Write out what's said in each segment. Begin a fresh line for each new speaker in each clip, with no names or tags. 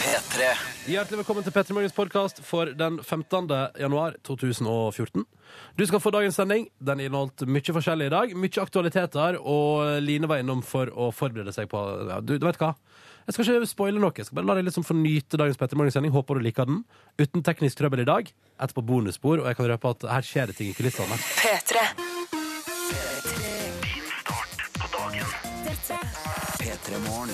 P3.
Hjertelig velkommen til Petter Morgens podkast for den 15. januar 2014. Du skal få dagens sending. Den inneholdt mye forskjellig i dag. Mye aktualiteter, og Line var innom for å forberede seg på ja, du, du vet hva. Jeg skal ikke spoile noe. Jeg skal bare la deg liksom få nyte dagens Petter Morgens sending. Håper du liker den. Uten teknisk trøbbel i dag. Etterpå bonusspor, og jeg kan røpe at her skjer det ting i kulissene.
P3.
P3 Morgen.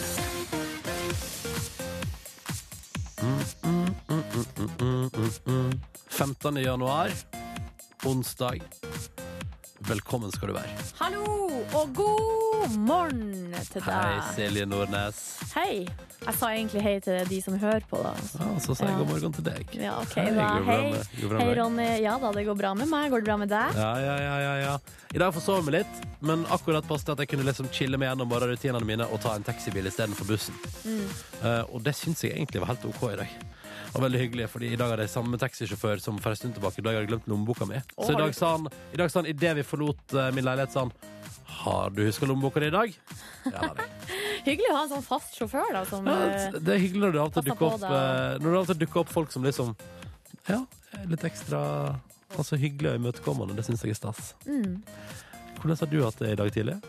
Mm. 15. januar, onsdag. Velkommen skal du være.
Hallo og god morgen til
Hei,
deg.
Silje Nordnes.
Hei. Jeg sa egentlig hei til de som hører på, da. altså.
Ja, så sier jeg
Ja.
god morgen til deg.
Ja, ok,
Hei,
da.
går det bra
Hei.
med- går det bra
Hei,
med deg?
Ronny. Ja da, det går bra med meg. Går det bra med deg?
Ja, ja, ja, ja, ja. I dag forsov jeg meg litt, men akkurat passet at jeg kunne liksom chille meg gjennom morgenrutinene mine og ta en taxibil istedenfor bussen.
Mm.
Eh, og det syns jeg egentlig var helt OK i dag. Og veldig hyggelig, fordi i dag hadde jeg samme taxisjåfør som for en stund tilbake. Da jeg hadde glemt lommeboka mi. Så i dag sa han, i dag sa han, idet vi forlot eh, min leilighet, sa han Har du huska lommeboka di i dag? Ja, det hadde jeg.
Hyggelig å ha en sånn fast sjåfør, da. Som,
Ja,
eh,
det er hyggelig når det av og til
Passa
dukker
på
opp,
da.
eh, når det av og til dukker opp folk som liksom Ja, er litt ekstra Altså hyggelig og imøtekommende. Det syns jeg er stas.
mm.
Hvordan har du hatt det i dag tidlig?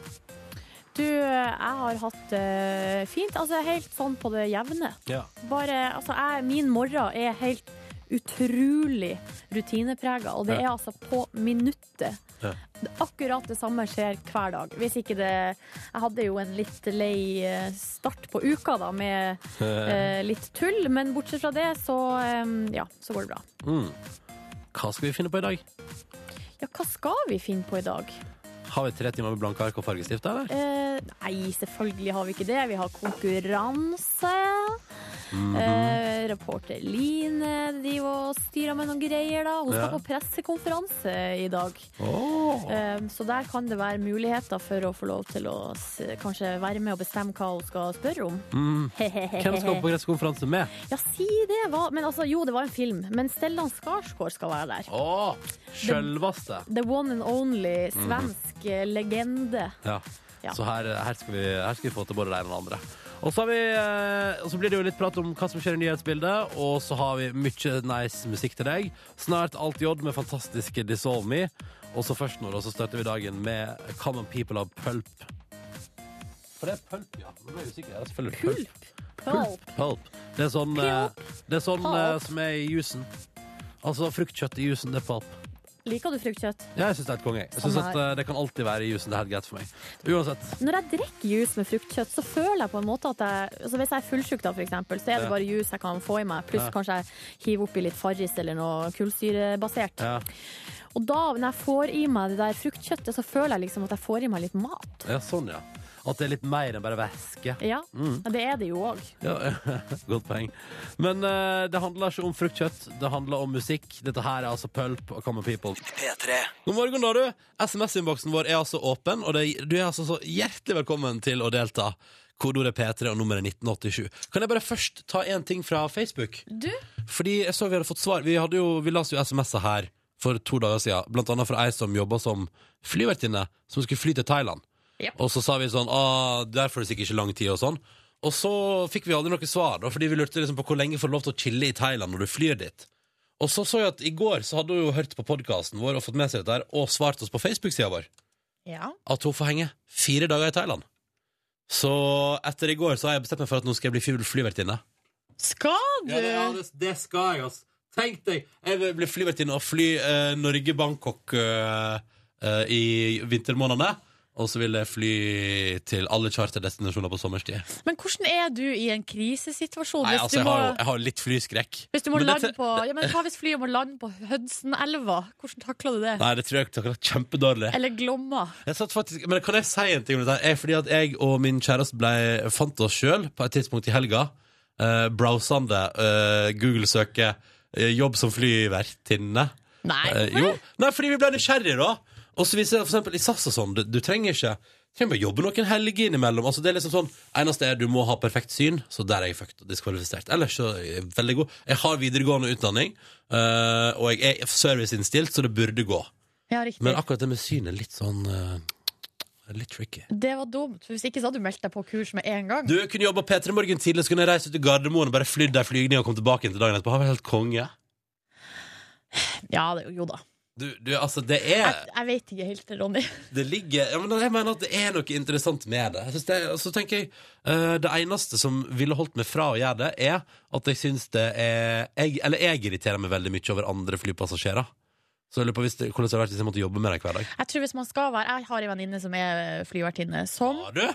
Du, eh, jeg har hatt det fint. Altså helt sånn på det jevne.
Ja.
Bare, altså jeg, Min morgen er helt utrolig rutineprega, og det
Ja.
er altså på minuttet.
Ja.
Det- Akkurat det samme skjer hver dag. Hvis ikke det Jeg hadde jo en litt lei eh, start på uka, da, med eh, litt tull, men bortsett fra det, så eh, ja, så går det bra.
Mm. Hva skal vi finne på i dag?
Ja, hva skal vi finne på i dag?
Har vi tre timer med blanke ark og fargestift, eller?
Eh, nei, selvfølgelig har vi ikke det. Vi har konkurranse.
Mhm.
eh, reporter Line driver og styrer med noen greier. da Hun skal
Ja.
på pressekonferanse i dag.
Åh.
Eh, så der kan det være muligheter for å få lov til å s kanskje være med og bestemme hva hun skal spørre om.
Mm. Hvem skal på pressekonferanse med?
Ja, si det! Hva? Men altså, jo, det var en film. Men Stellan Skarsgård skal være der.
Åh, Sjølvaste!
The one and only
Mhm.
svensk eh, legende.
Ja.
Ja.
Så her, her, skal vi, her skal vi få til både det ene og det andre. Og så, har vi, eh, og så blir det jo litt prat om hva som skjer i nyhetsbildet, og så har vi mye nice musikk til deg. Snart Alt J med fantastiske Dissolve Me. Og så først nå, da, så støtter vi dagen med Common People av Pulp. For det er Pulp, ja. Nå ble jeg usikker. Ja, selvfølgelig er det Pulp.
Pulp.
Pulp. Det er sånn, eh, det er sånn eh,
Pulp.
som er i jusen. Altså fruktkjøtt i jusen, det er pulp.
Liker du fruktkjøtt?
Ja, jeg syns det er helt konge. Jeg synes
Samme
at
her.
eh, Det kan alltid være i jusen. Det er helt greit for meg. Uansett.
Når jeg drikker juice med fruktkjøtt, så føler jeg på en måte at jeg altså Hvis jeg er fullsjuk, da, for eksempel, så er
Ja.
det bare juice jeg kan få i meg, pluss
Ja.
kanskje jeg hiver oppi litt Farris eller noe kullsyrebasert.
Ja.
Og da, når jeg får i meg det der fruktkjøttet, så føler jeg liksom at jeg får i meg litt mat.
Ja, sånn, ja. At det er litt mer enn bare væske.
Ja,
Mm.
ja det er det jo òg.
Ja, godt poeng. Men eh, det handler ikke om fruktkjøtt, det handler om musikk. Dette her er altså Pulp og Common People.
P3.
God morgen, da, du. SMS-innboksen vår er altså åpen, og det, du er altså så hjertelig velkommen til å delta. Kodeordet P3 og nummeret 1987. Kan jeg bare først ta én ting fra Facebook?
Du?
Fordi jeg så vi hadde fått svar. Vi, hadde jo, vi las jo SMS-er her for to dager siden, blant annet fra ei som jobba som flyvertinne, som skulle fly til Thailand.
Yep.
Og så sa vi sånn ah, Der får det sikkert ikke lang tid, og sånn. Og så fikk vi aldri noe svar, da, fordi vi lurte liksom på hvor lenge får du lov til å chille i Thailand når du flyr dit. Og så så jeg at i går så hadde hun jo hørt på podkasten vår og fått med seg dette her, og svart oss på Facebook-sida vår
Ja.
at hun får henge fire dager i Thailand. Så etter i går så har jeg bestemt meg for at nå skal jeg bli fly- flyvertinne.
Skal
Ja, det, ja, det, det skal jeg, altså. Tenk deg, jeg vil bli flyvertinne og fly eh, Norge-Bangkok eh, eh, i vintermånedene. Og så vil jeg fly til alle charterdestinasjoner på sommerstid.
Men hvordan er du i en krisesituasjon?
Nei,
hvis,
altså,
du
jeg
må,
har, jo- jeg har litt flyskrekk.
hvis du må
Men det
lande
te-
på ja, men Hva hvis flyet må lande på Hudsonelva? Hvordan takler du det?
Nei, det tror jeg takler kjempedårlig.
Eller Glomma?
Jeg satt faktisk, men kan jeg si en ting om dette? her? Er fordi at jeg og min kjæreste ble, fant oss sjøl på et tidspunkt i helga. Uh, browsende eh, Google-søket eh, 'jobb som flyvertinne'.
Nei,
Eh,
hvorfor
jo.
det?
Nei, fordi vi ble nysgjerrige, da. Og så viser det for eksempel i SAS og sånn, du, du trenger ikke du trenger bare jobbe noen helger innimellom. Altså, det er liksom sånn, Eneste er du må ha perfekt syn, så der er jeg fucked og diskvalifisert. Ellers så er jeg veldig god. Jeg har videregående utdanning, eh, og jeg er serviceinnstilt, så det burde gå.
Ja, riktig.
Men akkurat det med syn er litt sånn eh, Det er Litt tricky.
Det var dumt, for hvis ikke så hadde du meldt deg på kurs med en gang.
Du kunne jobba P3 Morgen tidlig, så kunne jeg reist ut til Gardermoen og bare flydd ei flygning og kommet tilbake igjen til dagen etterpå. Har vært helt konge.
Ja, det, jo da.
Du, du, altså, det er
Jeg, jeg vet ikke helt, Ronny.
Det ligger ja, men Jeg mener at det er noe interessant med det. Jeg synes det er- så tenker jeg eh, Det eneste som ville holdt meg fra å gjøre det, er at jeg syns det er jeg, Eller jeg irriterer meg veldig mye over andre flypassasjerer. Så jeg lurer på hvis det, hvordan det hadde vært hvis jeg måtte jobbe med det hver dag.
Jeg tror hvis man skal være Jeg har en venninne som er flyvertinne, som
Har du?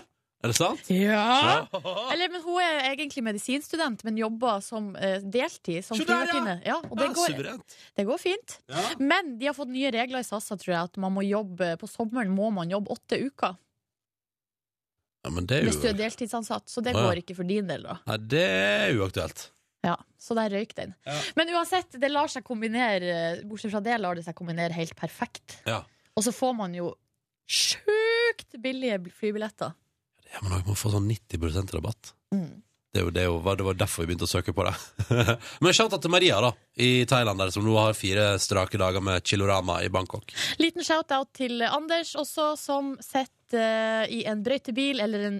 Er det sant?
Ja!
Ja.
Eller, men hun er egentlig medisinstudent, men jobber som eh, deltid som
Se der, ja!
flyvertinne. Ja, og det
Ja,
går,
Suverent.
det går fint.
Ja.
Men de har fått nye regler i SAS, tror jeg, at man må jobbe på sommeren må man jobbe åtte uker
ja, men det er
hvis du
jo
er deltidsansatt. Så det
Å, ja.
går ikke for din del, da.
Nei, det er uaktuelt.
Ja, så der røyk den.
Ja.
Men uansett, det lar seg kombinere eh, Bortsett fra det lar det seg kombinere helt perfekt.
Ja.
Og så får man jo sjukt billige flybilletter.
Ja, men man får sånn 90 rabatt.
Mm.
Det, er jo, det, er jo, var- det var derfor vi begynte å søke på det. men shout-out til Maria da, i Thailand, der som nå har fire strake dager med Chilorama i Bangkok.
Liten shout-out til Anders også, som sitter eh, i en brøytebil, eller en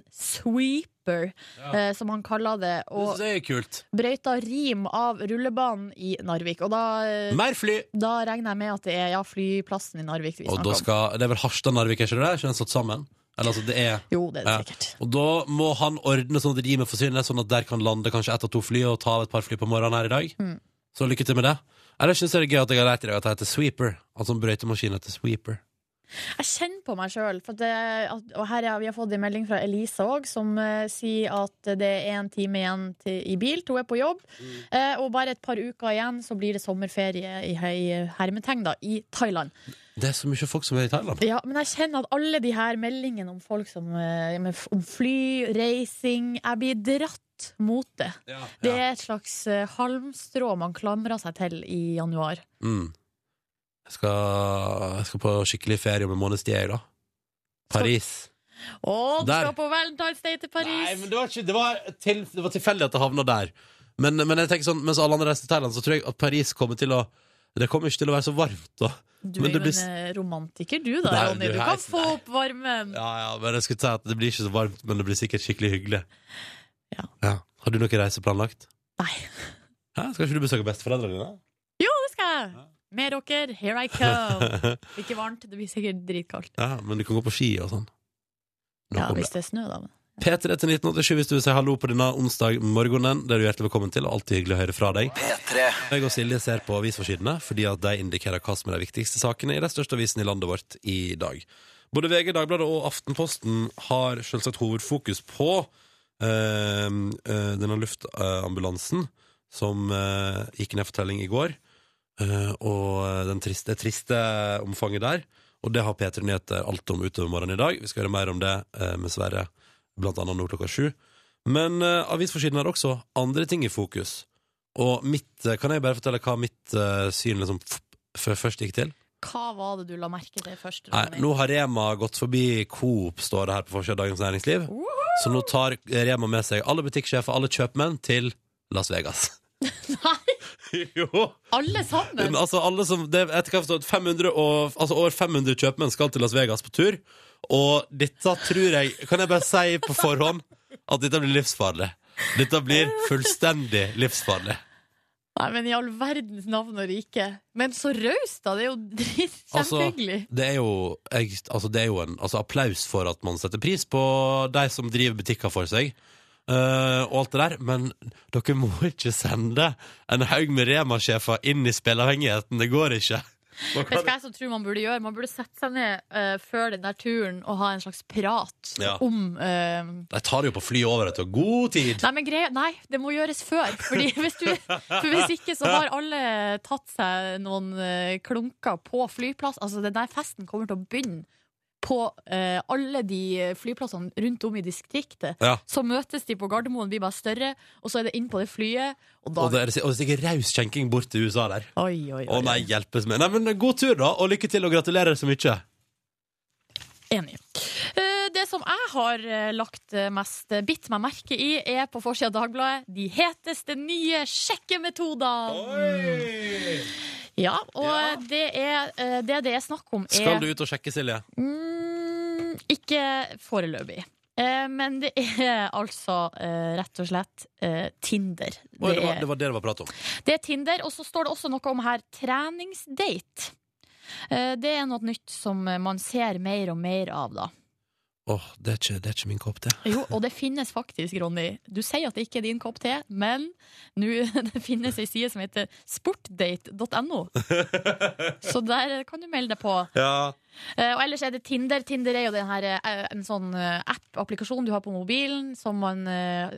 sweeper, eh, som han kaller det, og
Det er kult.
brøyta rim av rullebanen i Narvik. Og da, eh,
Mer fly!
da regner jeg med at det er ja, flyplassen i Narvik vi
Og da
snakker om.
skal, det er vel Harstad-Narvik, er ikke det? Er ikke den satt sammen? Eller altså, det er...
Jo, det er det
Ja.
sikkert.
Og da må han ordne sånn at rimet forsvinner, sånn at der kan lande kanskje ett av to fly og ta av et par fly på morgenen her i dag.
Mm.
Så lykke til med det. Ellers synes jeg det er gøy at jeg har lært i dag at det heter sweeper. Altså en brøytemaskin heter sweeper.
Jeg kjenner på meg sjøl. Og her er, vi har fått en melding fra Elise òg, som eh, sier at det er en time igjen til, i bil. Hun er på jobb.
Mm.
Eh, og bare et par uker igjen så blir det sommerferie i, i hermetegn da, i Thailand.
Det er så mye folk som er i Thailand.
Ja, Men jeg kjenner at alle de her meldingene om folk som eh, med f- om fly, reising Jeg blir dratt mot det. Det er et slags eh, halmstrå man klamrer seg til i januar.
Mm. Jeg, skal, jeg skal på skikkelig ferie om en måneds tid, jeg, da. Paris.
Å, du
Der.
skal på Valentine's Day til Paris!
Nei, men det var, ikke, det var, til, det var tilfeldig at det havna der. Men, men jeg tenker sånn, mens alle andre reiser til Thailand, så tror jeg at Paris kommer til å Det kommer ikke til å være så varmt, da.
Du
Men
er
det
jo
blir s-
en eh, romantiker, du da,
Nei,
Ronny.
du
Du
er-
kan få
nei.
opp varmen.
Ja, ja, men jeg skulle si at det blir ikke så varmt, men det blir sikkert skikkelig hyggelig.
Ja.
Har du noen reise planlagt?
Nei.
Hæ? Skal ikke du besøke besteforeldrene dine?
Det skal jeg. Med dere, here I come. Ikke varmt, det blir sikkert dritkaldt.
ja, men du kan gå på ski og sånn. Nå
Ja,
kommer
hvis det er snø, da. men-
P3 til 1987 hvis du vil si hallo på denne onsdag morgenen. Det er du hjertelig velkommen til, og alltid hyggelig å høre fra deg.
P3
Jeg og Silje ser på avisforsidene fordi at de indikerer hva som er de viktigste sakene i de største avisene i landet vårt i dag. Både VG, Dagbladet og Aftenposten har selvsagt hovedfokus på eh, eh, denne luftambulansen som eh, gikk ned for telling i går, eh, og den triste, triste omfanget der. Og det har P3 Nyheter alt om utover morgenen i dag. Vi skal høre mer om det eh, med Sverre, blant annet nå klokka sju. Men eh, avisforsiden har også andre ting i fokus. Og mitt, eh, kan jeg bare fortelle hva mitt eh, syn liksom f f først gikk til?
Hva var det du la merke til først?
Nei,
Ronny?
nå har Rema gått forbi Coop, står det her på forsiden av Dagens Næringsliv. Så nå tar Rema med seg alle butikksjefer, alle kjøpmenn, til Las Vegas.
Nei,
jo!
alle sammen!
Men, altså, alle som, det, jeg kan forstå at 500 og, altså, over 500 kjøpmenn skal til Las Vegas på tur. Og dette tror jeg Kan jeg bare si på forhånd at dette blir livsfarlig. Dette blir fullstendig livsfarlig.
Nei, men i all verdens navn og rike. Men så raust, da! Det er jo drit
Altså,
kjempehyggelig.
det er jo, jeg, altså, det er jo en altså, applaus for at man setter pris på de som driver butikker for seg. eh, og alt det der, men dere må ikke sende en haug med Rema-sjefer inn i spilleavhengigheten. Det går ikke.
Vet du hva jeg som tror man burde gjøre? Man burde sette seg ned eh, før den der turen og ha en slags prat
Ja.
om eh,
De tar det jo på flyet over etter god tid.
Nei, men greia, nei, det må gjøres før. Fordi hvis du, for hvis ikke så har alle tatt seg noen eh, klunker på flyplass. Altså, den der festen kommer til å begynne på eh, alle de flyplassene rundt om i distriktet.
Ja.
Så møtes de på Gardermoen, blir bare større, og så er det inn på det flyet. Og da
Og det er, og det er sikkert raus skjenking bort til USA der.
Oi, oi, oi.
Å nei, hjelpes meg. Nei, men god tur, da, og lykke til, og gratulerer så mye.
Enig. Eh, Det som jeg har eh, lagt eh, mest eh, bitt meg merke i, er på forsida av Dagbladet 'De heteste nye sjekkemetodene'. Ja, og
Ja.
eh, Det, er, eh, det det er snakk om, er
Skal du ut og sjekke, Silje?
Mm, Ikke foreløpig. Eh, Men det er altså eh, rett og slett eh, Tinder.
Oi, det, var,
er-
det var det det var prat om.
det er Tinder, og så står det også noe om her treningsdate. Eh, Det er noe nytt som eh, man ser mer og mer av, da.
Åh, det, er ikke, det er ikke min kopp, det.
Jo, og det finnes faktisk, Ronny. Du sier at det ikke er din kopp te, men nå det finnes ei side som heter sportdate.no. Så der kan du melde deg på.
Ja.
Eh, Og ellers er det Tinder. Tinder er jo den her, eh, en sånn eh, app, applikasjon du har på mobilen, som man eh,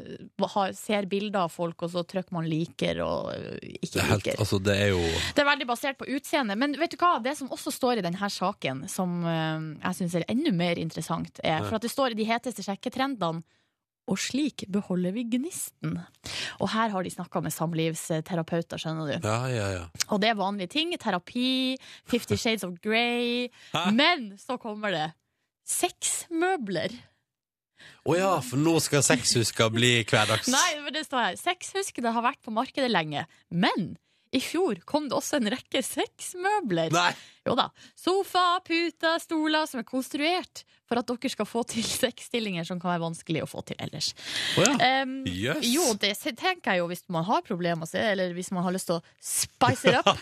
har, ser bilder av folk, og så trykker man liker og eh,
Det
ikke
er, helt,
liker.
altså, det er jo
Det er veldig basert på utseende. Men vet du hva? det som også står i denne saken, som eh, jeg syns er enda mer interessant, er for at det står i de heteste sjekketrendene og slik beholder vi gnisten. Og her har de snakka med samlivsterapeuter, skjønner du.
Ja, ja, ja.
Og det er vanlige ting. Terapi, Fifty Shades of Grey.
Hæ?
Men så kommer det sexmøbler.
Å ja, for nå skal sexhuska bli hverdags.
Nei, men det står her. Sexhusk det har vært på markedet lenge. Men i fjor kom det også en rekke sexmøbler.
Nei.
Jo da. Sofa, puter, stoler som er konstruert for at dere skal få til sexstillinger som kan være vanskelig å få til ellers.
Å ja.
Em,
Jøss.
Jo, det se- tenker jeg jo hvis man har problemer, så- eller hvis man har lyst til å spice it up,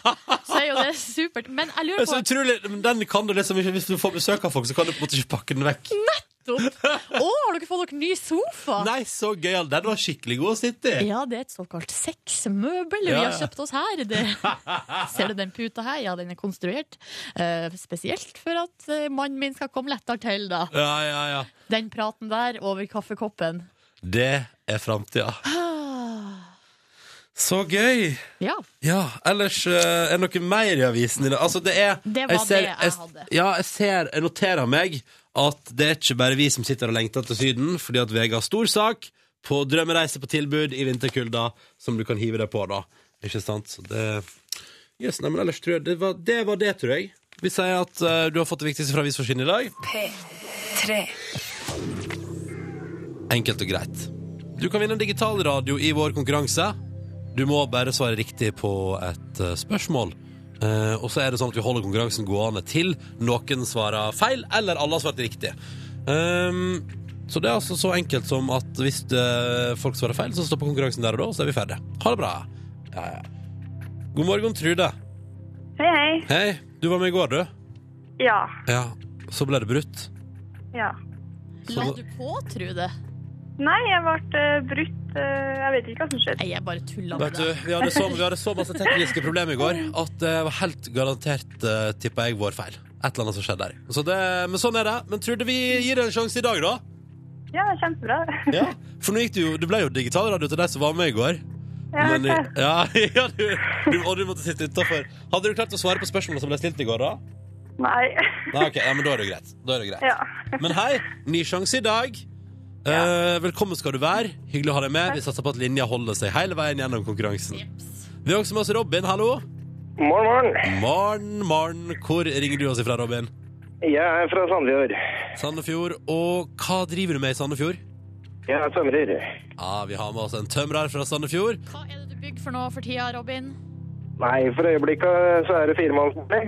så er jo det supert. Men jeg
Det
lurer
er så
på
utrolig. Men Den kan du liksom ikke Hvis du får besøk av folk, så kan du på en måte ikke pakke den vekk.
Å, har dere fått dere ny sofa?
Nei, så gøy. Den var skikkelig god å sitte i.
Ja, det er et såkalt sexmøbel vi
Ja, ja.
har kjøpt oss her. Det, ser du den puta her? Ja, den er konstruert eh, spesielt for at eh, mannen min skal komme lettere til, da.
Ja, ja, ja.
Den praten der over kaffekoppen.
Det er framtida. Ah. Så gøy.
Ja.
Ja, ellers eh, er det noe mer i avisen i dag. Altså, det er
Det var det jeg hadde.
Ja, jeg ser Jeg noterer meg at det er ikke bare vi som sitter og lengter til Syden, fordi at VG har stor sak på drømmereise på tilbud i vinterkulda, som du kan hive deg på, da. Ikke sant? Så det Yes, nei, men ellers tror jeg det var, det var det, tror jeg. Vi sier at eh, du har fått det viktigste fra avisforsiden i dag.
Tre.
Enkelt og greit. Du kan vinne en digital radio i vår konkurranse. Du må bare svare riktig på et eh, spørsmål. Eh, og så er det sånn at vi holder konkurransen gående til noen svarer feil, eller alle har svart riktig. Ehm, så det er altså så enkelt som at hvis eh, folk svarer feil, så stopper konkurransen der og da, og så er vi ferdige. Ha det bra. Ja, ja. God morgen, Trude.
Hei, hei.
Hei, du var med i går, du.
Ja.
Ja. Så ble det brutt.
ja.
La
Så-
du på, Trude?
Nei, jeg ble eh, brutt eh, Jeg vet ikke hva som skjedde.
Nei, jeg bare tulla med
Vet du,
deg.
vi hadde, så, vi hadde så masse tekniske problemer i går at det var helt garantert, uh, tippa jeg, vår feil. Et eller annet som skjedde der. Så det, men sånn er det. Men Trude, vi gir deg en sjanse i dag, da.
Ja, kjempebra.
Ja. For nå gikk du jo Du ble jo digitalradio til de som var med i går.
Ja,
Men,
ok.
ja, ja du, du, og du måtte sitte utafor. Hadde du klart å svare på spørsmålet som ble stilt i går, da?
Nei.
Nei, ok, ja, men da er det jo greit. Da er det jo greit.
Ja.
Men hei, ny sjanse i dag. Eh, velkommen skal du være. Hyggelig å ha deg med. Vi satser på at linja holder seg hele veien gjennom konkurransen. Vi har også med oss Robin. Hallo.
Morgen, morgen.
Morn, morn. Hvor ringer du oss ifra, Robin?
Jeg er fra Sandefjord.
Sandefjord. Og hva driver du med i Sandefjord?
Jeg er tømrer.
Ja, Vi har med oss en tømrer fra Sandefjord.
Hva er det du bygger for nå for tida, Robin?
Nei, for øyeblikket så er det firemannsbolig.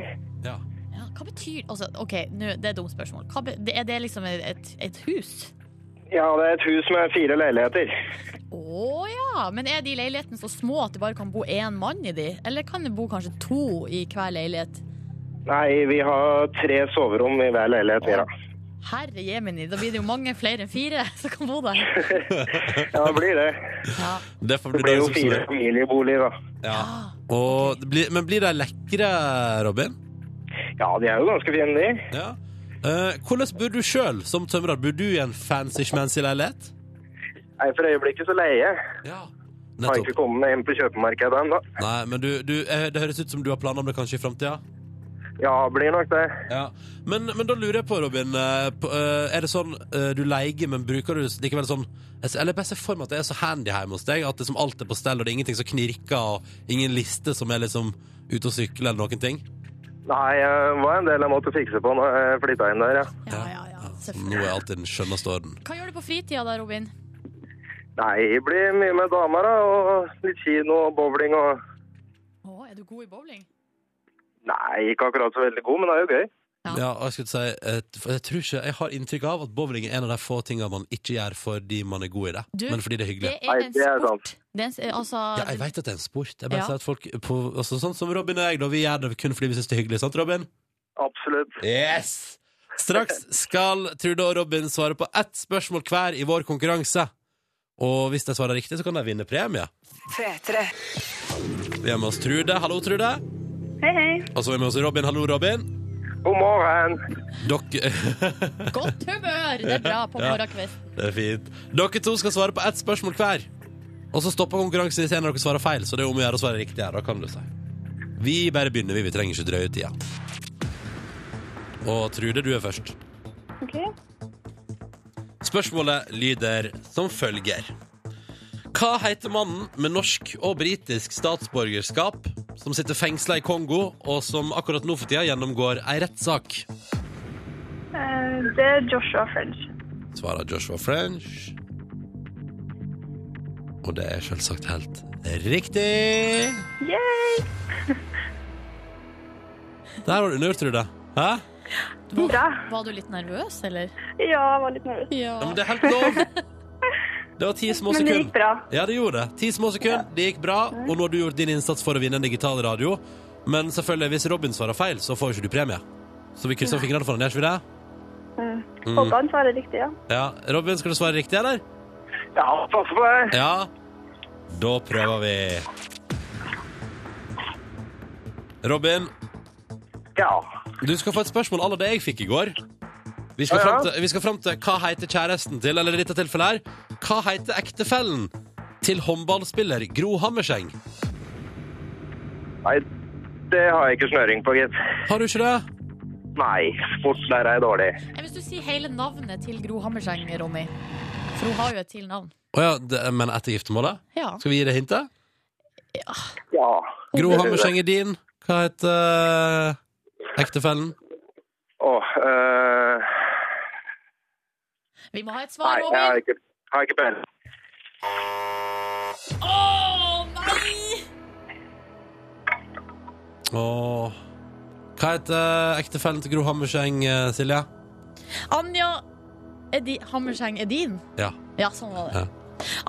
Ja.
Ja, hva betyr altså, OK, nå, det er et dumt spørsmål. Hva be, det- er det liksom et, et hus?
Ja, det er et hus med fire leiligheter.
Å ja! Men er de leilighetene så små at det bare kan bo én mann i de? Eller kan det bo kanskje to i hver leilighet?
Nei, vi har tre soverom i hver leilighet. Ja,
Herre jemini, da blir det jo mange flere enn fire som kan bo der.
ja det blir det.
Ja.
Det får
Det
bli
blir jo
dagens
fire
oppsummering.
familieboliger, da.
Ja.
Ah,
Og, det blir- men blir de lekre, Robin?
Ja, de er jo ganske fine, de.
Ja. Eh, hvordan bor du sjøl som tømrer? Bor du i en fancy-schmancy leilighet?
Nei, for øyeblikket så leier jeg.
Ja.
Har
Nettopp.
ikke kommet hjem på kjøpemarkedet ennå.
Nei, men du, du, eh, det høres ut som du har planer om det kanskje i framtida?
Ja, blir nok det.
Ja. Men, men da lurer jeg på, Robin, eh, på, eh, er det sånn eh, du leier, men bruker du likevel sånn jeg ser- Eller bare se for meg at det er så handy hjemme hos deg, at liksom alt er på stell, og det er ingenting som knirker, og ingen liste som er liksom ute og sykler, eller noen ting?
Nei, det var en del jeg måtte fikse på når jeg flytta inn der, ja.
Ja, ja, ja,
Nå
selvfølgelig.
er alt i den skjønneste orden.
Hva gjør du på fritida da, Robin?
Nei, det blir mye med damer, da. Og litt kino og bowling og
Å, er du god i bowling?
Nei, ikke akkurat så veldig god, men det er jo gøy.
Ja.
Ja, og jeg skulle si et, for Jeg tror ikke, jeg har inntrykk av at bowling er en av de få tingene man ikke gjør fordi man er god i det,
Du,
men fordi det er hyggelig.
Det
Nei,
er en
det er
sport. Det er en, s- altså,
Ja, jeg vet at det er en sport. Jeg bare
Ja.
sier at folk på, altså, Sånn som Robin og jeg, da. Vi gjør det kun fordi vi syns det er hyggelig. Sant, Robin?
Absolutt.
Yes! Straks skal Trude og Robin svare på ett spørsmål hver i vår konkurranse. Og hvis de svarer riktig, så kan de vinne premie. Vi er med oss Trude. Hallo, Trude.
Hei, hei.
Og så er vi med oss Robin. Hallo, Robin.
God morgen.
Dere
Godt humør! Det er bra på
Ja.
morgenkvisten.
Det er fint. Dere to skal svare på ett spørsmål hver. Og så stopper konkurransen hvis en av dere svarer feil, så det er om å gjøre å svare riktig her. Da kan du si. Vi bare begynner, vi. Vi trenger ikke drøye tida. Og Trude, du er først.
Ok.
Spørsmålet lyder som følger. Hva heter mannen med norsk og britisk statsborgerskap som sitter fengsla i Kongo, og som akkurat nå for tida gjennomgår ei rettssak?
Eh, det er Joshua French.
svarer Joshua French. Og det er selvsagt helt riktig!
Yay!
Der var du nerd, Trude. Hæ? Uh.
Bra.
Var du litt nervøs, eller?
Ja, jeg var litt nervøs.
Ja, men det er helt lov! Det var ti små
Men det gikk
sekunder.
bra.
Ja, det gjorde det. Ti små sekunder, det gikk bra, og nå har du gjort din innsats for å vinne en digital radio. Men selvfølgelig, hvis Robin svarer feil, så får ikke du premie. Så vi krysser fingrene for han, gjør ikke vi det? Mm.
Håper han svarer riktig, ja.
Ja, Robin, skal du svare riktig, eller?
Ja, pass på deg.
Ja, da prøver vi. Robin,
Ja.
Du skal få et spørsmål alle det jeg fikk i går. Vi skal,
Ja, ja.
fram til, vi skal fram til hva heter kjæresten til, eller i dette tilfellet her, hva heter ektefellen til håndballspiller Gro Hammerseng?
Nei, det har jeg ikke snøring på, gitt.
Har du ikke det?
Nei, sport der er jeg dårlig.
Eh, Hvis du sier hele navnet til Gro Hammerseng, Ronny. For hun har jo et til navn.
Å ja, det, men etter giftermålet?
Ja.
Skal vi gi det hintet?
Ja.
Gro Hammerseng er din. Hva heter eh, ektefellen?
Åh, øh...
Vi må ha et
Nei,
svar,
jeg har
Robin.
ikke, jeg har ikke peiling.
Å, nei!
Og hva heter eh, ektefellen til Gro Hammerseng, eh, Silje?
Anja Edi Hammerseng Edin.
Ja.
Ja, sånn var det.
Ja.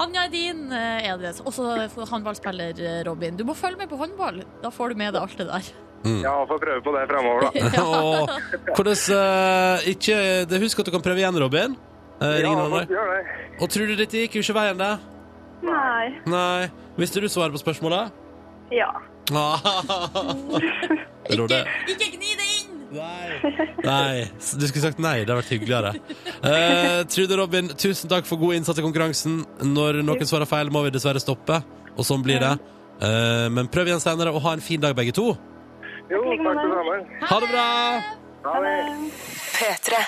Anja Edin eh, er det. Også for håndballspiller eh, Robin. Du må følge med på håndball. Da får du med deg alt det der.
Ja, får prøve på det fremover, da.
Mm. Og hvordan eh, Ikke det Husk at du kan prøve igjen, Robin. Eh, ring noen andre.
Ja, gjør det.
Og tror du dette gikk jo ikke veien, det?
Nei.
Nei. Visste du svaret på spørsmålet?
Ja.
Rodde.
Ikke gni det inn!
Nei. nei. Du skulle sagt nei. Det hadde vært hyggeligere. Eh, Trude Robin, tusen takk for god innsats i konkurransen. Når noen svarer feil, må vi dessverre stoppe. Og sånn blir det. Eh, men prøv igjen senere, og ha en fin dag, begge to.
Jo, takk det samme.
Ha det bra!
Ha det.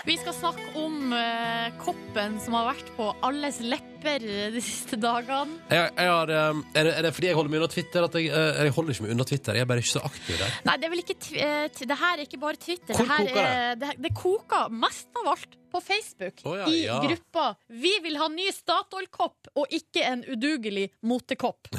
Vi skal snakke om eh, koppen som har vært på alles lepper eh, de siste dagene.
Jeg, jeg har, eh, er, det, er det fordi jeg holder meg unna Twitter? At jeg, eh, jeg holder ikke meg unna Twitter, jeg er bare ikke så aktiv der.
Nei, det er vel ikke tv- eh, t- Det her er ikke bare Twitter.
Hvor
det, her
koker
er, det, det koker mest av alt på Facebook.
Å ja,
I
ja.
gruppa 'Vi vil ha ny Statoil-kopp og ikke en udugelig motekopp'.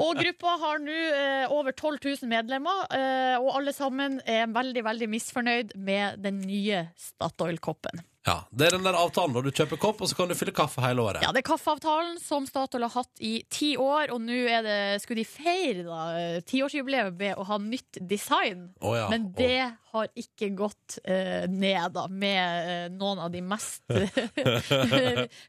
og gruppa har nå eh, over 12 000 medlemmer, eh, og alle sammen er veldig, veldig misfornøyd med den nye Statoil-koppen.
Ja, Det er den der avtalen når du kjøper kopp, og så kan du fylle kaffe hele året.
Ja, det er kaffeavtalen som Statoil har hatt i ti år, og nå er det, skulle de feire da, eh, tiårsjubileet ved å ha nytt design.
Å ja,
Men
og-
det har ikke gått eh, ned, da, med eh, noen av de mest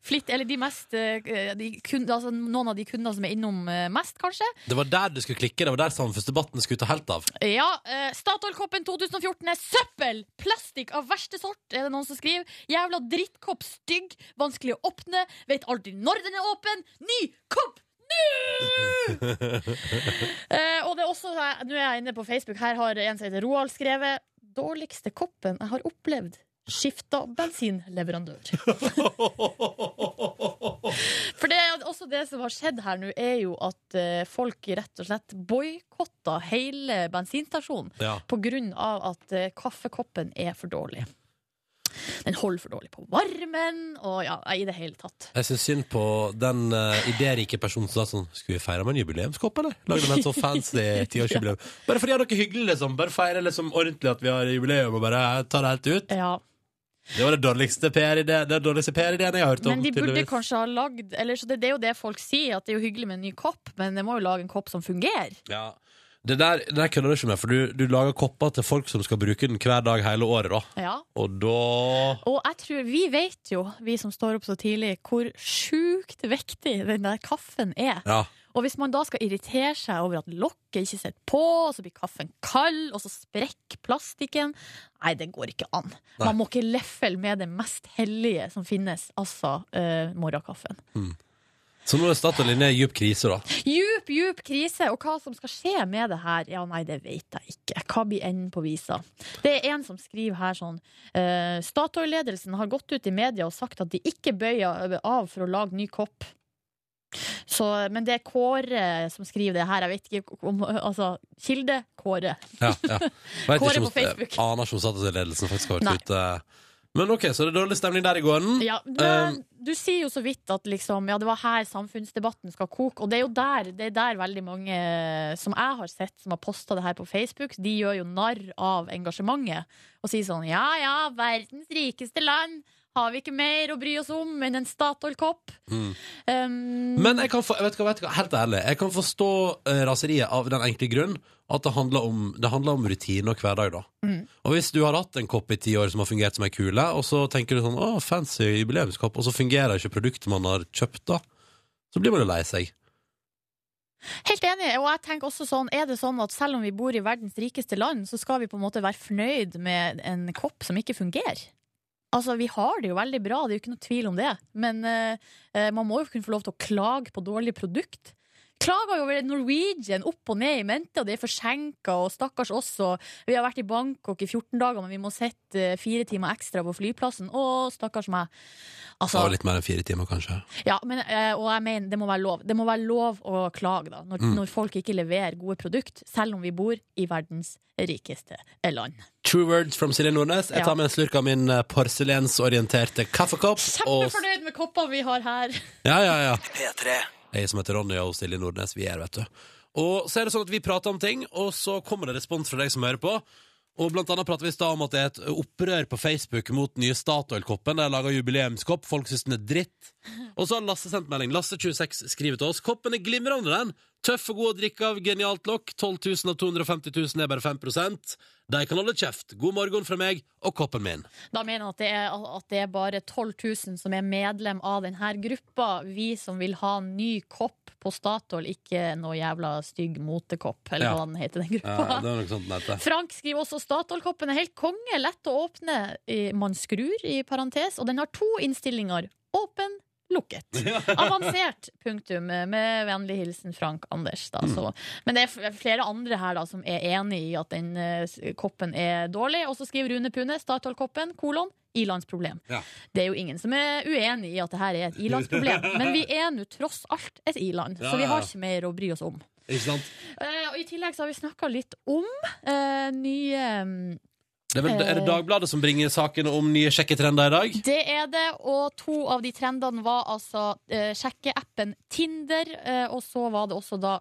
flitt... Eller de mest eh, de kun, altså, Noen av de kundene som er innom eh, mest, kanskje.
Det var der du skulle klikke, det var der samfunnsdebatten skulle ta helt av.
Ja, eh, Statoil-koppen 2014 er søppel! Plastikk av verste sort, er det noen som skriver. Jævla drittkopp, stygg, vanskelig å åpne, vet aldri når den er åpen. Ny kopp! nå! eh, og det er også, Nå er jeg inne på Facebook, her har en som heter Roald skrevet Dårligste koppen jeg har opplevd. Skifta bensinleverandør. For det er også det som har skjedd her nå, er jo at eh, folk rett og slett boikotta hele bensinstasjonen
Ja.
på grunn av at eh, kaffekoppen er for dårlig. Den holder for dårlig på varmen, og ja, nei, i det hele tatt.
Jeg syns synd på den eh, idérike personen som sa sånn Skulle vi feire med en jubileumskopp, eller? Lagde med et så sånn fancy tiårsjubileum. Bare fordi det er noe hyggelig, liksom. Bare feire liksom ordentlig at vi har jubileum, og bare ta det helt ut.
Ja,
Det var det dårligste PR-ideen den dårligste PR-ideen jeg har hørt om.
Men de burde
tydeligvis.
kanskje ha lagd eller, så det, det er jo det folk sier, at det er jo hyggelig med en ny kopp, men jeg må jo lage en kopp som fungerer.
ja. Det der, det der kødder du ikke med, for du, du lager kopper til folk som skal bruke den hver dag hele året, da.
Ja.
Og da
Og jeg tror, vi vet jo, vi som står opp så tidlig, hvor sjukt viktig den der kaffen er.
Ja.
Og hvis man da skal irritere seg over at lokket ikke sitter på, og så blir kaffen kald, og så sprekker plastikken Nei, det går ikke an.
Nei.
Man må ikke leffele med det mest hellige som finnes, altså eh, morgenkaffen.
Så nå er Statoil inne i djup krise, da.
Djup, djup krise, og hva som skal skje med det her? Ja, nei, det vet jeg ikke. Hva blir enden på visa? Det er en som skriver her sånn eh, Statoil-ledelsen har gått ut i media og sagt at de ikke bøyer av for å lage ny kopp. Så, men det er Kåre som skriver det her. Jeg vet ikke om Altså, kilde Kåre.
Ja, ja. Vet
Kåre
ikke om-
på Facebook.
Jeg Aner ikke om Statoil-ledelsen faktisk har
Nei.
vært ute. Men OK, så det er dårlig stemning der i gården.
Ja, men du sier jo så vidt at liksom, ja, det var her samfunnsdebatten skal koke. Og det er jo der, det er der veldig mange eh, som jeg har sett, som har posta det her på Facebook, de gjør jo narr av engasjementet. Og sier sånn ja ja, verdens rikeste land. Har vi ikke mer å bry oss om enn en Statoil-kopp?
Mm.
Um,
Men jeg kan, for, jeg vet hva, vet hva, helt ærlig, jeg kan forstå eh, raseriet av den enkle grunn at det handler om, det handler om rutine og hverdag. da.
Mm.
Og Hvis du har hatt en kopp i ti år som har fungert som ei kule, og så tenker du sånn, å, fancy jubileumskopp, og så fungerer ikke produktet man har kjøpt, da, så blir man jo lei seg.
Helt enig, og jeg tenker også sånn Er det sånn at selv om vi bor i verdens rikeste land Så skal vi på en måte være fornøyd med en kopp som ikke fungerer? Altså, vi har det jo veldig bra, det er jo ikke noe tvil om det Men eh, eh, man må jo kunne få lov til å klage på dårlige produkt Klager jo over Norwegian opp og ned i mente Og det er forsenket, og stakkars oss og Vi har vært i Bangkok i 14 dager Men vi må sette eh, fire timer ekstra på flyplassen Åh, stakkars meg
Det
Altså,
var litt mer enn fire timer, kanskje.
ja, men, eh, og jeg mener, det må være lov. Det må være lov å klage da, når,
Mm.
når folk ikke leverer gode produkt, selv om vi bor i verdens rikeste land.
True words from Silje Nordnes. Jeg
Ja.
tar med en slurk av min eh, porselensorienterte kaffekopp. og-
Kjempefornøyd med koppene vi har her.
Ja, ja, ja.
P3.
Jeg som heter Ronny og Silje Nordnes, vi er her, vet du. Og så er det sånn at vi prater om ting, og så kommer det respons fra deg som hører på. Og blant annet prater vi i stad om at det er et opprør på Facebook mot den nye Statoil-koppen. De lager jubileumskopp, folk syns den er dritt. Og så har Lasse sendt melding. Lasse26 skriver til oss. Koppen er glimrende, den. Tøff og god å drikke av, genialt lokk. 12 000 av 250 000 er bare 5 De kan holde kjeft. God morgen fra meg og koppen min.
Da mener han at det, er, at det er bare 12 000 som er medlem av denne gruppa. Vi som vil ha en ny kopp på Statoil, ikke noe jævla stygg motekopp, eller
Ja.
hva den heter, den gruppa.
det var noe sånt den heter.
Frank skriver også Statoil-koppen er helt konge, lett å åpne. Eh, Man skrur, i parentes, og den har to innstillinger. Åpen, lukket. Avansert, punktum. Med vennlig hilsen Frank Anders. Da, så.
Mm.
Men det er f- flere andre her da, som er enig i at den eh, s- koppen er dårlig. Og så skriver Rune Pune Statoil-koppen, kolon, ilandsproblem.
Ja.
Det er jo ingen som er uenig i at det her er et ilandsproblem, men vi er nå tross alt et i-land,
Ja,
så vi
ja, ja.
har ikke mer å bry oss om.
Ikke sant?
Eh, og I tillegg så har vi snakka litt om eh, nye mm,
Det er, vel, er det Dagbladet som bringer saken om nye sjekketrender i dag?
Det er det, E og to av de trendene var altså eh, sjekkeappen Tinder, eh, og så var det også da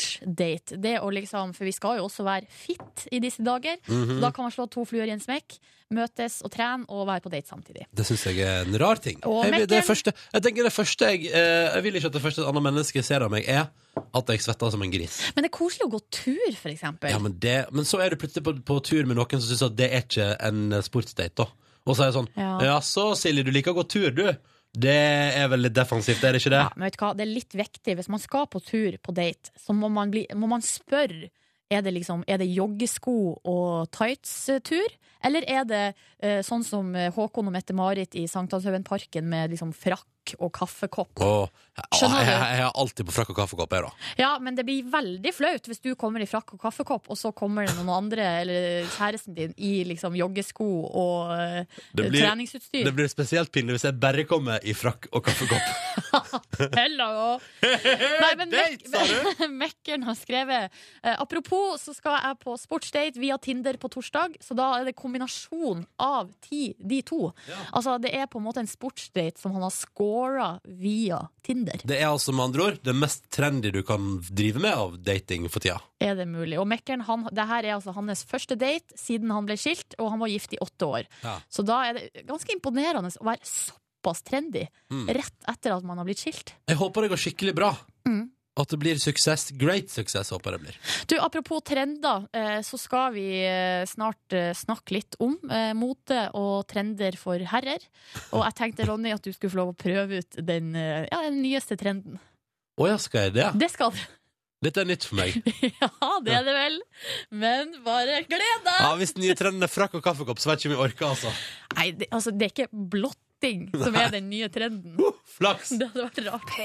sportsdate. Det å liksom, For vi skal jo også være fit i disse dager,
Mhm.
så da kan man slå to fluer i en smekk. Møtes og trene og være på date samtidig.
Det syns jeg er en rar ting.
Og
jeg, vil- det
Mikkel?
første, jeg tenker det første jeg eh, Jeg vil ikke at det første et annet menneske ser av meg, er at jeg svetter som en gris.
Men det er koselig å gå tur, for eksempel.
Ja, men, det, men så er du plutselig på, på tur med noen som syns at det er ikke en eh, sportsdate, da. Og så er jeg sånn
Ja.
Ja, så Silje, du liker å gå tur, du. Det er vel litt defensivt, er det ikke det?
Ja, men vet du hva, det er litt viktig. Hvis man skal på tur på date, så må man, bli, må man spørre er det, liksom, er det joggesko og tights-tur, eller er det eh, sånn som eh, Håkon og Mette-Marit i Sankthanshaugenparken med liksom frakk frakk og kaffekopp.
Åh, jeg,
Skjønner
jeg,
du?
jeg, jeg har alltid på frakk og kaffekopp, jeg, da.
Ja, men det blir veldig flaut hvis du kommer i frakk og kaffekopp, og så kommer det noen andre, eller kjæresten din, i liksom joggesko og eh,
Det blir-
treningsutstyr.
Det blir spesielt pinlig hvis jeg bare kommer i frakk og kaffekopp.
Hello! Nei, men
Date, sa
Mek- Mekkeren har skrevet eh, Apropos, så skal jeg på sportsdate via Tinder på torsdag, så da er det kombinasjon av ti, de to. Altså, det er på en måte en sportsdate som han har scora via Tinder.
Det er altså med andre ord det mest trendy du kan drive med av dating for tida.
Er det mulig? Og Mekkeren, han, det her er altså hans første date siden han ble skilt, og han var gift i åtte år.
Ja.
Så da er det ganske imponerende å være såpass trendy
Mm.
rett etter at man har blitt skilt.
Jeg håper det går skikkelig bra.
Mm.
At det blir suksess. Great suksess, håper jeg det blir.
Du, apropos trender, eh, så skal vi eh, snart eh, snakke litt om eh, mote og trender for herrer. Og jeg tenkte, Ronny, at du skulle få lov å prøve ut den, eh, ja, den nyeste trenden.
Å ja, skal jeg det?
Det skal du.
Dette er nytt for meg.
Ja, det er det vel. Men bare gled deg!
Ja, Hvis den nye trenden er frakk og kaffekopp, så vet jeg ikke om jeg orker, altså.
Nei, det, altså, det er ikke blotting som er den nye trenden.
Uh, Flaks!
Det hadde vært rart.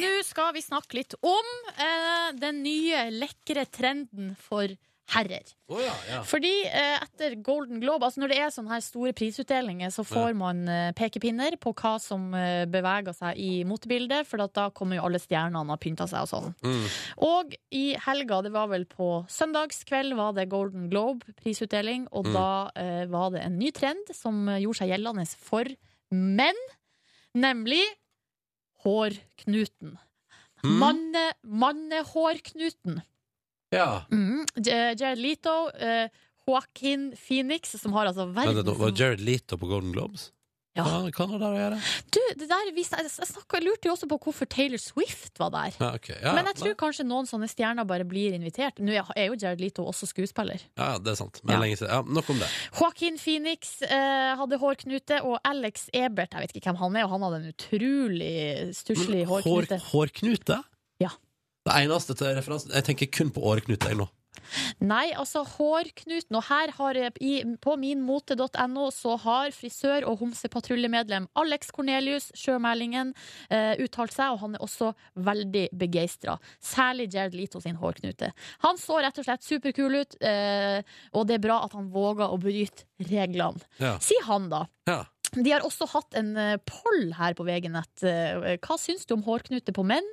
Nå skal vi snakke litt om eh, den nye lekre trenden for herrer.
Å ja, ja.
Fordi eh, etter Golden Globe, altså når det er sånne her store prisutdelinger, så får man eh, pekepinner på hva som eh, beveger seg i motebildet, for at da kommer jo alle stjernene og pynter seg og sånn.
Mm.
Og i helga, det var vel på søndagskveld, var det Golden Globe-prisutdeling, og
Mm.
da eh, var det en ny trend som eh, gjorde seg gjeldende for menn, nemlig hårknuten.
Mm.
Manne, mannehårknuten.
ja.
Mm. J- Jared Leto, eh, Joaquin Phoenix, som har altså
Vent, nå var
verdens
Jared Leto på Golden Globes?
Ja.
Hva hva har det der å gjøre?
Du, det der viste, jeg, jeg, snakket, jeg lurte jo også på hvorfor Taylor Swift var der.
Ja, ok. ja,
Men jeg
nei.
tror kanskje noen sånne stjerner bare blir invitert. Nå er er jo Jared Leto også skuespiller.
ja, ja, det er sant. Men
Ja.
lenge siden. Ja, nok om det.
Joaquin Phoenix eh, hadde hårknute, og Alex Ebert, jeg vet ikke hvem han er, og han hadde en utrolig stusslig
Men
hårknute.
Hår, hårknute?
Ja.
Det eneste til referansen Jeg tenker kun på åreknute, jeg nå.
Nei, altså hårknuten, og her har eh, i, på minmote.no så har frisør og homsepatruljemedlem Alex Cornelius Sjømælingen eh, uttalt seg, og han er også veldig begeistra. Særlig Jared Leto sin hårknute. Han så rett og slett superkul ut, eh, og det er bra at han våger å bryte reglene.
Ja.
Sier han, da.
Ja.
De har også hatt en eh, poll her på VG-nett. Eh, Hva syns du om hårknute på menn?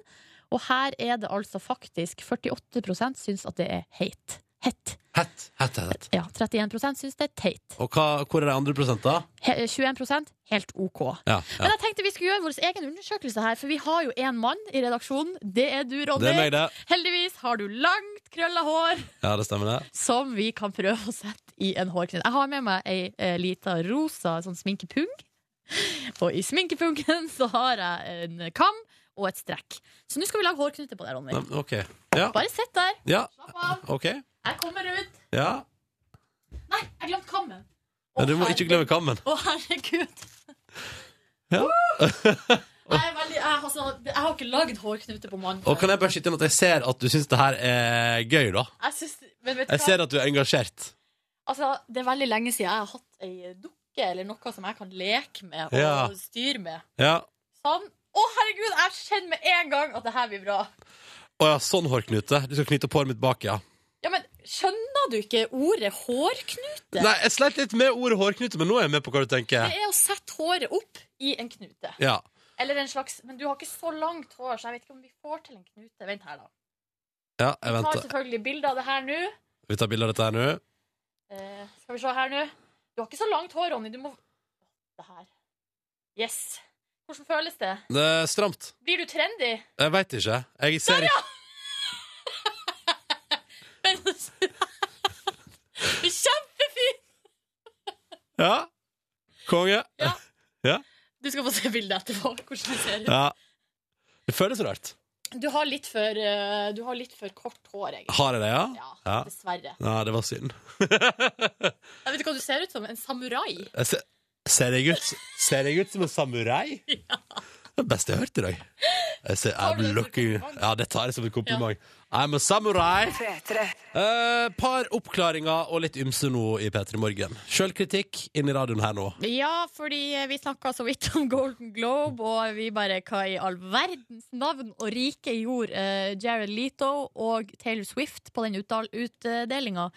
Og her er det altså faktisk 48 syns at det er heit. Hett.
Hett, hett, hett. hett.
Ja, 31 syns det er teit.
Og hva, hvor er de andre prosenta?
He- 21 helt OK.
Ja, ja.
Men jeg tenkte vi skulle gjøre vår egen undersøkelse her, for vi har jo én mann i redaksjonen. Det er du,
Det er
Ronny.
meg, det.
Heldigvis har du langt, krølla hår
Ja, det stemmer, det.
som vi kan prøve å sette i en hårknut. Jeg har med meg ei eh, lita rosa sånn sminkepung. Og i sminkepungen så har jeg en kam og et strekk. Så nå skal vi lage hårknute på det, Ronny.
Nei, OK. Ja.
Bare sitt der.
ja.
Slapp av.
OK.
Jeg kommer ut.
Ja.
Nei, jeg glemte kammen.
Men du må ikke glemme kammen.
Å, herregud.
Ja.
Jeg, er veldig, jeg, har så- jeg har ikke lagd hårknute på mannen.
Og kan jeg bare skyte inn at jeg ser at du syns det her er gøy, da?
Jeg syns, men vet du
Jeg
hva?
ser at du er engasjert.
Altså, det er veldig lenge siden jeg har hatt ei dukke eller noe som jeg kan leke med og
Ja.
styre med.
Ja.
Sånn. Å, herregud, jeg kjenner med en gang at det her blir bra.
Å ja, sånn hårknute. Du skal knyte opp håret mitt bak, ja.
Ja, men Skjønner du ikke ordet hårknute?
Nei, jeg sleit litt med ordet hårknute, men nå er jeg med på hva du
Det
tenker.
er å sette håret opp i en knute.
Ja.
Eller en slags Men du har ikke så langt hår, så jeg vet ikke om vi får til en knute. Vent her, da.
ja jeg
Vi tar
venter.
selvfølgelig bilde av det her nå.
Vi tar bilde av dette her nå.
Eh, skal vi se her nå. Du har ikke så langt hår, Ronny. Du må Det her. Yes. Hvordan føles det?
Det er stramt.
Blir du trendy?
Jeg veit ikke. Jeg ser ikke
Men Kjempefint!
Ja. Konge.
Du skal få se bildet etterpå. Hvordan det ser ut.
Ja. Det føles rart.
Du har litt for, eh, du har litt for kort hår, egentlig.
Har jeg det, ja?
Ja,
Ja.
dessverre.
Nei, det var synd.
Jeg vet du hva du ser ut som? En samurai.
Jeg ser, ser, jeg ut, ser jeg ut som en samurai? Det beste jeg har hørt i dag. Jeg ser,
Tar du
I'm
det som et
looking Ja, det tar jeg som et kompliment. I'm a samurai. Eh, par oppklaringer og litt ymse nå i P3 Morgen. Sjølkritikk inn i radioen her nå.
Ja, fordi eh, vi snakka så vidt om Golden Globe, og vi bare Hva i all verdens navn og rike gjorde eh, Jared Leto og Taylor Swift på den utdelinga?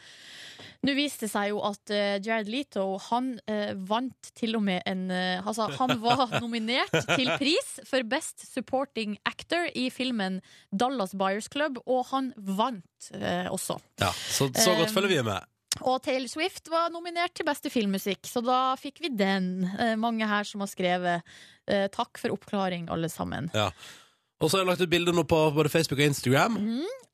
Nå viste det seg jo at eh, Jared Leto han eh, vant til og med en eh, Altså, han var nominert til pris for Best Supporting Actor i filmen Dallas Buyers Club, og han vant eh, også.
Ja, så, så godt
Um,
følger vi med.
Og Taylor Swift var nominert til beste filmmusikk, så da fikk vi den. Eh, mange her som har skrevet eh, 'Takk for oppklaring, alle sammen'.
Og så har jeg lagt ut bilde nå på både Facebook og Instagram.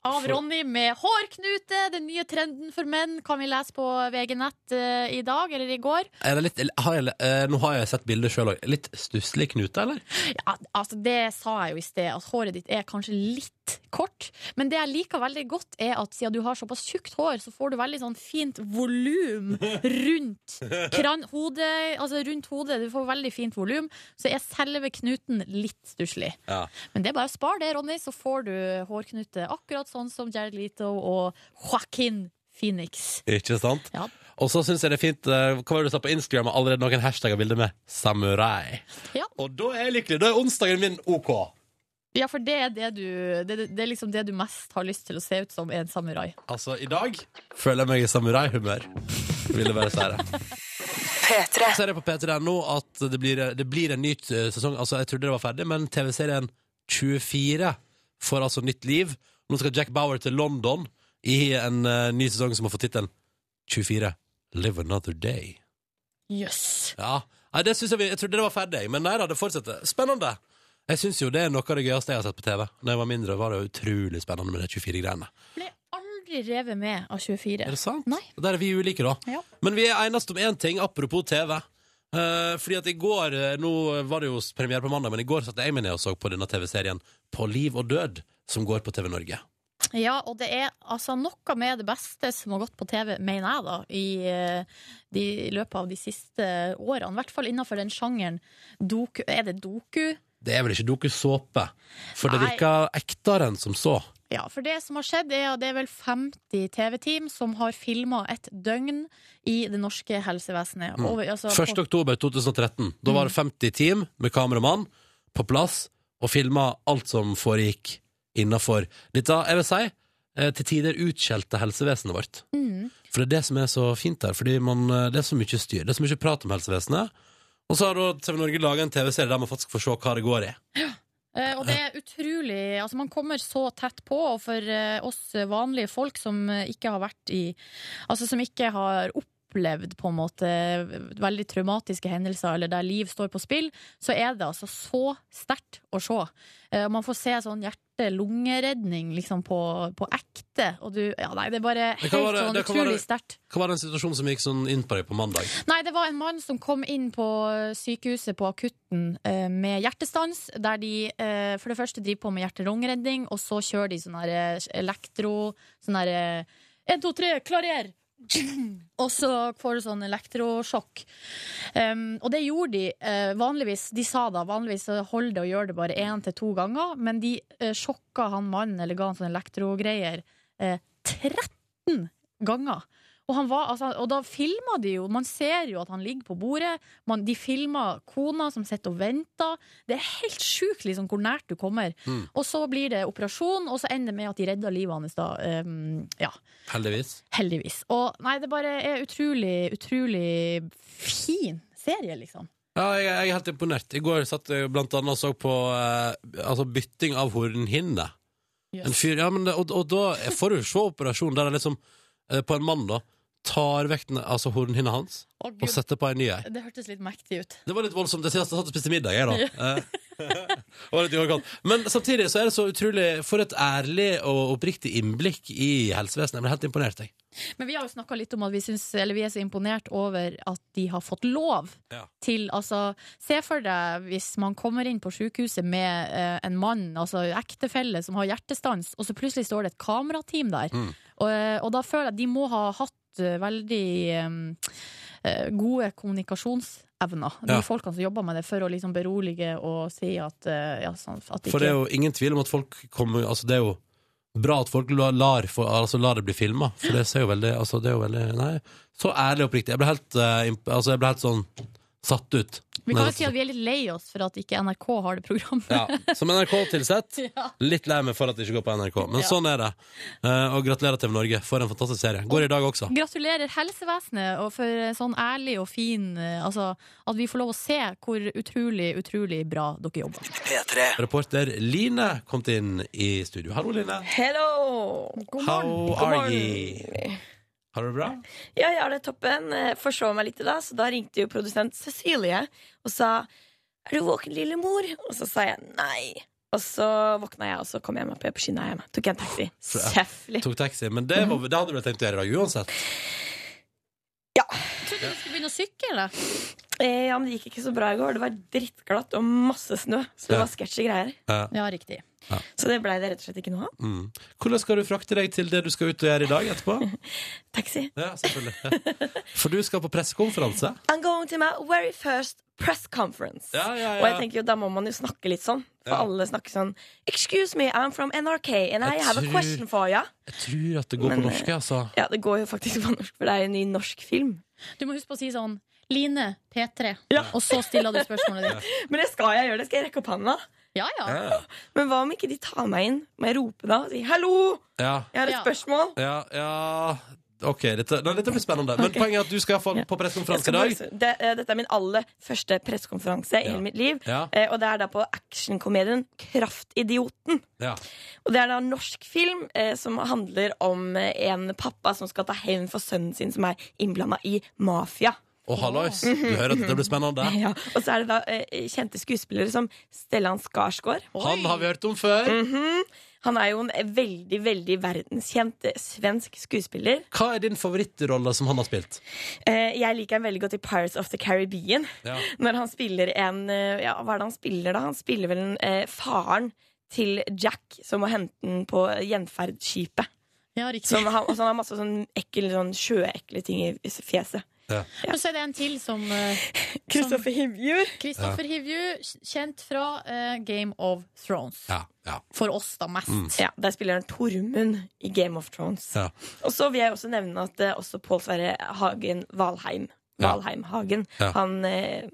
Av
For-
Ronny med hårknute, den nye trenden for menn, kan vi lese på VG Nett eh, i dag eller i går.
Er det litt, eller har jeg, eh, nå har jeg sett bildet sjøl òg. Litt stusslig knute, eller?
Ja, altså Det sa jeg jo i sted, at håret ditt er kanskje litt kort. Men det jeg liker veldig godt, er at siden du har såpass tjukt hår, så får du veldig sånn fint volum rundt kran hodet. Altså rundt hodet. Du får veldig fint volum. Så er selve knuten litt stusslig.
Ja.
Men det er bare å spare det, Ronny, så får du hårknute akkurat sånn som Jared Leto og Joaquin Phoenix.
Ikke sant?
Ja.
Og så syns jeg det er fint eh, Hva var det du sa på Instagram? Allerede noen hashtagger bilder med 'samurai'.
Ja.
Og da er jeg lykkelig. Da er onsdagen min OK.
Ja, for det er, det, du, det, det er liksom det du mest har lyst til å se ut som, er en samurai.
Altså, i dag føler jeg meg i samuraihumør. Vil jeg bare si det. Så er det på p3.no at det blir, det blir en ny eh, sesong. Altså, jeg trodde det var ferdig, men TV-serien 24 får altså nytt liv. Nå skal Jack Bauer til London i en eh, ny sesong som har fått tittelen 24 Live Another Day.
Jøss.
Ja, Nei, det synes jeg, vi- jeg trodde det var ferdig, men nei da, det fortsetter. Spennende! Jeg syns jo det er noe av det gøyeste jeg har sett på TV. Da jeg var mindre, var det jo utrolig spennende med de 24-greiene.
Ble aldri revet med av 24.
Er det sant?
Nei.
Der er vi ulike, da.
Ja.
Men vi er enest om én ting, apropos TV. Eh, fordi at i går, eh, nå var det jo premiere på mandag, men i går satt jeg meg ned og så på denne TV-serien På liv og død, som går på TV Norge.
Ja, og det er altså noe med det beste som har gått på TV, mener jeg, da, i, eh, de, i løpet av de siste årene. I hvert fall innenfor den sjangeren. Doku, er det doku?
Det er vel ikke dokusåpe, for det
Nei.
virker ektere enn som så.
Ja, for det som har skjedd, er at det er vel 50 TV-team som har filma et døgn i det norske helsevesenet.
Mm.
Over- altså,
1. oktober 2013. Da var det 50 team med kameramann på plass og filma alt som foregikk innafor dette, jeg vil si, eh, til tider utskjelte helsevesenet vårt.
Mm.
For det er det som er så fint her, fordi man, eh, det er så mye styr. Det er så mye prat om helsevesenet. Og så har da TV Norge laga en TV-serie der man faktisk får se hva det går i.
Eh, og det er utrolig Altså, man kommer så tett på, og for eh, oss vanlige folk som eh, ikke har vært i Altså, som ikke har opplevd på en måte veldig traumatiske hendelser, eller der liv står på spill, så er det altså så sterkt å se. Eh, og man får se sånn hjerte-lungeredning liksom på, på ekte, og du Ja, nei, det er bare
Det
helt
kan være-
sånn
det kan være-
utrolig sterkt.
Hva var den situasjonen som gikk sånn inn på deg på mandag?
Nei, det var en mann som kom inn på sykehuset på akutten eh, med hjertestans, der de eh, for det første driver på med hjerterungredning, og så kjører de sånn her eh, elektro Sånn her eh, 1, 2, 3, klarer! Og så får du sånn elektrosjokk. Um, og det gjorde de eh, vanligvis. De sa da vanligvis eh, hold det og gjør det bare én til to ganger, men de eh, sjokka han mannen, eller ga han sånne elektrogreier, eh, 13 ganger. Og, han var, altså, og da filma de jo. Man ser jo at han ligger på bordet. Man, de filma kona som sitter og venter. Det er helt sjukt liksom, hvor nært du kommer.
Mm.
Og så blir det operasjon, og så ender det med at de redder livet hans. Da. Um, ja,
Heldigvis.
heldigvis. Og nei, det bare er utrolig, utrolig fin serie, liksom.
Ja, jeg, jeg er helt imponert. I går satt jeg blant annet og så på eh, altså bytting av hornhinne. En fyr, ja, men det, og, og da får du se operasjonen der det liksom eh, på en mann da tar vekk den- altså hornhinna hans
Å,
og
Gud,
setter på ei ny ei.
det hørtes litt mektig ut.
Det var litt voldsomt. Det siste jeg satt og spiste middag, jeg, da. Eh, det var litt i overkant. Men samtidig så er det så utrolig For et ærlig og oppriktig innblikk i helsevesenet. Jeg ble helt imponert, jeg.
Men vi har jo snakka litt om at vi, syns, eller vi er så imponert over at de har fått lov
Ja.
til altså, Se for deg hvis man kommer inn på sykehuset med eh, en mann, altså ektefelle, som har hjertestans, og så plutselig står det et kamerateam der.
Mm.
Og, og da føler jeg at de må ha hatt eh, veldig eh, eh, gode eh, kommunikasjonsevner evner. De
Ja.
folkene som jobber med det, for å liksom berolige og si at, eh, ja, sånn, at
For det er jo ingen tvil om at folk kommer Altså, det er jo bra at folk la- lar, for, altså, lar det bli filma, for det ser jo veldig Altså, det er jo veldig Nei, så ærlig og oppriktig. Jeg ble helt, eh, imp- altså, jeg ble helt sånn satt ut.
Vi kan jo si at vi er litt lei oss for at ikke NRK har det programmet.
Ja, Som NRK-tilsett.
Ja.
Litt lei meg for at det ikke går på NRK, men
Ja.
sånn er det. Eh, og gratulerer TV Norge for en fantastisk serie. Går i dag også.
Gratulerer helsevesenet og for sånn ærlig og fin eh, Altså at vi får lov å se hvor utrolig, utrolig bra dere jobber.
P3.
Reporter Line kom inn i studio. Hallo, Line.
Hello! God
How are ye? Har du det bra?
Ja, jeg har det toppen. Eh, Forsov meg litt i dag, så da ringte jo produsent Cecilie og sa Er du våken, lille mor? Og så sa jeg nei. Og så våkna jeg, og så kom jeg meg på, på skinnet hjemme. Tok jeg en taxi. Selvfølgelig.
Tok taxi. Men det, var, det hadde du vel tenkt å gjøre i dag uansett?
Trodde du skulle begynne å sykke, eller?
Eh, ja, men det gikk ikke så bra i går. Det var drittglatt og masse snø. Så det
Ja.
var sketsjy greier.
Ja, riktig.
Så det blei det rett og slett ikke noe av.
Mm. Hvordan skal du frakte deg til det du skal ut og gjøre i dag etterpå?
Taxi.
Ja, selvfølgelig. For du skal på pressekonferanse.
I'm going to my very first press conference.
Ja, ja, ja.
Og jeg tenker jo, da må man jo snakke litt sånn. For
Ja.
alle snakker sånn Excuse me, I'm from NRK, and I
Jeg
have a
tror-
question for you.
Jeg tror at det går
Men, eh,
på norsk, altså.
Ja, det går jo faktisk på norsk, for det er jo en ny norsk film.
Du må huske på å si sånn Line P3, og så stiller du spørsmålet ditt.
Men det skal jeg gjøre. det skal jeg rekke opp handa.
Ja, ja.
Ja,
Men hva om ikke de tar meg inn? Må jeg rope da og si 'hallo,
ja,
jeg har et
Ja.
spørsmål'?
ja, ja. OK, dette, nei, dette blir spennende. Men poenget er at du skal få på
Jeg
pressekonferanse
skal
i dag.
bare- det, eh, dette er min aller første pressekonferanse i
Ja.
hele mitt liv.
Ja,
Eh, Og det er da på actionkomedien 'Kraftidioten'.
ja.
Og det er da en norsk film eh, som handler om eh, en pappa som skal ta hevn for sønnen sin som er innblanda i mafia.
Og hallois, du hører at dette blir spennende.
Ja. Og så er det da eh, kjente skuespillere som Stellan Skarsgård.
Han har vi hørt om før.
Mm. Han er jo en veldig veldig verdenskjent eh, svensk skuespiller.
Hva er din favorittrolle som han har spilt?
Eh, jeg liker ham veldig godt i Pirates of the Caribbean.
Ja.
Når han spiller en eh, Ja, hva er det han spiller, da? Han spiller vel en, eh, faren til Jack som må hente den på gjenferdsskipet.
ja riktig.
Som har- Og så han har masse sånn ekkel, sånn sjøekle ting i fjeset.
Og så er det en til som eh,
Kristoffer Hivjur.
Kristoffer Hivju, kjent fra eh, Game of Thrones.
Ja, ja,
For oss, da, mest.
Ja, Der spiller han Tormund i Game of Thrones.
ja.
Og så vil jeg også nevne at eh, også Pål Sverre Hagen Valheim
Ja.
Valheim Hagen.
Ja.
Han eh,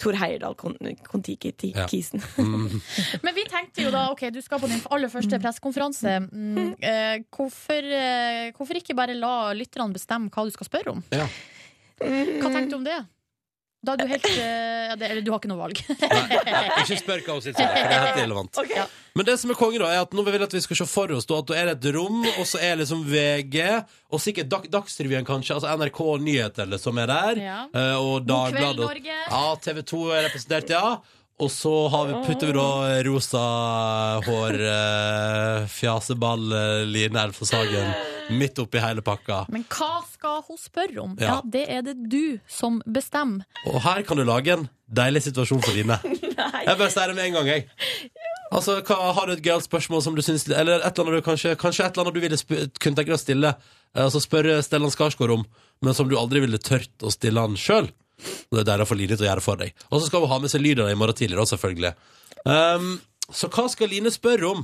Tor Heyerdahl Kon- Kon-Tiki Ti-
Ja.
Kisen.
Mm.
Men vi tenkte jo da, ok, du skal på din aller første pressekonferanse. Mm, eh, hvorfor, eh, hvorfor ikke bare la lytterne bestemme hva du skal spørre om?
Ja.
Hva tenkte du om det? Da er du helt eh, ja, det, Eller du har ikke noe valg.
Ikke spør hva hun syns om det, for det er helt irrelevant.
Ok.
Ja.
Men det som er konge, da, er at nå vil vi at vi skal se for oss da, at det er et rom, og så er liksom VG, og sikkert Dag Dagsrevyen, kanskje, altså NRK Nyheter, eller som er der,
Ja.
eh, og
God kveld,
Dagbladet. og-
Norge.
Ja, TV 2 er representert, ja. Og så har vi, putter vi da eh, rosa hår, eh, fjaseball, eh, Line Elfos Hagen, midt oppi hele pakka.
Men hva skal hun spørre om? Ja,
Ja.
det er det du som bestemmer.
Og her kan du lage en deilig situasjon for Line.
Nei.
Jeg bare sier det med en gang, jeg. Altså, hva, Har du et gøyalt spørsmål som du syns Eller et eller annet du kanskje, kanskje et eller annet du ville sp kunne tenke deg å stille eh, Altså spørre Stellan Skarsgård om, men som du aldri ville tørt å stille han sjøl? Det er deilig å få Line til å gjøre det for deg. Og så skal hun ha med seg lyder i morgen tidlig, da, selvfølgelig. Ehm, så hva skal Line spørre om?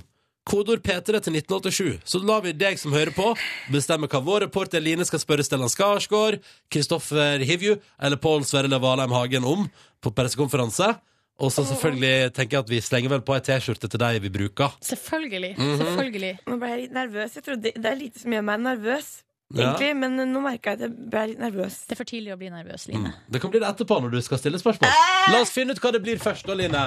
Kodord P3 til 1987. Så lar vi deg som hører på, bestemme hva vår reporter Line skal spørre Stellan Skarsgård, Kristoffer Hivju eller Pål Sverre Valheim Hagen om på pressekonferanse. Og så selvfølgelig tenker jeg at vi slenger vel på ei T-skjorte til deg vi bruker.
Selvfølgelig.
Mhm.
Selvfølgelig.
Nå ble jeg litt nervøs. Jeg trodde Det er lite som gjør meg nervøs,
Ja.
egentlig. Men eh, nå merka jeg at jeg ble litt nervøs.
Det er for tidlig å bli nervøs, Line.
Det kan bli det etterpå når du skal stille spørsmål. La oss finne ut hva det blir først, da, Line.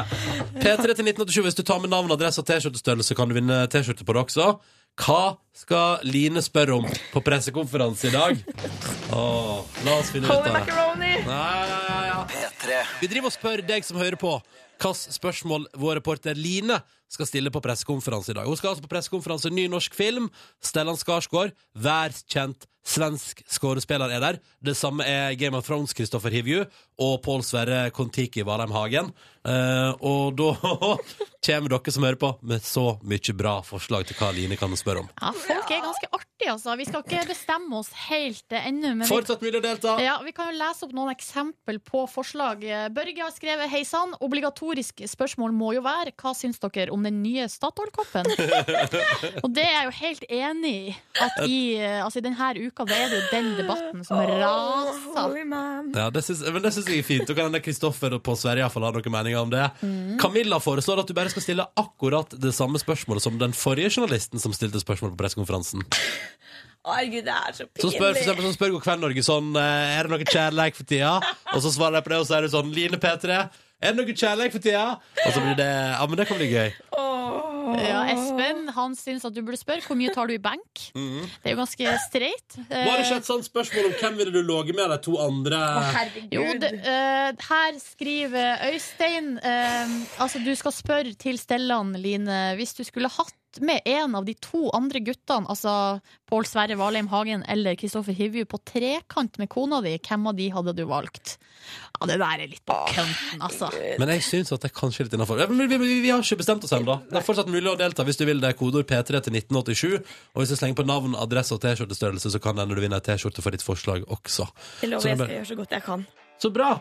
P3 til 1987. Hvis du tar med navn, adresse og T-skjortestørrelse, kan du vinne T-skjorte på det også. Hva skal Line spørre om på pressekonferanse i dag? Åh, la oss finne ut av
Holy
det.
macaroni!
Ja, ja, ja, ja.
P3.
Vi driver og spør deg som hører på. hvilke spørsmål vår reporter Line skal stille på pressekonferanse i dag. Hun skal altså på pressekonferanse Ny norsk film. Stellan Skarsgård, hver kjent svensk skuespiller, er der. Det samme er Game of Thrones' Kristoffer Hivju og Pål Sverre Kon-Tiki Valheim Hagen. Eh, og da kommer dere som hører på, med så mye bra forslag til hva Line kan spørre om.
Ja, folk er ganske artige, altså. Vi skal ikke bestemme oss helt eh, ennå. Men vi
Fortsatt mulig å delta!
Ja, Vi kan jo lese opp noen eksempel på forslag. Børge har skrevet Hei sann, obligatorisk spørsmål må jo være Hva syns dere om den nye Statoil-koppen? og det er jeg jo helt enig i. At i eh, altså, i denne uka det er det jo den debatten som raser.
Holy man.
Ja, det syns, men det syns jeg er fint. Da kan hende Kristoffer på Sverige i hvert fall ha noen meninger om det. Camilla foreslår at du bare skal stille akkurat det samme spørsmålet som den forrige journalisten som stilte spørsmål på pressekonferansen.
Å, herregud, det er så
Så
pinlig.
spør for eksempel, så spør God kveld Norge sånn eh, Er det noe kjærleik for tida? Og så svarer de på det, og så er det sånn Line P3, er det noe kjærleik for tida? Og så blir det Ja, men det kan bli gøy.
Åh.
Ja, Espen han syns at du burde spørre hvor mye tar du i benk. Det er jo ganske streit.
Var det
Eh,
ikke et sånt spørsmål om hvem ville du ligget med de to andre?
Herregud.
Jo, det, eh, her skriver Øystein eh, Altså, du skal spørre til Stellan, Line, hvis du skulle hatt med en av de to andre guttene, altså Pål Sverre Valheim Hagen eller Kristoffer Hivju, på trekant med kona di, hvem av de hadde du valgt? Ja, det der er litt på kønten, altså.
Men jeg syns at det er kanskje litt innafor. Vi, vi, vi har ikke bestemt oss ennå. Det er fortsatt mulig å delta hvis du vil. Det er kodeord P3 til 1987. Og hvis du slenger på navn, adresse og T-skjortestørrelse, så kan det hende du vinner ei T-skjorte for ditt forslag også.
Det
Så
lover
det
jeg
bare-
skal gjøre så godt jeg kan.
Så bra!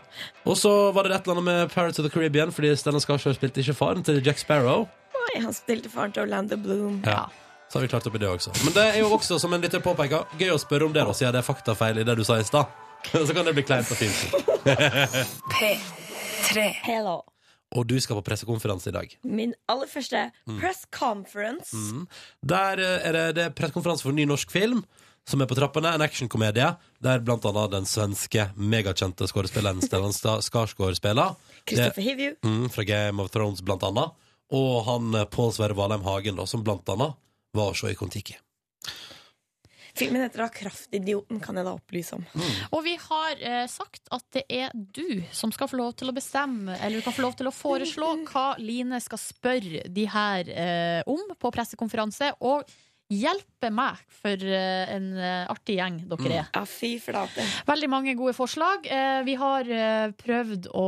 Og så var det et eller annet med Pirates of the Caribbean, fordi Stellan Skarsgård spilte ikke faren til Jack Sparrow.
Oi, han spilte faren til Orlando Bloom.
Ja. Så har vi klart opp i det også. Men det er jo også, som en lytter påpeker, gøy å spørre om det, da, siden det er faktafeil i det du sa i stad. Så kan det bli kleint og fint.
Hello.
Og du skal på pressekonferanse i dag.
Min aller første press conference.
Der eh, er det, det er pressekonferanse for ny norsk film som er på trappene, en actionkomedie der blant annet den svenske megakjente skuespilleren Stellan Sta- Skarsgård spiller.
Kristoffer Hivju.
Det- Mm, fra Game of Thrones, blant annet. Og han eh, Pål Sverre Valheim Hagen, da, som blant annet var å se i Kon-Tiki.
Filmen heter da Kraftidioten, kan jeg da opplyse om.
Og vi har eh, sagt at det er du som skal få lov til å bestemme, eller du kan få lov til å foreslå hva Line skal spørre de her eh, om på pressekonferanse, og hjelpe meg for eh, en eh, artig gjeng dere er.
Ja, fy flate.
Veldig mange gode forslag. Eh, vi har eh, prøvd å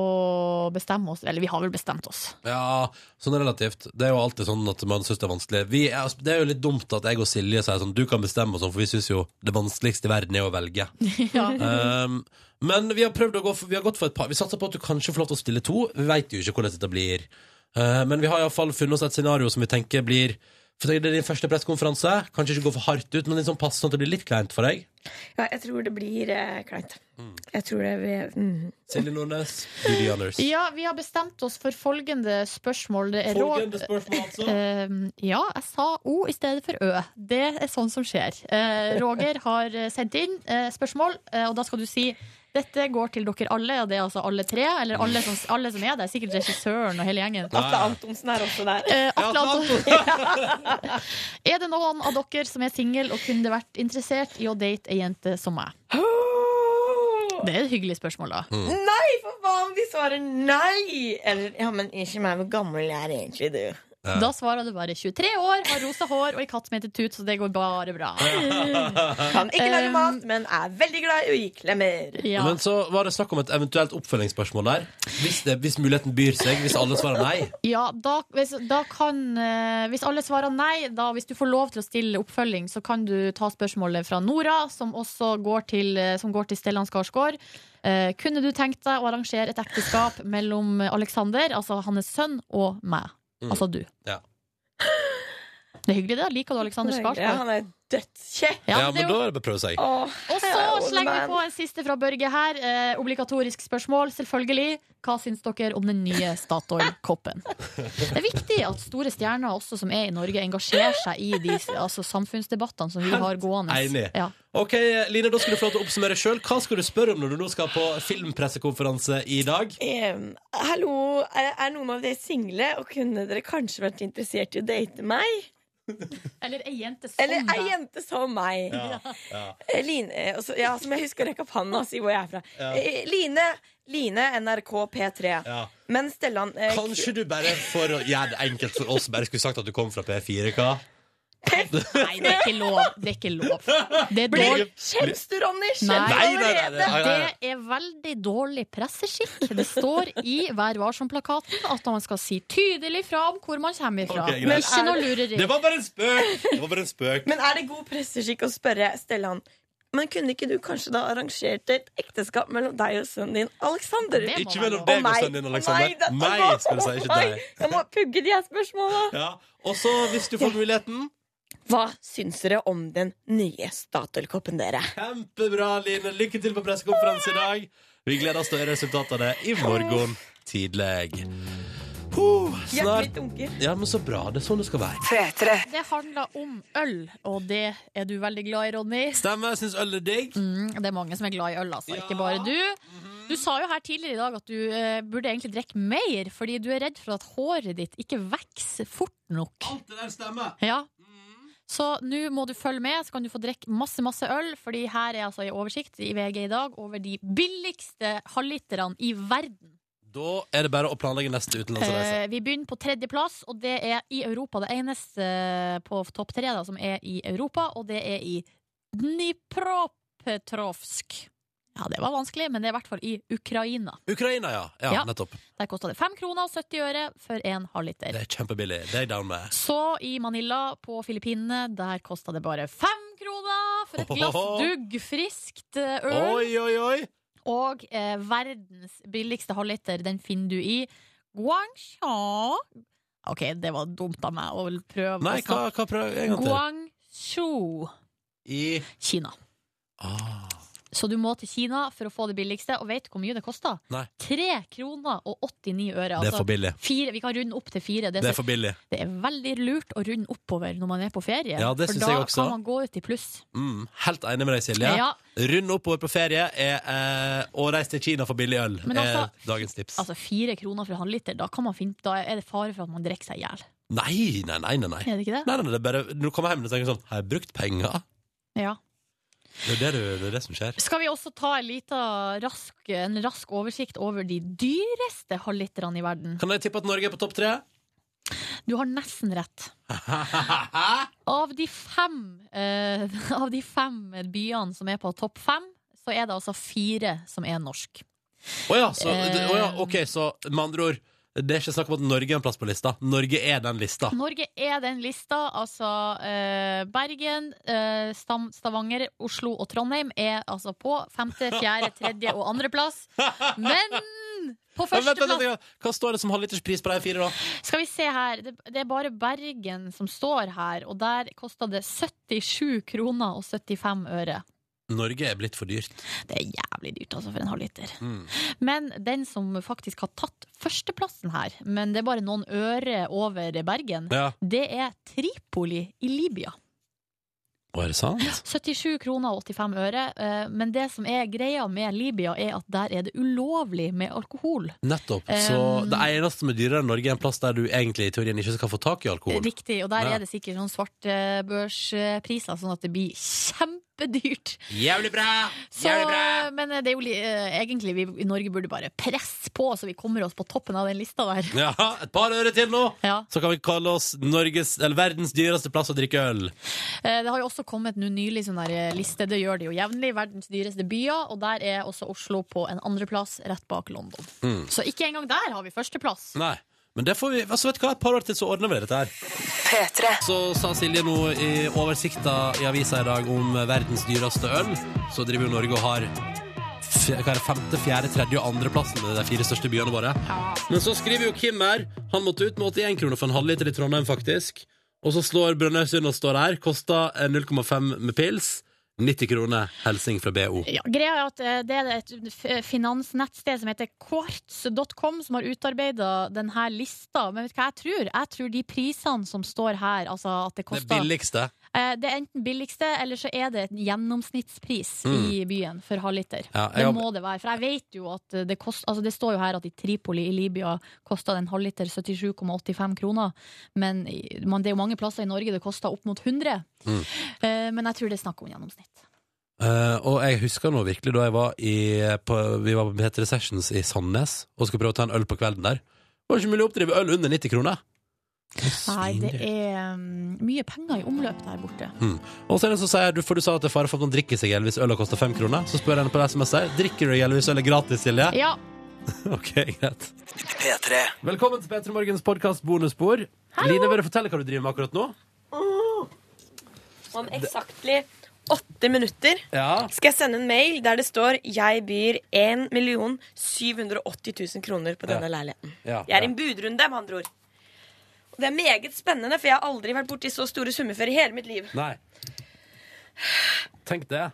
bestemme oss, eller vi har vel bestemt oss.
Ja, sånn relativt. Det er jo alltid sånn at man syns det er vanskelig. Vi er, det er jo litt dumt at jeg og Silje sier sånn du kan bestemme og sånn, for vi syns jo det vanskeligste i verden er å velge. um, men vi har prøvd å gå for, vi har gått for et par. Vi satser på at du kanskje får lov til å stille to. Vi veit jo ikke hvordan dette blir. Uh, men vi har iallfall funnet oss et scenario som vi tenker blir for Det er din første pressekonferanse. Kanskje ikke gå for hardt ut, men litt sånn passe sånn at det blir litt kleint for deg.
Ja, jeg tror det blir eh, kleint. Jeg tror det blir mm.
Silje Nordnes, du the honors.
Ja, vi har bestemt oss for følgende spørsmål. Det er rå-
Folkens, spørsmål, altså.
Eh, ja, jeg sa O i stedet for Ø. Det er sånn som skjer. Eh, Roger har eh, sendt inn eh, spørsmål, eh, og da skal du si dette går til dere alle, og det er altså alle tre. Eller alle som, alle som er der. Sikkert regissøren og hele gjengen.
Atle Antonsen er også der.
Eh,
Ja,
Atle Antonsen,
sant.
er det noen av dere som er singel og kunne vært interessert i å date ei jente som meg? Det er et hyggelig spørsmål,
Mm,
da.
Nei, for hva om de svarer nei? Eller, ja, men ikke meg, hvor gammel er egentlig du?
Da svarer du bare 23 år, har rosa hår og ei katt som heter Tut, så det går bare bra.
Kan ikke lage
Um,
mat, men er veldig glad i å gi klemmer.
Ja.
Men så var det snakk om et eventuelt oppfølgingsspørsmål der. Hvis, det, hvis muligheten byr seg, hvis alle svarer nei.
Ja, da, hvis, da kan eh, Hvis alle svarer nei, da, hvis du får lov til å stille oppfølging, så kan du ta spørsmålet fra Nora, som også går til, eh, som går til Stellan Skarsgård. Eh, kunne du tenkt deg å arrangere et ekteskap mellom Alexander, altså hans sønn, og meg?
Mm.
Altså du.
Ja.
Det er hyggelig, det. Liker du Alexander
Ja,
Skarsgård?
han er dødskjekk.
Ja, men det er jo-
er det bare å prøve seg.
Åh,
og
hello,
så slenger vi
man.
på en siste fra Børge her. Eh, obligatorisk spørsmål, selvfølgelig. Hva syns dere om den nye Statoil-koppen? Det er viktig at store stjerner også som er i Norge, engasjerer seg i de altså, samfunnsdebattene som vi har gående.
Enig.
Ja.
Ok, Line, da skal du få lov til å oppsummere sjøl. Hva skal du spørre om når du nå skal på filmpressekonferanse i dag?
Em, hallo, er, er noen av dere single, og kunne dere kanskje vært interessert i å date meg?
Eller ei jente som
Eller ei
deg.
jente som meg.
Ja, ja.
Eh, Line, eh, også, ja, som jeg husker å rekke opp hånda og si hvor jeg er fra.
Ja.
Eh, Line, Line NRK P3.
Ja.
Men Stellan eh,
Kanskje du bare for å gjøre det enkelt for oss, bare skulle sagt at du kom fra P4, hva?
Nei, det er ikke lov. Det er ikke lov. Det er, dårlig,
Kjems du, Ronny? Kjems
Nei.
Nei, nei, nei, nei, nei, nei.
det er veldig dårlig presseskikk. Det står i Vær varsom-plakaten at man skal si tydelig fra om hvor man kommer ifra.
Ok, greit.
Men ikke noe lureri.
Det var bare en spøk! Det var bare en spøk.
Men er det god presseskikk å spørre Stellan Men kunne ikke du kanskje da arrangert et ekteskap mellom deg og sønnen din Alexander?
Det må
Ikke mellom
være lov.
deg og
meg.
sønnen din,
Å nei,
Alexander.
det-
Meg,
å nei,
skal du si,
å
ikke
nei.
deg.
Jeg må pugge de her spørsmåla.
Ja. Og så, hvis du får muligheten
Hva syns dere om den nye Statoil-koppen, dere?
Kjempebra, Line. Lykke til på pressekonferanse i dag. Vi gleder oss til å høre resultatene i morgen tidlig. Huh,
Hjertet mitt
snart
dunker.
Ja, men så bra. Det er sånn det skal være.
Det handler om øl, og det er du veldig glad i, Ronny.
Stemmer. Jeg syns øl er digg.
Mm, det er mange som er glad i øl, altså. Ikke bare du. Du sa jo her tidligere i dag at du eh, burde egentlig drikke mer, fordi du er redd for at håret ditt ikke vokser fort nok.
Alt det der stemmer.
Ja. Så nå må du følge med, så kan du få drikke masse masse øl. Fordi her er altså en oversikt i VG i dag over de billigste halvliterne i verden.
Da er det bare å planlegge neste utenlandsreise.
Eh, vi begynner på tredjeplass, og det er i Europa. Det eneste eh, på topp tre da, som er i Europa, og det er i Dnipropetrovsk. Ja, det var vanskelig, men det er i hvert fall i Ukraina.
Ukraina, ja. ja.
Eh, Ja.
Nettopp.
Der kosta det fem kroner og 70 øre for en halvliter.
Det er kjempebillig. Det er jeg down med.
Så i Manila på Filippinene, der kosta det bare fem kroner for et glass
Ohoho.
duggfriskt eh, øl.
Oi, oi, oi!
Og eh, verdens billigste halvliter, den finner du i Guangzhou. Ok, det var dumt av meg å prøve
Nei, hva,
å snakke
hva prøver jeg en gang til?
Guangzhou,
I
Kina.
ah.
Så du må til Kina for å få det billigste, og vet du hvor mye det koster?
Nei.
Tre kroner og 89 øre.
Det er for billig.
Fire, vi kan runde opp til fire. Det
Det
altså, er,
er for billig.
så, det er veldig lurt å runde oppover når man er på ferie.
Ja, det
for
synes
da
jeg også.
kan man gå ut i pluss.
Mm, helt enig med deg, Silje.
Ja.
Rund oppover på ferie er, eh, og reis til Kina for billig øl,
Men altså-
er dagens tips.
Altså fire kroner for en halvliter, da, kan man finne, da er det fare for at man drikker seg i hjel.
Nei, nei, nei, nei. nei.
Er det ikke det?
Nei, nei, det er bare, Når du kommer hjem og tenker sånn Har jeg brukt penger?
Ja.
Det er det, du- det, er det som skjer.
Skal vi også ta en, lita rask, en rask oversikt over de dyreste halvliterne i verden?
Kan jeg tippe at Norge er på topp tre?
Du har nesten rett. Av de fem, eh, av de fem byene som er på topp fem, så er det altså fire som er norsk.
Å ja, så, det- å ja,
Eh.
ok, så med andre ord Det er ikke snakk om at Norge er en plass på lista. Norge er den lista.
Norge er den lista. Altså eh, Bergen, eh, Stam- Stavanger, Oslo og Trondheim er altså på femte, fjerde, tredje og andreplass. Men på
Men vent, vent,
førsteplass
vent, Hva står det som halvliterspris på de fire, da?
Skal vi se her, det, det er bare Bergen som står her, og der kosta det 77 kroner og 75 øre.
Norge er blitt for dyrt.
Det er jævlig dyrt altså for en halvliter.
Mm.
Men den som faktisk har tatt førsteplassen her, men det er bare noen øre over Bergen,
Ja.
det er Tripoli i Libya.
Å, er det sant?
77 kroner og 85 øre, eh, men det som er greia med Libya, er at der er det ulovlig med alkohol.
Nettopp. Så
Um,
det eneste som er dyrere enn Norge, er en plass der du egentlig i teorien ikke skal få tak i alkohol.
Riktig, og der
Ja.
er det sikkert sånn svartbørspriser, sånn at det blir kjempedyrt.
Jævlig bra!
Så, men det er jo li- eh, egentlig vi i Norge burde bare presse på, så vi kommer oss på toppen av den lista der.
Ja, et par øre til nå,
Ja.
så kan vi kalle oss Norges, eller verdens dyreste plass å drikke øl.
Eh, Det har jo også kommet nå nylig sånn der eh, liste, det gjør det jo jevnlig, verdens dyreste byer, og der er også Oslo på en andreplass, rett bak London. Så ikke engang der har vi førsteplass.
Nei, men det får vi altså, vet du hva, Et par år til så ordner vi dette her. Så sa Silje nå i oversikta i avisa i dag om verdens dyreste øl. Så driver jo Norge og har f- hva er det, femte, fjerde, tredje og andreplassen i de fire største byene våre. Men så skriver jo Kim her. Han måtte ut med 81 kroner for en halvliter i Trondheim, faktisk. Og så slår Brønnøysund og står her. Kosta eh, 0,5 med pils. 90 kroner. Helsing fra BO.
Ja, greia er at eh, det er et f- finansnettsted som heter quartz.com som har utarbeida denne lista. Men vet du hva jeg tror? Jeg tror de prisene som står her, altså at det
Det
koster
billigste.
eh, det er enten billigste, eller så er det en gjennomsnittspris i byen for halvliter.
Ja, jeg
det
har-
må det være. For jeg vet jo at det kost, altså Det står jo her at i Tripoli i Libya kosta en halvliter 77,85 kroner. Men i- man, det er jo mange plasser i Norge det koster opp mot 100. Eh, men jeg tror det er snakk om gjennomsnitt.
Eh, og jeg husker nå virkelig da jeg var i, på, vi var på P3 Sessions i Sandnes og skulle prøve å ta en øl på kvelden der. Det var ikke mulig å oppdrive øl under 90 kroner.
Nei, det er mm, mye penger i omløp der borte.
Mm. Og så er det en som sier, du, for du sa at det er fare for at man drikker seg i hjel hvis ølet koster fem kroner. Så spør en på SMS her, drikker du deg i hjel hvis ølet er gratis, Silje?
Ja,
ok, greit.
P3.
Velkommen til P3 Morgens podkast bonusbord. Line, vil du fortelle hva du driver med akkurat nå?
Om eksaktlig åtte minutter
Ja.
skal jeg sende en mail der det står 'Jeg byr 1 780 000 kroner på denne leiligheten'.
Ja,
Jeg er i
ja.
en budrunde, med andre ord. Og det er meget spennende, for jeg har aldri vært borti så store summer før i hele mitt liv.
Nei. Tenk det.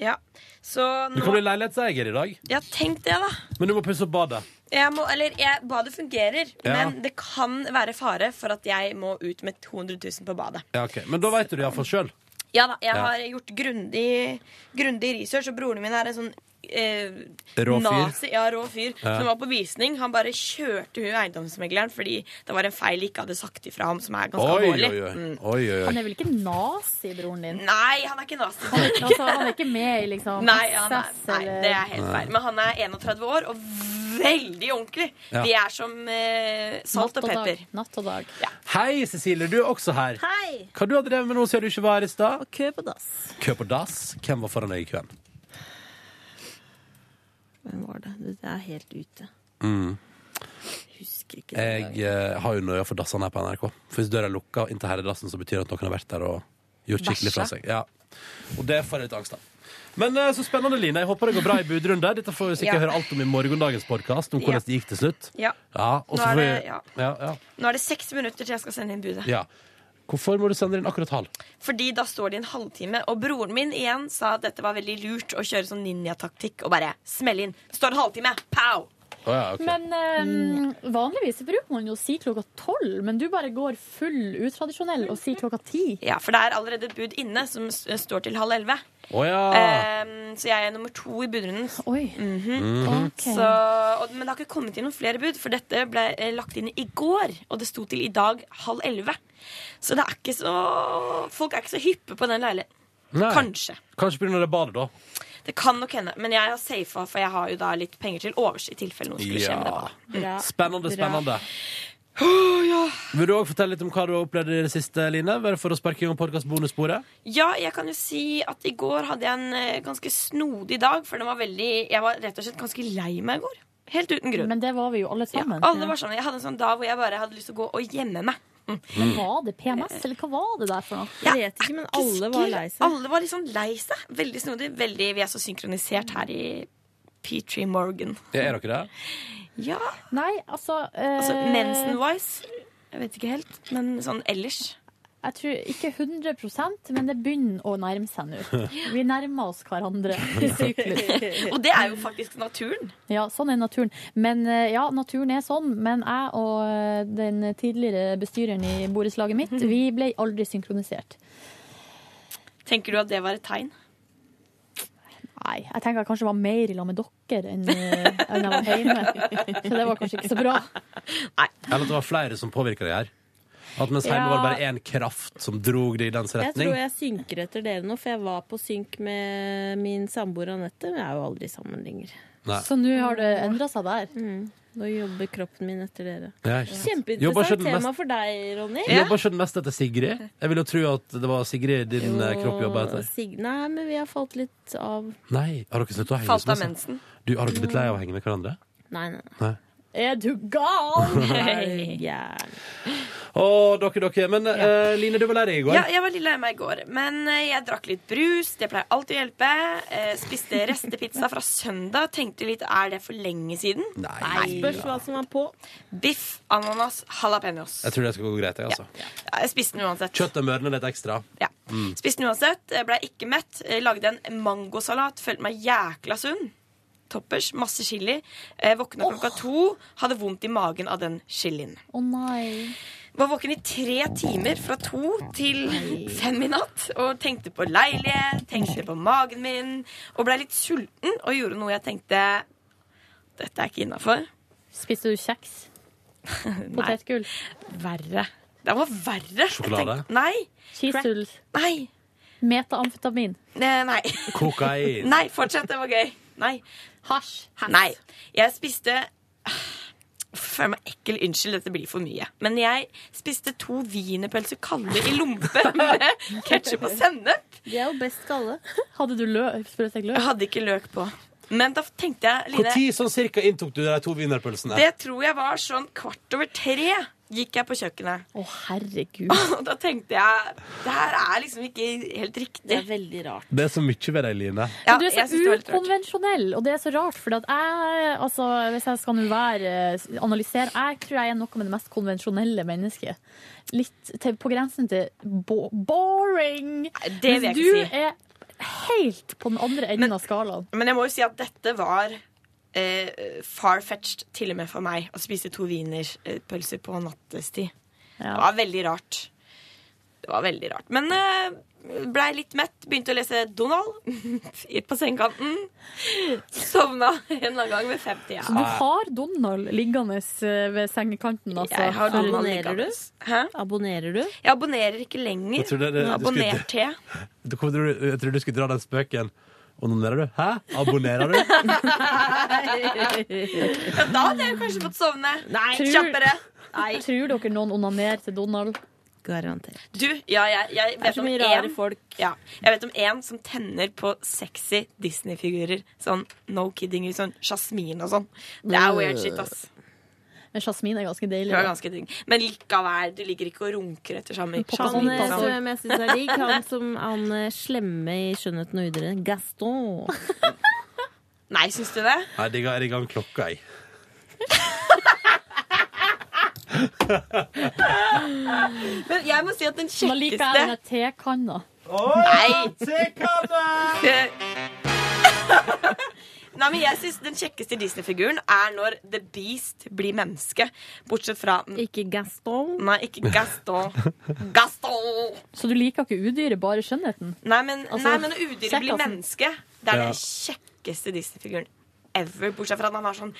Ja, Så
Du kan bli
nå
leilighetseier i dag,
Ja, tenk det, da.
men du må pusse opp badet.
Jeg må, eller jeg, badet fungerer,
Ja.
men det kan være fare for at jeg må ut med 200 000 på badet.
Ja, ok. Men da veit du det iallfall sjøl.
Ja da, jeg
Ja.
har gjort grundig, grundig research, og broren min er en sånn eh,
Rå fyr.
Nazi, ja, rå fyr som var på visning. Han bare kjørte hun eiendomsmegleren fordi det var en feil de ikke hadde sagt ifra ham, som er ganske
Oi, oi,
alvorlig.
oi.
Mm.
oi, oi, oi.
Han er vel ikke nazi, broren din?
Nei, han er ikke nazi.
Altså, han er ikke med i liksom
Nei, han er,
SS
nei,
eller-
det er helt feil. Men han er 31 år og veldig ordentlig.
Ja.
De er som eh, salt
Natt
og
dag.
pepper.
Natt og dag.
Hei, Cecilie, du er også her.
Hei!
Hva du har drevet med nå siden du ikke var her i stad?
Kø på dass.
Kø på dass. Hvem var foran deg i køen?
Hvem var det? Det er helt ute. Husker ikke det.
Jeg Mm. eh, har jo nøya for dassene her på NRK. For hvis døra er lukka inn til herredassen, så betyr det at noen har vært der og gjort skikkelig fra seg. Ja. Og det får jeg litt angst av. Men eh, så spennende, Line. Jeg håper det går bra i budrunde. Dette får vi sikkert
Ja.
høre alt om i morgendagens podkast, om hvordan
Ja.
det gikk til slutt.
Ja.
Ja, og så
Nå er
får vi
det- ja.
Ja, ja,
Nå er det seks minutter til jeg skal sende inn budet.
ja. Hvorfor må du sende inn akkurat halv?
Fordi da står de en halvtime, og broren min igjen sa at dette var veldig lurt å kjøre sånn ninjataktikk og bare smelle inn. Står en halvtime, pow!
Å ja, ok.
Men ehm, vanligvis bruker man jo å si klokka tolv, men du bare går full utradisjonell og sier klokka ti.
Ja, for det er allerede et bud inne som s- eh, står til halv elleve.
Å ja.
Ehm, så jeg er nummer to i budrunden.
Oi. Ok.
Mhm. Så, og, men det har ikke kommet inn noen flere bud, for dette ble eh, lagt inn i går, og det sto til i dag halv elleve. Så det er ikke så Folk er ikke så hyppe på den leiligheten.
Nei.
Kanskje.
Kanskje begynner det badet, da.
Det kan nok hende. Men jeg har safa, for jeg har jo da litt penger til overs i tilfelle noe skulle skje med det.
Ja.
da.
Spennende, spennende. Vil du òg fortelle litt om hva du har opplevd i det siste, Line? Bare for å sparke i gang podkast-bonussporet?
Ja, jeg kan jo si at i går hadde jeg en eh, ganske snodig dag, for den var veldig, jeg var rett og slett ganske lei meg i går. Helt uten grunn.
Men det var vi jo alle
ja,
sammen.
alle var sånn, Jeg hadde en sånn dag hvor jeg bare hadde lyst til å gå og gjemme meg.
Men var det PMS, eller hva var det der for noe?
Jeg vet ikke, men alle var lei seg.
Alle var liksom lei seg. Veldig snodig. Veldig, vi er så synkronisert her i P3 Morgan.
Ja, er dere det?
Ja,
Nei, altså,
altså
eh,
mensen-wise. Jeg vet ikke helt, men sånn ellers.
Jeg tror ikke 100 men det begynner å nærme seg nå. Vi nærmer oss hverandre i syklus.
Og det er jo faktisk naturen.
Ja, sånn er naturen. Men eh, ja, naturen er sånn. Men jeg og eh, den tidligere bestyreren i borettslaget mitt, vi ble aldri synkronisert.
Tenker du at det var et tegn?
Nei, jeg tenker jeg kanskje var mer i lag med dere enn eh, enn jeg var hjemme. Så det var kanskje ikke så bra.
Eller at det var flere som påvirka deg her? At mens
Ja.
hjemme var det bare én kraft som drog deg i dens
Jeg
retning?
tror jeg synker etter dere nå, for jeg var på synk med min samboer Anette. Men jeg er jo aldri sammen lenger.
Nei.
Så nå har det endra seg der.
Nå jobber kroppen min etter dere.
Ja, ikke sant. Jobber ikke
Kjempeinteressant
den
tema
mest-
for deg, Ronny.
Jeg Jobber ikke den mest etter Sigrid? Jeg vil jo tro at det var Sigrid din eh, kropp jobba
Og
etter.
Sig- Nei, men vi har falt litt av
Nei, har dere sluttet å henge
Falt av
sammen?
mensen.
Du, har dere blitt lei av å henge med hverandre?
Nei, nei.
Nei.
Er du gal?
nei. Yeah.
Å, dere, dere. Men eh, Line, du var lei deg i går.
Ja, jeg var litt lei meg i går, men eh, jeg drakk litt brus. Det pleier alltid å hjelpe. Eh, Spiste restepizza fra søndag. Tenkte litt er det for lenge siden?
Nei.
Spørs hva som er på.
Biff, ananas, jalapeños.
Jeg tror det skal gå greit, jeg, altså.
Jeg spiste den uansett.
Kjøttet mørner litt ekstra.
Ja. Spiste den uansett, eh, ble ikke mett. Eh, Lagde en mangosalat, følte meg jækla sunn. Toppers, masse chili. Eh, Våkna klokka to, hadde vondt i magen av den chilien.
Å nei.
Var våken i tre timer fra to til fem i natt og tenkte på leilighet, tenkte på magen min og blei litt sulten og gjorde noe jeg tenkte Dette er ikke innafor.
Spiste du kjeks? Potetgull?
Verre. Det var verre. Jeg
Sjokolade?
tenkte- Nei.
Cheesehull?
Nei.
Metaamfetamin?
Ne- Nei.
Kokain.
Nei, fortsett. Det var gøy. Nei.
Hasj?
Nei. Jeg spiste Uff, Jeg føler meg ekkel. Unnskyld, dette blir for mye. Men jeg spiste to wienerpølser kalde i lompe med ketsjup og sennep.
De er jo best skalle.
Hadde du løk? Sprøstekt
Jeg
løk?
hadde ikke løk på. Men da tenkte jeg, Line
Når sånn cirka inntok du de to wienerpølsene?
Det tror jeg var sånn kvart over tre gikk jeg på kjøkkenet.
Å, herregud.
Og da tenkte jeg det her er liksom ikke helt
Det
riktig.
er veldig rart.
Det er så mye ved deg, Line.
Ja,
Men du er
jeg
så
synes det var litt rart.
ukonvensjonell, og det er så rart. For at jeg, altså, hvis jeg skal nå være eh, analysere Jeg tror jeg er noe med det mest konvensjonelle mennesket. Litt til, på grensen til bo boring!
Det
Mens
vil jeg
du
ikke si.
er helt på den andre enden
Men-
av skalaen.
Men jeg må jo si at dette var eh, far-fetched til og med for meg å spise to wienerpølser på nattestid. Det
Ja.
var veldig rart. Det var veldig rart. Men eh, blei litt mett, begynte å lese Donald i- på sengekanten. Sovna en eller annen gang ved femtida.
Så du har Donald liggende eh, ved sengekanten, altså.
Jeg har Donald
abonnerer du?
liggende. Hæ?
Abonnerer du?
Jeg abonnerer ikke lenger.
Jeg trodde det- det-
Abonnerte jeg.
Du- hvor tror du- Jeg trodde du skulle dra den spøken. Onanerer du? Hæ? Abonnerer du?
Ja, da hadde jeg kanskje fått sovne. Nei,
Tror-
Kjappere.
Tror dere noen onanerer til Donald?
Garantert.
Du, ja, jeg, jeg
Det er
vet
så
om
mye
én
rare folk.
ja, Jeg vet om en som tenner på sexy Disney-figurer. Sånn no kidding, sånn Jasmin og sånn. Det er weird shit, ass.
Men Jasmin er ganske deilig.
Det var
da.
ganske digg. Men likevel, du ligger ikke og runker etter samme
Han
Jasmin.
eh, som
Sånn.
jeg syns er digg, han som han eh, slemme i 'Skjønnheten og udyret', Gaston.
Nei, syns du det?
Nei, jeg digger jeg digger han klokka, jeg.
Men jeg må si at den
Da liker jeg
kjekkeste
denne tekanna.
Nei! Nei, men jeg synes Den kjekkeste Disney-figuren er når The Beast blir menneske. Bortsett fra
Ikke Gaston.
Nei, ikke Gaston. Gaston!
Så du liker ikke udyret, bare skjønnheten?
Nei, men,
Altså,
nei, men når udyret blir
kjekkasen.
menneske, det er
Ja.
den kjekkeste Disney-figuren ever. Bortsett fra at han har sånn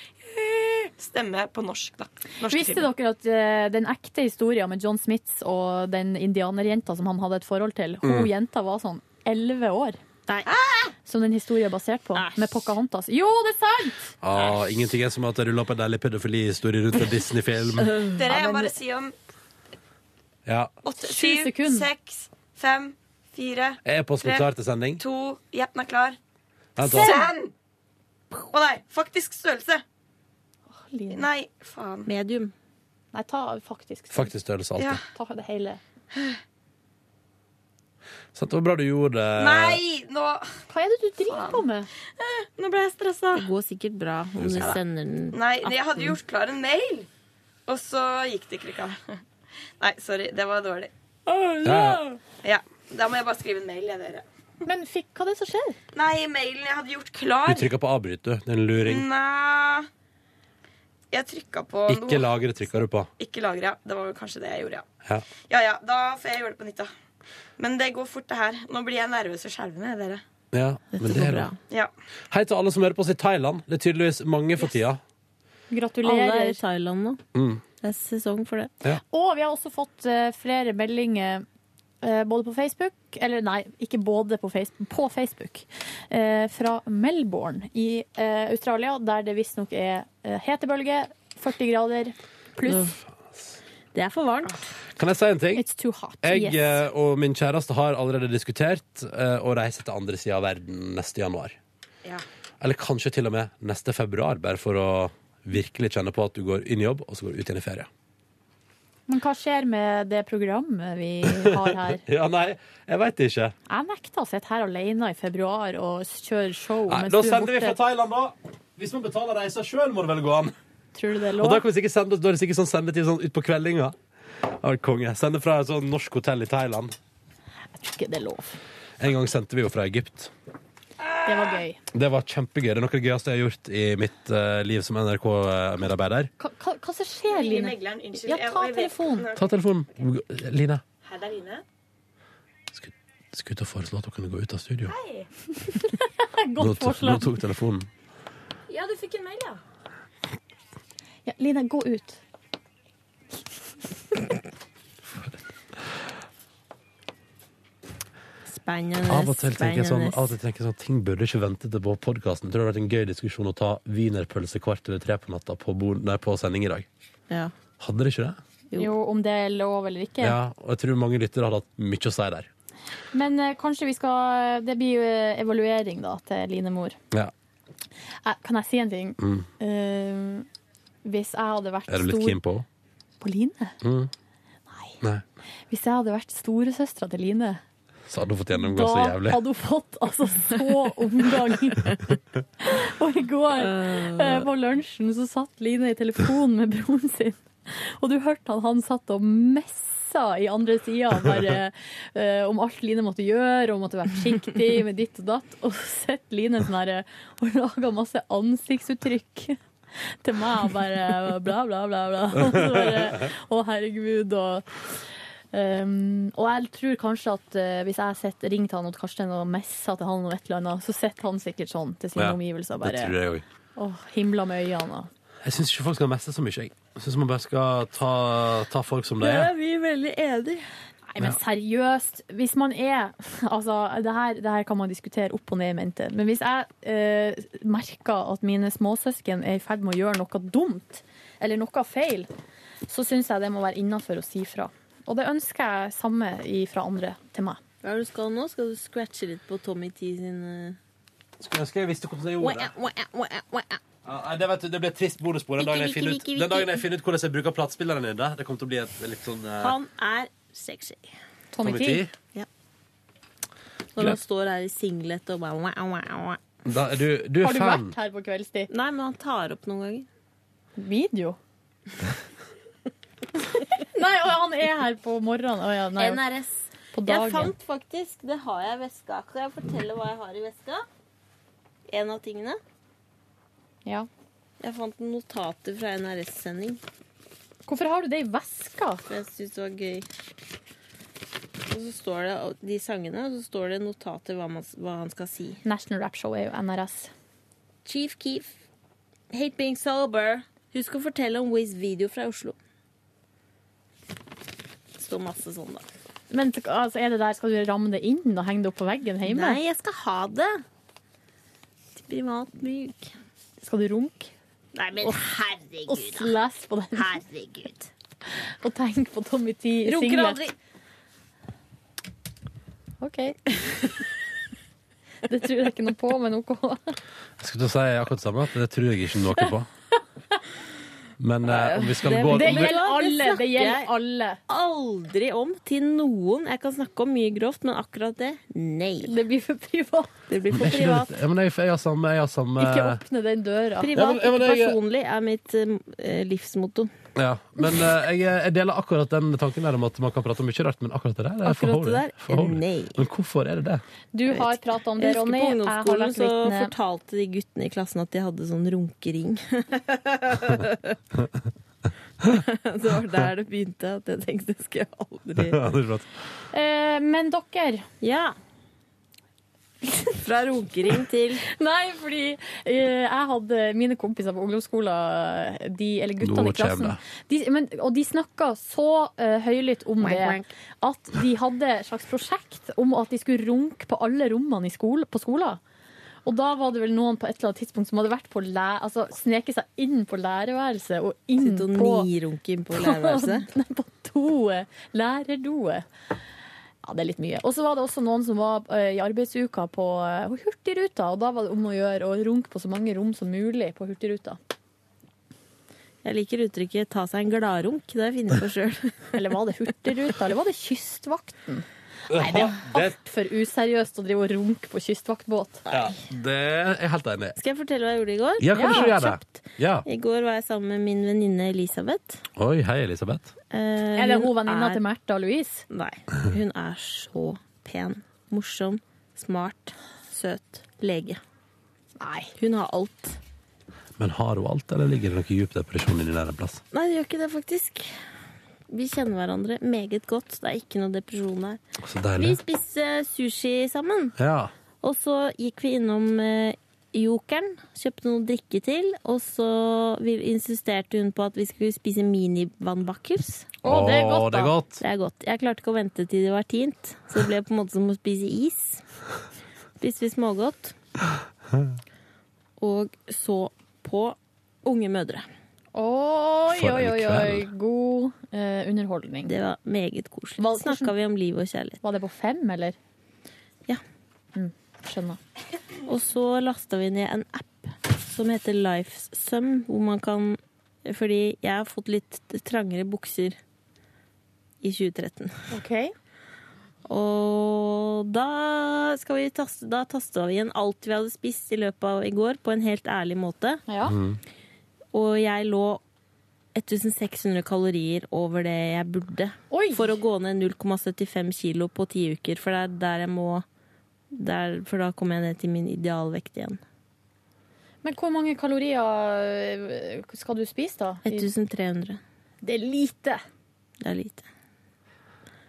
stemme på norsk, da. Norske
Visste
filmer.
dere at eh, den ekte historien med John Smiths og den indianerjenta som han hadde et forhold til, hun jenta var sånn 11 år. Ah!
Nei.
Som den historien er basert på,
Æsj.
med Pocahontas. Jo, det er sant!
Ah, ingenting er som at jeg ruller opp en deilig pedofilihistorie rundt en Disney-film.
Dere,
Ja,
jeg
men-
bare si om
Ja.
åtte,
Sju
syv,
sekunder.
seks, fem, fire,
Er posten
Tre.
klar til sending?
to Jeppen er klar.
Vent, da.
Send! Å nei, faktisk størrelse.
Line.
Nei, faen.
Medium.
Nei, ta faktisk.
Faktisk størrelse alltid.
Ja.
Ta det hele.
Sant, det var bra du gjorde det.
Nei, nå,
Hva er det du driver på med?
nå ble jeg stressa.
Det går sikkert bra om du sender den.
Nei, jeg hadde gjort klar en mail, og så gikk det ikke likevel. Nei, sorry. Det var dårlig.
Ja.
Ja, Da må jeg bare skrive en mail, jeg, dere.
Men fikk, hva er det som skjer?
Nei, mailen jeg hadde gjort
Du
klar
trykker på avbryt, du. Det er en luring.
Nei Jeg trykka på
Ikke
noe.
lagre trykker du på.
Ikke lagre. ja. Det var vel kanskje det jeg gjorde, ja.
Ja.
Ja ja, da får jeg gjøre det på nytt, da. Men det går fort, det her. Nå blir jeg nervøs og skjelvende, dere.
Ja, men
Dette
det
går
er
bra.
da-
Ja.
Hei til alle som hører på oss i Thailand. Det er tydeligvis mange for tida.
Alle er i
Gratulerer.
Thailand nå.
Mm.
Det er sesong for det.
Og vi har også fått eh, flere meldinger eh, både på Facebook Eller nei, ikke både på Facebook, på Facebook. eh, fra Melbourne i eh, Australia, der det visstnok er eh, hetebølge, 40 grader pluss.
Det er for varmt.
Kan jeg si en ting?
It's too hot.
Jeg
yes.
eh, og min kjæreste har allerede diskutert eh, å reise til andre sida av verden neste januar.
Ja.
Eller kanskje til og med neste februar, bare for å virkelig kjenne på at du går inn i jobb, og så går du ut igjen i ferie.
Men hva skjer med det programmet vi har her?
Ja, nei, jeg veit ikke.
Jeg nekter å sitte her alene i februar og kjøre show
Nei,
mens
da
du er
sender vi fra
borte.
Thailand, da. Hvis man betaler reisa sjøl, må det vel gå an.
Tror du det er
Og
lov?
da kan vi sikkert sende Da er det sikkert sånn sendetid sånn utpå kveldinga. Ja, konge. Sende fra et sånn norsk hotell i Thailand.
norsk. Det er lov.
En gang sendte vi jo fra Egypt.
Det var gøy.
Det var kjempegøy. Det er noe av det gøyeste jeg har gjort i mitt eh, liv som NRK-medarbeider.
Hva, hva, hva som skjer, Line?
Unnskyld.
Ja, ta telefonen.
Ta telefonen. Line.
Her er Line.
Skulle til å foreslå at hun kunne gå ut av studio. Nå,
Godt
to- nå
forslag.
tok telefonen.
Ja, du fikk en mail, ja.
Ja, Line, gå ut.
Spennende.
Av og til tenker jeg sånn,
spennende.
av og til tenker jeg sånn ting burde ikke vente til på podkasten. Tror det hadde vært en gøy diskusjon å ta wienerpølse kvart over tre på natta på, bord, nei, på sending i dag.
Ja.
Hadde det ikke det?
Jo, om det er lov eller ikke.
Ja, og jeg tror mange lyttere hadde hatt mye å si der.
Men eh, kanskje vi skal Det blir jo eh, evaluering, da, til Line Mor.
Ja.
Eh, kan jeg si en ting? Eh, hvis jeg hadde vært
Mm. Er du litt
stor
keen på henne?
på Line?
Mm. Nei.
Hvis jeg hadde vært storesøstera til Line,
Så hadde hun fått gjennomgå
da
så jævlig.
hadde hun fått altså så omgang. og i går eh, på lunsjen så satt Line i telefonen med broren sin, og du hørte han, han satt og messa i andre sida bare eh, om alt Line måtte gjøre, og måtte være forsiktig med ditt og datt, og så sitter Line sånn her eh, og lager masse ansiktsuttrykk. Til meg og bare bla, bla, bla. bla. Og så bare, å, herregud. Og Um, og jeg tror kanskje at eh, hvis jeg sett, ringte han og Karsten og messa til han og et eller annet, så sitter han sikkert sånn til sine
Ja,
omgivelser.
Det
Bare
tror jeg òg.
åh, himla med øynene. og-
Jeg syns ikke folk skal messe så mye. Jeg Jeg syns man bare skal ta, ta folk som det
Det
er.
er vi veldig enige.
Nei, men seriøst. Hvis man er Altså, det her, det her kan man diskutere opp og ned i mente, men hvis jeg eh, merker at mine småsøsken er i ferd med å gjøre noe dumt, eller noe feil, så syns jeg det må være innafor å si fra. Og det ønsker jeg samme i- fra andre til meg.
Hva er det du skal nå? Skal du scratche litt på Tommy T sin eh,
Skulle ønske jeg visste hvordan jeg gjorde det. Ja, nei, det, vet du, det blir et trist bonusbord den dagen jeg finner ut, den dagen jeg finner ut hvordan jeg bruker platespilleren din. der. Det kommer til å bli et litt sånn eh,
Han er sexy.
Tommy T.
komiti.
Når
Greit.
han står her i singlet og bare wah, wah, wah.
Da, er du, du
Har
er
du
fan.
vært her på kveldstid?
Nei, men han tar opp noen ganger.
Video? nei, og han er her på morgenen. Å ja, nei,
NRS.
på
Jeg
dagen.
fant faktisk Det har jeg i veska. Kan jeg fortelle hva jeg har i veska? En av tingene.
Ja.
Jeg fant notater fra NRS-sending.
Hvorfor har du det i veska?
For jeg syntes det var gøy. Og så står det og de sangene, og så står det notater hva, man, hva han skal si.
National Rap Show er jo NRS.
Chief Keef. Hate being sober. Husk å fortelle om Wiz video fra Oslo. Det står masse sånn, da.
Men altså, er det der, skal du ramme det inn og henge det opp på veggen hjemme?
Nei, jeg skal ha det. Til privat bruk.
Skal du runke
Nei, men herregud,
og slæse på den
Herregud.
og tenke på Tommy T i
Runker
singlet?
aldri.
OK. Det tror jeg ikke noe på, men OK.
Jeg skulle til å si akkurat det samme, at det tror jeg ikke noe på. Men eh, om vi skal
Det-
gå
Det
om vi,
gjelder alle. Det
jeg.
gjelder alle.
Aldri om til noen. Jeg kan snakke om mye grovt, men akkurat det nei.
Det blir for privat.
Det blir
Er
for
ikke det
privat.
litt- ja, men jeg, jeg har samme, jeg har samme
Ikke åpne den døra.
Ja, men-
Privat,
ja, men
ikke
jeg-
personlig, er mitt eh, livsmotto.
ja. Men eh, jeg, jeg deler akkurat den tanken der om at man kan prate om mye rart, men akkurat det der er for
Akkurat det
holy.
der,
For holy.
nei.
Men hvorfor er det det?
Du har prata om det,
Jeg husker
Ronny.
på
Jeg har vært
ungdomsskolen
eh,
så
vitne.
fortalte de guttene i klassen at de hadde sånn runkering. det var der det begynte, at jeg tenkte det skal jeg aldri
Ja, det er bra.
Eh, men dere
Ja. Fra runkering til
Nei, fordi eh, jeg hadde mine kompiser på ungdomsskolen, de, eller guttene
Nå
i klassen,
kommer
de, men, og de snakka så eh, høylytt om det at de hadde et slags prosjekt om at de skulle runke på alle rommene i skole, på skolen. Og da var det vel noen på et eller annet tidspunkt som hadde vært på læ altså, sneket seg inn på lærerværelset og inn
sitte og
Mm, på
nirunke inn sånn på lærerværelset.
Nei, på doet. Lærerdoet. Ja, det er litt mye. Og så var det også noen som var eh, i arbeidsuka på eh, Hurtigruta, og da var det om å gjøre å runke på så mange rom som mulig på Hurtigruta.
Jeg liker uttrykket 'ta seg en gladrunk'. Det har jeg funnet på sjøl.
Eller var det Hurtigruta, eller var det Kystvakten? Nei, det er altfor useriøst å drive og runke på kystvaktbåt.
Ja, det er jeg helt enig i.
Skal jeg fortelle hva jeg gjorde i går?
Ja, kanskje du gjør det.
kjapt.
Ja.
I går var jeg sammen med min venninne Elisabeth.
Oi, hei, Elisabeth.
Eh,
Er det
hun
hun venninna
er-
til Märtha og Louise?
Nei. Hun er så pen, morsom, smart, søt, lege.
Nei.
Hun har alt.
Men har hun alt, eller ligger det noe djup depresjon inni der en plass?
Nei, det gjør ikke det, faktisk. Vi kjenner hverandre meget godt. Det er ikke noe depresjon her.
Så
Vi
deilig.
spiste sushi sammen,
Ja.
og så gikk vi innom eh, Jokeren, kjøpte noe å drikke til, og så vil- insisterte hun på at vi skulle spise mini-vannbakkels.
Å, det er godt, da.
Det er godt. Jeg klarte ikke å vente til det var tint, så det ble på en måte som å spise is. Spiste vi smågodt. Og så på Unge mødre.
Oi,
For en
oi, oi, oi.
kveld.
God eh, underholdning.
Det var meget koselig.
Hva-
Snakka vi om liv og kjærlighet.
Var det på fem, eller?
Ja.
Mm, skjønner.
Og så lasta vi ned en app som heter Lifesum, hvor man kan Fordi jeg har fått litt trangere bukser i 2013.
Ok.
Og da skal vi taste, da tasta vi igjen alt vi hadde spist i løpet av i går, på en helt ærlig måte.
Ja.
Og jeg lå 1600 kalorier over det jeg burde.
Oi!
For å gå ned 0,75 kilo på ti uker, for det er der jeg må der, For da kommer jeg ned til min idealvekt igjen.
Men hvor mange kalorier eh, skal du spise, da? I-
1300.
Det er lite.
Det er lite.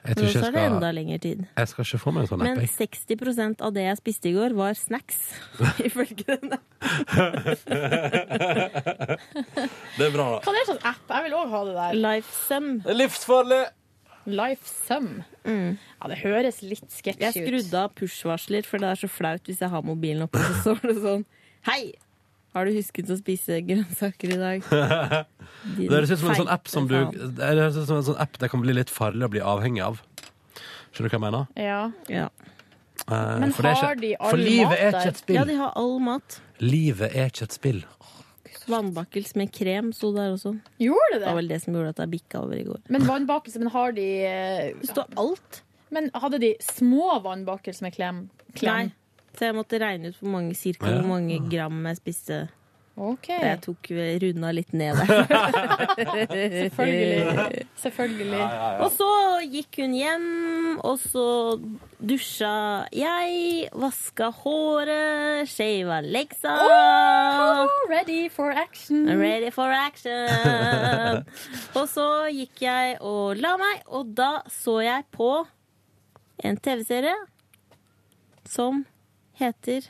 Jeg
Men
tror
så
ikke jeg
er det enda
skal,
lengre tid.
jeg skal ikke få meg en sånn app.
Men
jeg.
60 av det jeg spiste i går, var snacks, ifølge denne.
Det er bra, da.
Hva er det slags app? Jeg vil òg ha det der.
Lifesum.
Det er livsfarlig!
Life Sum. Ja, det høres litt sketchy
Mm. Jeg
ut.
skrudde av push-varsler, for det er så flaut hvis jeg har mobilen oppe, så står det sånn Hei! Har du husket å spise grønnsaker i dag? Din
Det høres ut som en sånn app som du
feite faen.
Det høres ut som en sånn app det kan bli litt farlig å bli avhengig av. Skjønner du hva jeg mener?
Ja.
Ja.
Eh,
Men
for det er
har
ikke,
de all
For livet
mat
er
der?
ikke et
ja,
spill.
de har all mat.
Livet er ikke et spill.
Vannbakkels med krem sto der også. Det
Gjorde
var
det?
vel det som gjorde at jeg bikka over i går.
Men vannbakelse, men har de eh,
Det står alt.
Men hadde de små vannbakelse med klem? klem?
Nei. Så jeg måtte regne ut hvor mange, cirka,
Ja.
hvor mange gram jeg spiste.
OK.
Jeg tok runda litt ned der.
Selvfølgelig. Selvfølgelig.
Og så gikk hun hjem, og så dusja jeg, vaska håret, shava legsa.
Ready for action.
Ready for action! Og så gikk jeg og la meg, og da så jeg på en TV-serie som heter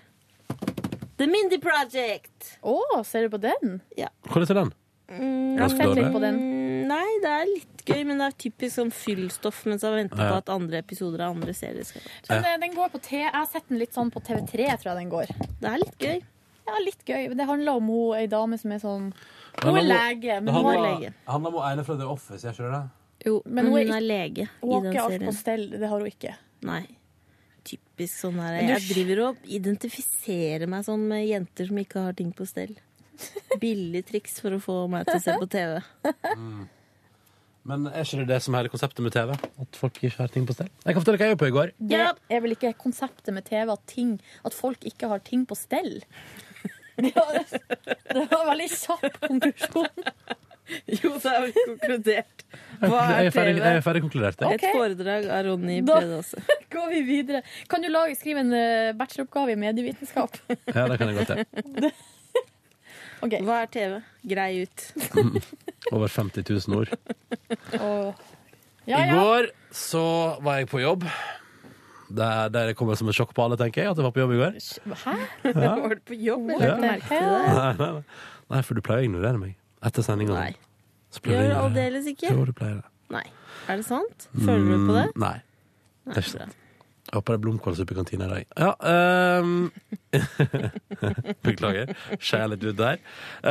The Mindy Project.
Å, ser du på den?
Hvor er det den? Ganske
Sett litt
dårlig.
på den.
Mm, Nei, det er litt gøy, men det er typisk sånn fyllstoff mens man venter på
Ja.
at andre episoder av andre serier skal
Men eh, den går på T. Jeg har sett den litt sånn på TV3, tror jeg den går.
Det er litt gøy.
Ja, litt gøy. Men det handler om hun, ei dame som er sånn Hun
handler
er
om-
lege, men
Det
hun,
handler-
har-
lege.
handler om hun ene fra The Office, gjør ikke det?
Jo,
Men
men
hun
hun
er
er lege
hun
i
har
den
ikke alt på
serien.
stell. Det har hun ikke.
Nei. Typisk sånn her.
Men du
Jeg
sk-
driver og identifiserer meg sånn med jenter som ikke har ting på stell. Billig triks for å få meg til å se på TV.
Men er ikke det det som er hele konseptet med TV? At folk ikke har ting på stell? Jeg kan fortelle hva jeg gjorde på i går.
Det
Ja.
er vel ikke konseptet med TV at, ting, at folk ikke har ting på stell? Det var, det var en veldig kjapp konklusjon.
Jo, det er vel konkludert. Hva
Jeg
er
er ferdig,
TV?
jeg er ferdig konkludert. Jeg.
Et foredrag av Ronny
Da-
Bredåse.
Går vi videre. Kan du lage, skrive en eh, bacheloroppgave i medievitenskap?
Ja, det kan jeg godt til.
Ok.
Hva er TV? Grei ut.
Over 50 000 ord.
Og, ja,
I
ja.
går så var jeg på jobb. Det, er- det kommer som et sjokk på alle, tenker jeg, at jeg var på jobb i går.
Hæ?
Var du på jobb,
Ja.
eller? Merke til det?
Nei, nei, nei. nei, for du pleier å ignorere meg etter sendinga.
Nei.
Så
Gjør
pleier jeg
du
å ignorere.
aldeles ikke?
Jo, du pleier det.
Nei. Er det sant? Føler du på det?
Mm, Nei. Det er ikke
bra.
sant. Jeg håper det er blomkålsuppe i kantina i dag. Ja, ehm, Beklager. Skjærer litt ut der.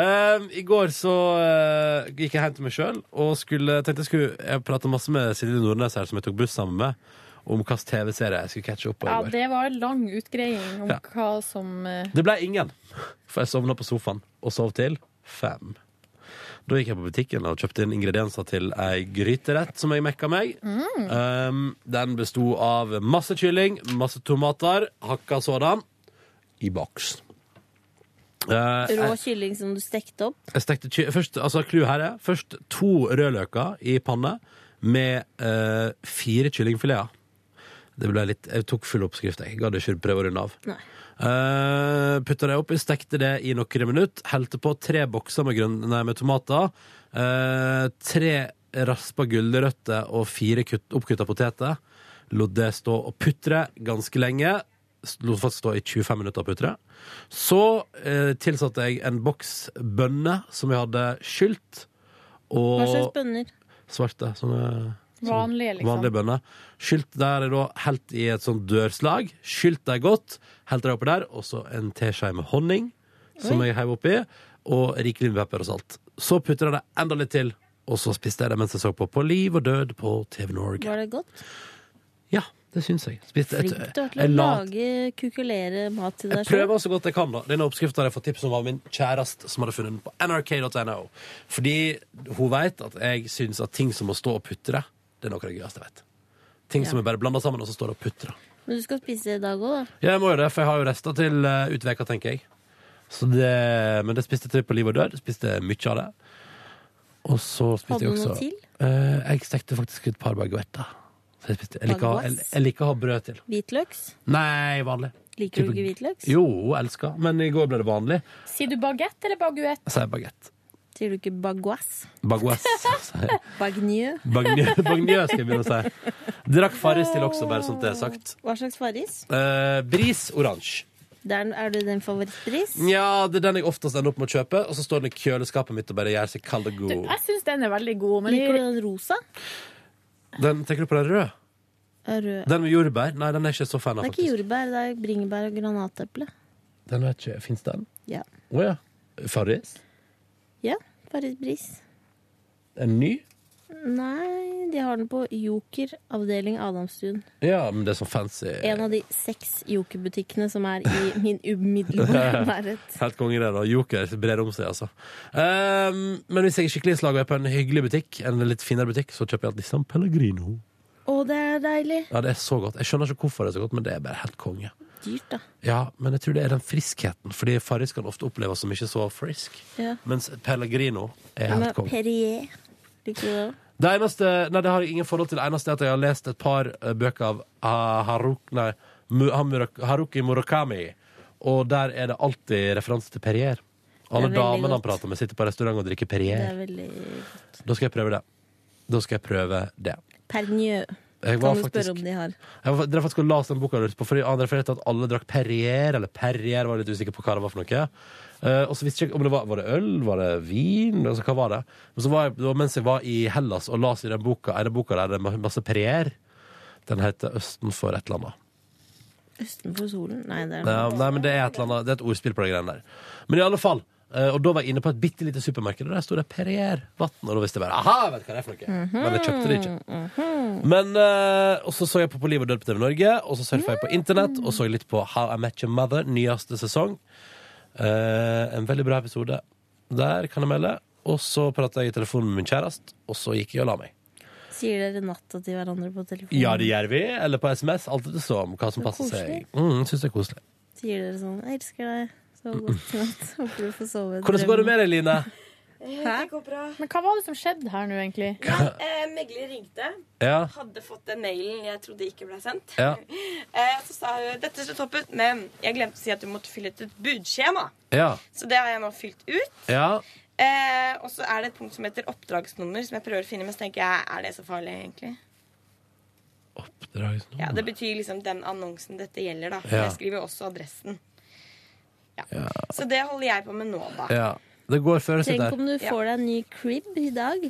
Ehm, I går så eh, gikk jeg hjem til meg sjøl og skulle, tenkte jeg skulle Jeg prata masse med Silje Nordnes her, som jeg tok buss sammen med, om hvilken TV-serie jeg skulle catche opp på i
Ja,
går.
det var en lang utgreiing om
Ja.
hva som eh,
Det ble ingen, for jeg sovna på sofaen og sov til fem. Da gikk jeg på butikken og kjøpte inn ingredienser til ei gryterett som jeg mekka meg. Um, den besto av masse kylling, masse tomater, hakka sådan, i boks. Eh,
Rå
jeg,
kylling som du stekte opp?
jeg stekte ky først, altså clou her er først to rødløker i panne med eh, fire kyllingfileter. Det ble litt, jeg tok full oppskrift, jeg. Gadd ikke prøve å runde av.
Nei.
Uh, Putta det oppi, stekte det i noen minutter. Helte på tre bokser med, grønn, nei, med tomater. eh, tre raspa gulrøtter og fire kutt, oppkutta poteter. Lot det stå og putre ganske lenge. S- Lot faktisk stå i 25 minutter og putre. Så eh, tilsatte jeg en boks bønner som jeg hadde skylt.
Hva slags
Og
bønner?
svarte. Sånne
Vanlige, liksom.
Vanlige bønner. Skylt der er da helt i et sånt dørslag. Skylt deg godt. Helt deg oppi der. Og så en teskje med honning, som jeg heiv oppi. Og rikelig med pepper og salt. Så putter jeg det enda litt til, og så spiste jeg det mens jeg så på På liv og død på TV Norge.
Var det godt?
Ja, det syns jeg. Spiste et-
Flink du er til å
jeg la-
lage kukulere mat til
jeg
deg
prøver
selv.
så godt jeg kan, da. Denne oppskriften har jeg fått tips om av min kjæreste, som hadde funnet den på nrk.no. Fordi hun vet at jeg syns at ting som må stå og putre, det er noe av det gøyeste jeg vet. Ting som er bare blanda sammen, og så står det og putrer.
Men du skal spise det i dag òg, da.
Ja, jeg må jo det, for jeg har jo rester til uh, ut veka, tenker jeg. Så det, men det spiste jeg til på liv og død. Spiste mye av det. Og så spiste
Hadde
jeg
du
også
noe til?
Eh, jeg stekte faktisk et par baguetter. Så jeg, spiste, jeg, liker, å- jeg,
Baguettes?
jeg liker å ha brød til.
Hvitløks?
Nei, vanlig.
Liker du
Type-
ikke hvitløks?
Jo, elsker. Men i går ble det vanlig.
Sier du bagett eller baguett?
Jeg sier baguett.
Sier du ikke baguass?
Baguess. sier jeg.
Bagnø?
Bagnø, Bagnø skal jeg begynne å si. Drakk Farris til også, bare sånn det er sagt.
Hva slags Farris?
Eh, bris oransje.
Der, er du din favorittbris?
Ja, det er den jeg oftest ender opp med å kjøpe. Og så står den i kjøleskapet mitt og bare gjør seg kald og god.
Jeg syns den er veldig god, men
Liker du den rosa?
Den, tenker du på den rød?
Er Rød.
Den med jordbær? Nei, den er jeg ikke så fan
Det
av,
er ikke
faktisk.
jordbær, det er bringebær og granateple.
Den er ikke, Fins den?
Ja.
Å ja. Farris?
Ja, Farris-bris.
En ny?
Nei, de har den på Joker, avdeling Adamstuen.
Ja, men det er sånn fancy.
En av de seks Joker-butikkene som er i min umiddelbare nærhet.
Helt konge det, da. Joker brer om seg, altså. Ehm, men hvis jeg er skikkelig i slag og er på en hyggelig butikk, en litt finere butikk, så kjøper jeg alltid San Pellegrino.
Å, det er deilig!
Ja, det er så godt. Jeg skjønner ikke hvorfor det er så godt, men det er bare helt konge.
Dyrt, da.
Ja, men jeg tror det er den friskheten, fordi Farris kan ofte oppleves som ikke så frisk.
Ja.
Mens Pellegrino er helt
Men
konge.
Perrier. Liker du det òg?
Det eneste, nei, det har jeg ingen forhold til. Det eneste er at jeg har lest et par eh, bøker av ah, Haruk, nei, Mu- Hamura- Haruki Murakami, og der er det alltid referanse til Perrier. Alle
Det er veldig
damene han
godt.
prater med, sitter på restaurant og drikker
Det
Perrier.
er veldig godt.
Da skal jeg prøve det. Da skal jeg prøve det.
Pernieu.
Jeg var
Kan du spørre
faktisk
om de har?
Jeg var, drev faktisk og leste den boka du lurte på, fordi han refererte til at alle drakk Perrier, eller Perrier, var jeg litt usikker på hva det var for noe. Eh, og så visste jeg ikke om det var, var det øl, var det vin, altså hva var det? Men så var jeg, det var mens jeg var i Hellas og las i den boka, er det boka der det er ma- masse Perrier? Den heter Østen for et eller annet.
Østenfor solen? Nei, det er
Ja, nei, men det er, et eller annet, det er et ordspill på de greiene der. Men i alle fall, eh, og da var jeg inne på et bitte lite supermarked, og der sto det Perrier vann. Og da visste jeg bare aha, jeg vet hva det er for noe.
Mhm.
Men jeg kjøpte det ikke. Men, eh, Og så så jeg på På liv og død på TV Norge, og så surfa jeg på internett og så litt på How I Met Your Mother, nyeste sesong. Eh, en veldig bra episode. Der kan jeg melde. Og så prata jeg i telefonen med min kjæreste, og så gikk jeg og la meg.
Sier dere natta til hverandre på telefonen?
Ja, det gjør vi. Eller på SMS. Alt etter som, hva som
Det er
passer seg.
koselig.
Mm, Syns det er koselig.
Sier dere sånn 'Jeg elsker deg så godt i natt'. Håper du får sove. i
Hvordan går det
drømmen».
med deg, Line?
Det går bra.
Men hva var det som skjedde her nå, egentlig?
Nei, eh, Megler ringte.
Ja,
Hadde fått den mailen jeg trodde ikke ble sendt.
ja,
Eh, så sa hun dette ser topp ut, men jeg glemte å si at du måtte fylle ut et budskjema.
ja.
Så det har jeg nå fylt ut.
Ja,
Eh, og så er det et punkt som heter oppdragsnummer, som jeg prøver å finne, men så tenker jeg er det så farlig, egentlig?
oppdragsnummer.
Ja, Det betyr liksom den annonsen dette gjelder, da.
Ja.
Jeg skriver også adressen. Ja. Så det holder jeg på med nå, da.
Ja. Det går før sitt
Tenk
der.
om du får deg en ny crib i dag.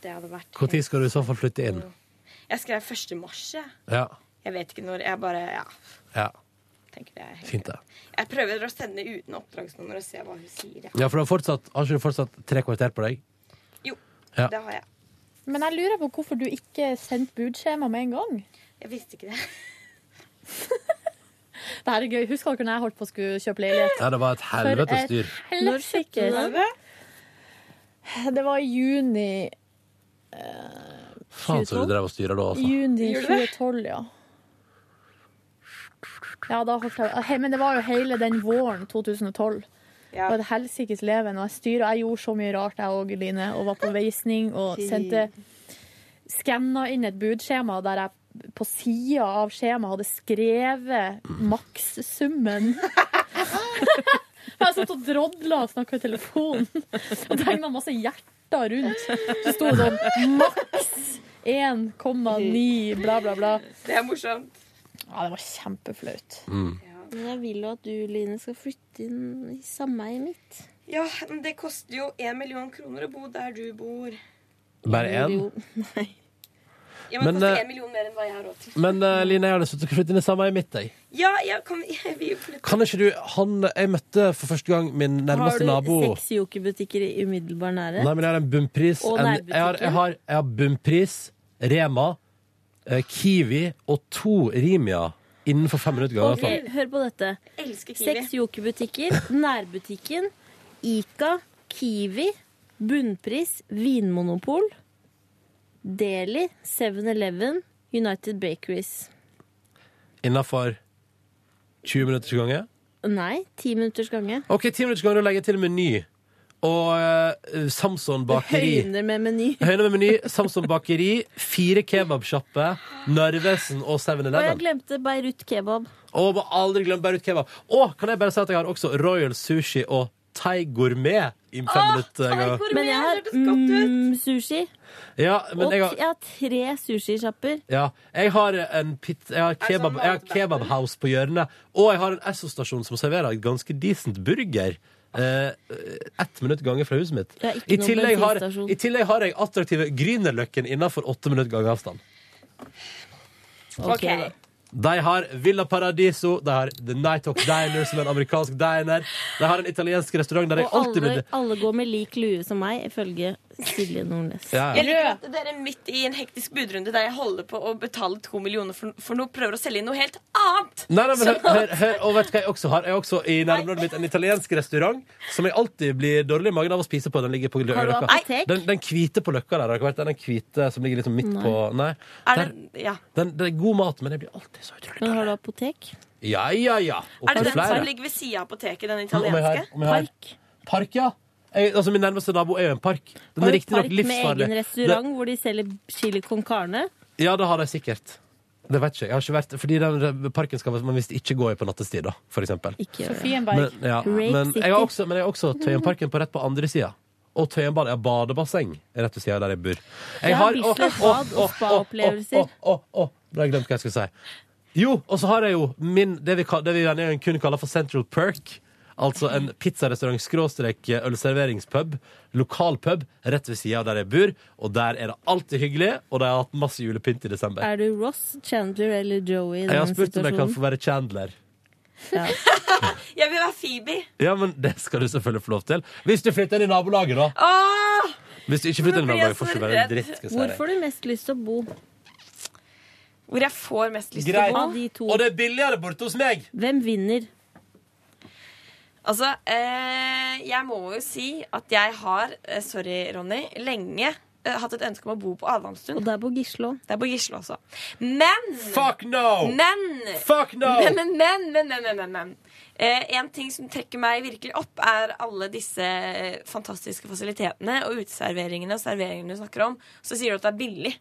Det hadde vært
Når skal du i så fall flytte inn?
Jeg skrev 1. mars, jeg.
Ja,
Jeg vet ikke når. Jeg bare ja,
ja,
tenker det. er helt
fint det.
greit. Jeg prøver å sende uten oppdragsnummer og se hva hun sier. Ja.
Ja, for du har, fortsatt, har ikke du fortsatt tre kvarter på deg?
Jo,
Ja.
det har jeg.
Men jeg lurer på hvorfor du ikke sendte budskjema med en gang.
Jeg visste ikke det.
Det her er gøy. Husker dere når jeg holdt på å skulle kjøpe leilighet?
Ja, det var et helvetes
For et
styr.
Når kjøpte du den?
Det var i juni
Faen så du drev og styra da, altså.
Juni 2012, ja. Ja, da holdt jeg Hei, Men det var jo hele den våren 2012. Det
Ja.
var et helsikes leven. Og jeg styrer, jeg gjorde så mye rart, jeg òg, Line. Og var på visning og sendte Skanna inn et budskjema der jeg
på sida av skjemaet hadde skrevet makssummen. Jeg har satt og drodla og snakka i telefonen og tegna masse hjerter rundt. Så sto det sånn maks 1,9 bla, bla, bla.
Det er morsomt.
Ja, det var kjempeflaut.
Men jeg vil jo at du, Line, skal flytte inn i sameiet mitt.
Ja, men det koster jo én million kroner å bo der du bor.
Bare én?
Jo,
Ja,
men det Men, koster eh,
en million mer enn hva jeg har råd til.
Men eh, Line, jeg har lyst til å flytte inn i sameiet mitt. Jeg.
Ja, jeg, kan, jeg vil jo flytte
Kan ikke du han, Jeg møtte for første gang min
Har
nærmeste
du
nabo.
seks jokerbutikker i umiddelbar nærhet?
Nei, men jeg har en bunnpris.
Og
En, jeg,
nærbutikken.
har, jeg, har, jeg har bunnpris, Rema, eh, Kiwi og to Rimia innenfor fem minutter. Gang,
Ok, hør på dette.
Jeg elsker Kiwi.
Seks jokerbutikker, nærbutikken, Ica, Kiwi, Bunnpris, Vinmonopol, Deli, 7-Eleven, United Bakeries.
Innenfor 20 minutters gange.
Nei, ti minutters gange.
Ok, 10 minutters gange, du legger til meny. Og eh, Samson bakeri.
Høyner med meny.
Høyne med meny, Samson bakeri, fire kebabsjapper, Narvesen og
Og jeg
7-Eleven.
glemte Beirut kebab.
Og må aldri glemme Beirut kebab. Og kan jeg bare si at jeg har også Royal Sushi og Thai Gourmet i fem minutter. gang.
Men jeg har mm, sushi.
Ja, men
Og
jeg
jeg
har,
har tre sushisjapper.
ja, jeg har en pit, jeg har kebab, jeg har kebabhouse på hjørnet, og jeg har en Esso-stasjon som serverer ganske decent burger. Eh, ett minutt gange fra huset mitt.
Jeg har ikke
I
noen
tillegg, har,
bensinstasjon.
I tillegg har jeg attraktive Grünerløkken innenfor åtte minutt gange avstand.
Ok.
De har Villa Paradiso, de har The Night Talk Diner, som er en amerikansk diner. De har en italiensk restaurant der jeg
Og
alltid
alle,
blir
alle går med lik lue som meg, ifølge Silje Nordnes.
ja, ja.
Jeg liker at dere er midt i en hektisk budrunde der jeg holder på å betale to millioner for, for noe, prøver å selge inn noe helt annet.
Nei, nei, men hør, hør, hør, og vet du hva jeg også har? Jeg har også i nærområdet mitt en italiensk restaurant som jeg alltid blir dårlig i magen av å spise på. Den ligger på
Har du
Løkka.
apotek?
Den, den hvite på Løkka der, har dere vært der? Den hvite som ligger liksom midt på Nei.
Er
Der,
det, ja.
den, det er god mat, men jeg blir alltid så utrolig
Men
dårlig.
har du apotek?
Ja, ja, ja.
er det
Opptil
den som
flere.
ligger ved sida av apoteket, den
Om jeg har-
italienske?
om jeg har-
Park?
Park, ja. Jeg, altså, min nærmeste nabo er jo en park. Den
Har
er
du
riktignok
park med
livsfarlig.
egen restaurant hvor de selger chili con carne?
Det- Ja, det har de sikkert. Det vet ikke jeg. jeg. har ikke vært, fordi den parken skal man visst ikke gå i på nattestid, da, for eksempel.
Ikke gjør det.
Sofienberg.
Men, ja.
Rape
men, jeg har
City.
også, men jeg har også Tøyenparken på rett på andre sida. Og Tøyenbad er badebasseng rett ved sida der jeg bor. Jeg
Ja, Bislett bad og spa-opplevelser.
Å, å, å, å. Nå har jeg glemt hva jeg skulle si. Jo, og så har jeg jo min, det vi, kall- det vi i denne gjengen kun kaller for Central Perk. Altså en pizzarestaurant skråstrek eh, ølserveringspub. Lokalpub rett ved sida av der jeg bor. Og der er det alltid hyggelig, og de har hatt masse julepynt i desember.
Er du Ross, Chandler eller Joey i
Jeg
denne
har spurt om jeg kan
situasjonen?
få være Chandler.
Jeg vil være Phoebe.
Ja, men det skal du selvfølgelig få lov til. Hvis du flytter inn i nabolaget, da.
Åh!
Hvis du ikke flytter
Nå
inn i
blir jeg
nabolaget, får du
så
ikke være en
redd.
dritt. Skal jeg si deg.
Hvor får du mest lyst til å bo?
Hvor jeg får mest lyst til å
Greit.
bo.
Av de to.
Og det er billigere borte hos meg!
Hvem vinner?
Altså, eh, jeg må jo si at jeg har, eh, sorry Ronny, lenge eh, hatt et ønske om å bo på
Og
Advandstuen.
det er på Gisle òg.
Det er på Gisle også. Men,
Fuck no!
men,
Fuck no!
men, men, men, men, men, men, men, men. Eh, en ting som trekker meg virkelig opp, er alle disse eh, fantastiske fasilitetene og uteserveringene og serveringene du snakker om. Så sier du at det er billig.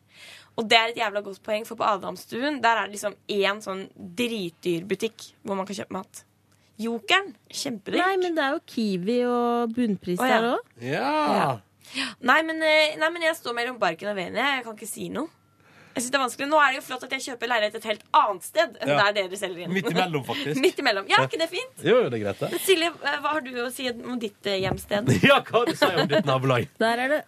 Og det er et jævla godt poeng, for på Adamstuen der er det liksom én sånn dritdyr butikk hvor man kan kjøpe mat. Jokeren. Kjempedyrt.
Nei, men det er jo Kiwi og bunnpris
Å, ja.
der òg.
Ja.
Nei men, eh, nei, men jeg står mellom barken og veien. Jeg kan ikke si noe. Jeg synes det er vanskelig Nå er det jo flott at jeg kjøper leilighet et helt annet sted enn
Ja.
der dere selger inn.
Midt imellom, faktisk.
Midt imellom. Ja, er ikke det fint?
Jo, jo, det er greit, det.
Silje, eh, hva har du å si om ditt eh, hjemsted?
Ja, hva du sier om ditt nabolag?
Der er det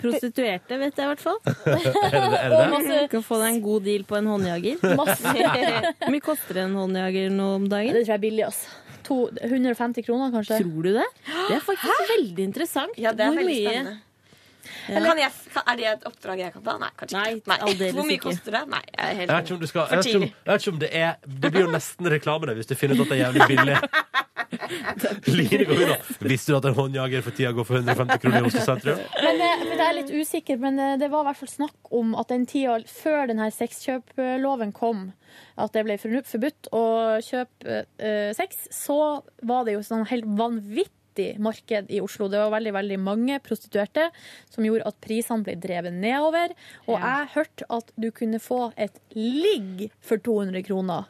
prostituerte, vet jeg i hvert fall.
Er det er det? det?
Du kan få deg en god deal på en håndjager.
Masse.
Hvor mye koster en håndjager nå om dagen?
Det tror jeg er billig, altså. To, 150 kroner, kanskje.
Tror du det? Det er faktisk veldig interessant.
Ja, det er
Hvor
veldig
mye-
spennende. Kan jeg, kan, er det et oppdrag jeg kan ta? Nei, kanskje
Nei,
ikke.
aldeles
Hvor mye
ikke.
koster det? Nei, jeg er
Jeg vet
helt
ikke om du skal
For
jeg vet ikke om, jeg vet ikke om det er Det blir jo nesten reklame, det, hvis du finner ut at det er jævlig billig. Line går unna. Visste du at en håndjager for tida går for 150 kroner i Oslo sentrum?
Men, eh, men jeg er litt usikker, men eh, det var i hvert fall snakk om at den tida før denne sexkjøploven kom, at det ble forbudt å kjøpe eh, sex, så var det jo sånn helt vanvittig fattig marked i Oslo. Det var veldig veldig mange prostituerte som gjorde at prisene ble drevet nedover. Og jeg hørte at du kunne få et ligg for 200 kroner.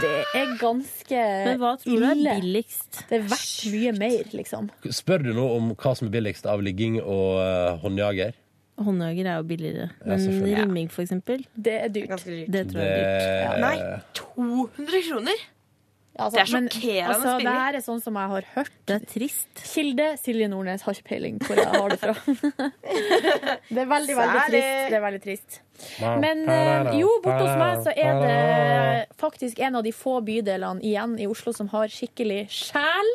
Det er ganske
Men hva tror du er
ille.
billigst?
Det er verdt mye mer, liksom.
Spør du nå om hva som er billigst av ligging og eh, håndjager?
Håndjager er jo billigere.
Ja,
Men
selvfølgelig.
rimming, for eksempel,
Det er dyrt.
det tror jeg er dyrt.
Eh,
Nei, 200 kroner?
Altså,
Det er sjokkerende
altså,
billig.
det her er sånn som jeg har hørt.
Det er trist.
Kilde Silje Nordnes har ikke peiling på hvor jeg har det fra. Det er veldig, veldig
Særlig.
trist. Det er veldig trist. Men eh, jo, borte hos meg så er det eh, faktisk en av de få bydelene igjen i Oslo som har skikkelig sjel.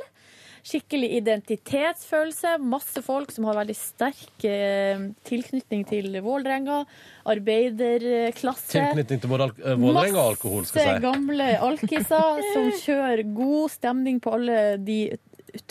Skikkelig identitetsfølelse. Masse folk som har veldig sterk eh, tilknytning til Vålerenga. Arbeiderklasse.
Tilknytning til både alk- eh, Vålerenga og alkohol, skal
Masse
jeg si.
gamle alkiser som kjører god stemning på alle de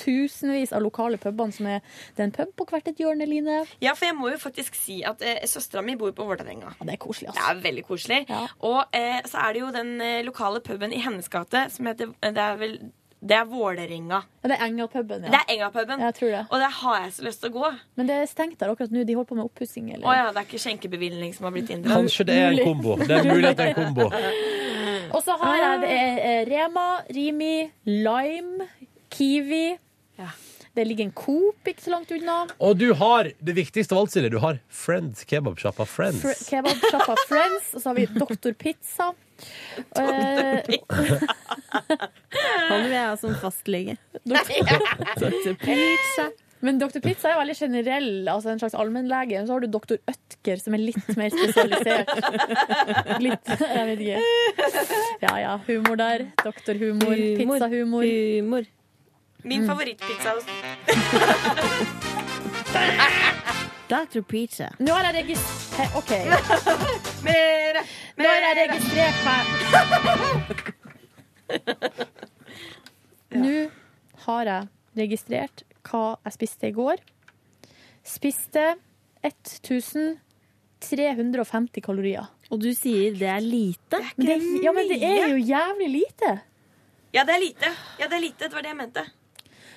tusenvis av lokale pubene som er Det er en pub på hvert et hjørne, Line.
Ja, for jeg må jo faktisk si at eh, søstera mi bor på Vålerenga.
Ja, det er koselig,
Det
altså.
er veldig koselig.
Ja.
Og eh, så er det jo den eh, lokale puben i hennes gate som heter eh, Det er vel Det er Vålerenga.
Ja, det er Enga-puben,
Det
ja.
er Engapuben.
Jeg tror det.
Og der har jeg så lyst til å gå.
Men det er stengt der akkurat nå. De holder på med oppussing. eller?
Å ja, det er ikke skjenkebevilgning som har blitt inndra.
Kanskje det er en
Mulig.
kombo. Det er mulig at det er en kombo.
Og så har jeg det er, eh, Rema, Rimi, Lime, Kiwi.
Ja.
Det ligger en Coop ikke så langt unna.
Og du har det viktigste av alt, Silje. Du har Friends kebabsjappa Friends.
Fr Kebabsjappa Friends. Og så har vi Doktor Pizza. Eh,
Han vil jeg ha som fastlege.
men Doktor Pizza er veldig generell, altså en slags allmennlege. Og så har du Doktor Ødker, som er litt mer spesialisert. Litt, jeg vet ikke. Ja ja, humor der. Doktorhumor,
Humor.
pizzahumor.
Humor.
Min favorittpizza hos
Dr. Pizza.
Nå har jeg registrert OK. Nå har jeg registrert meg. Nå har jeg registrert hva jeg spiste i går. Spiste 1350 kalorier.
Og du sier det er lite?
Men det, ja, men det er jo jævlig lite.
Ja, det er lite. Ja, det er lite. Det var det jeg mente.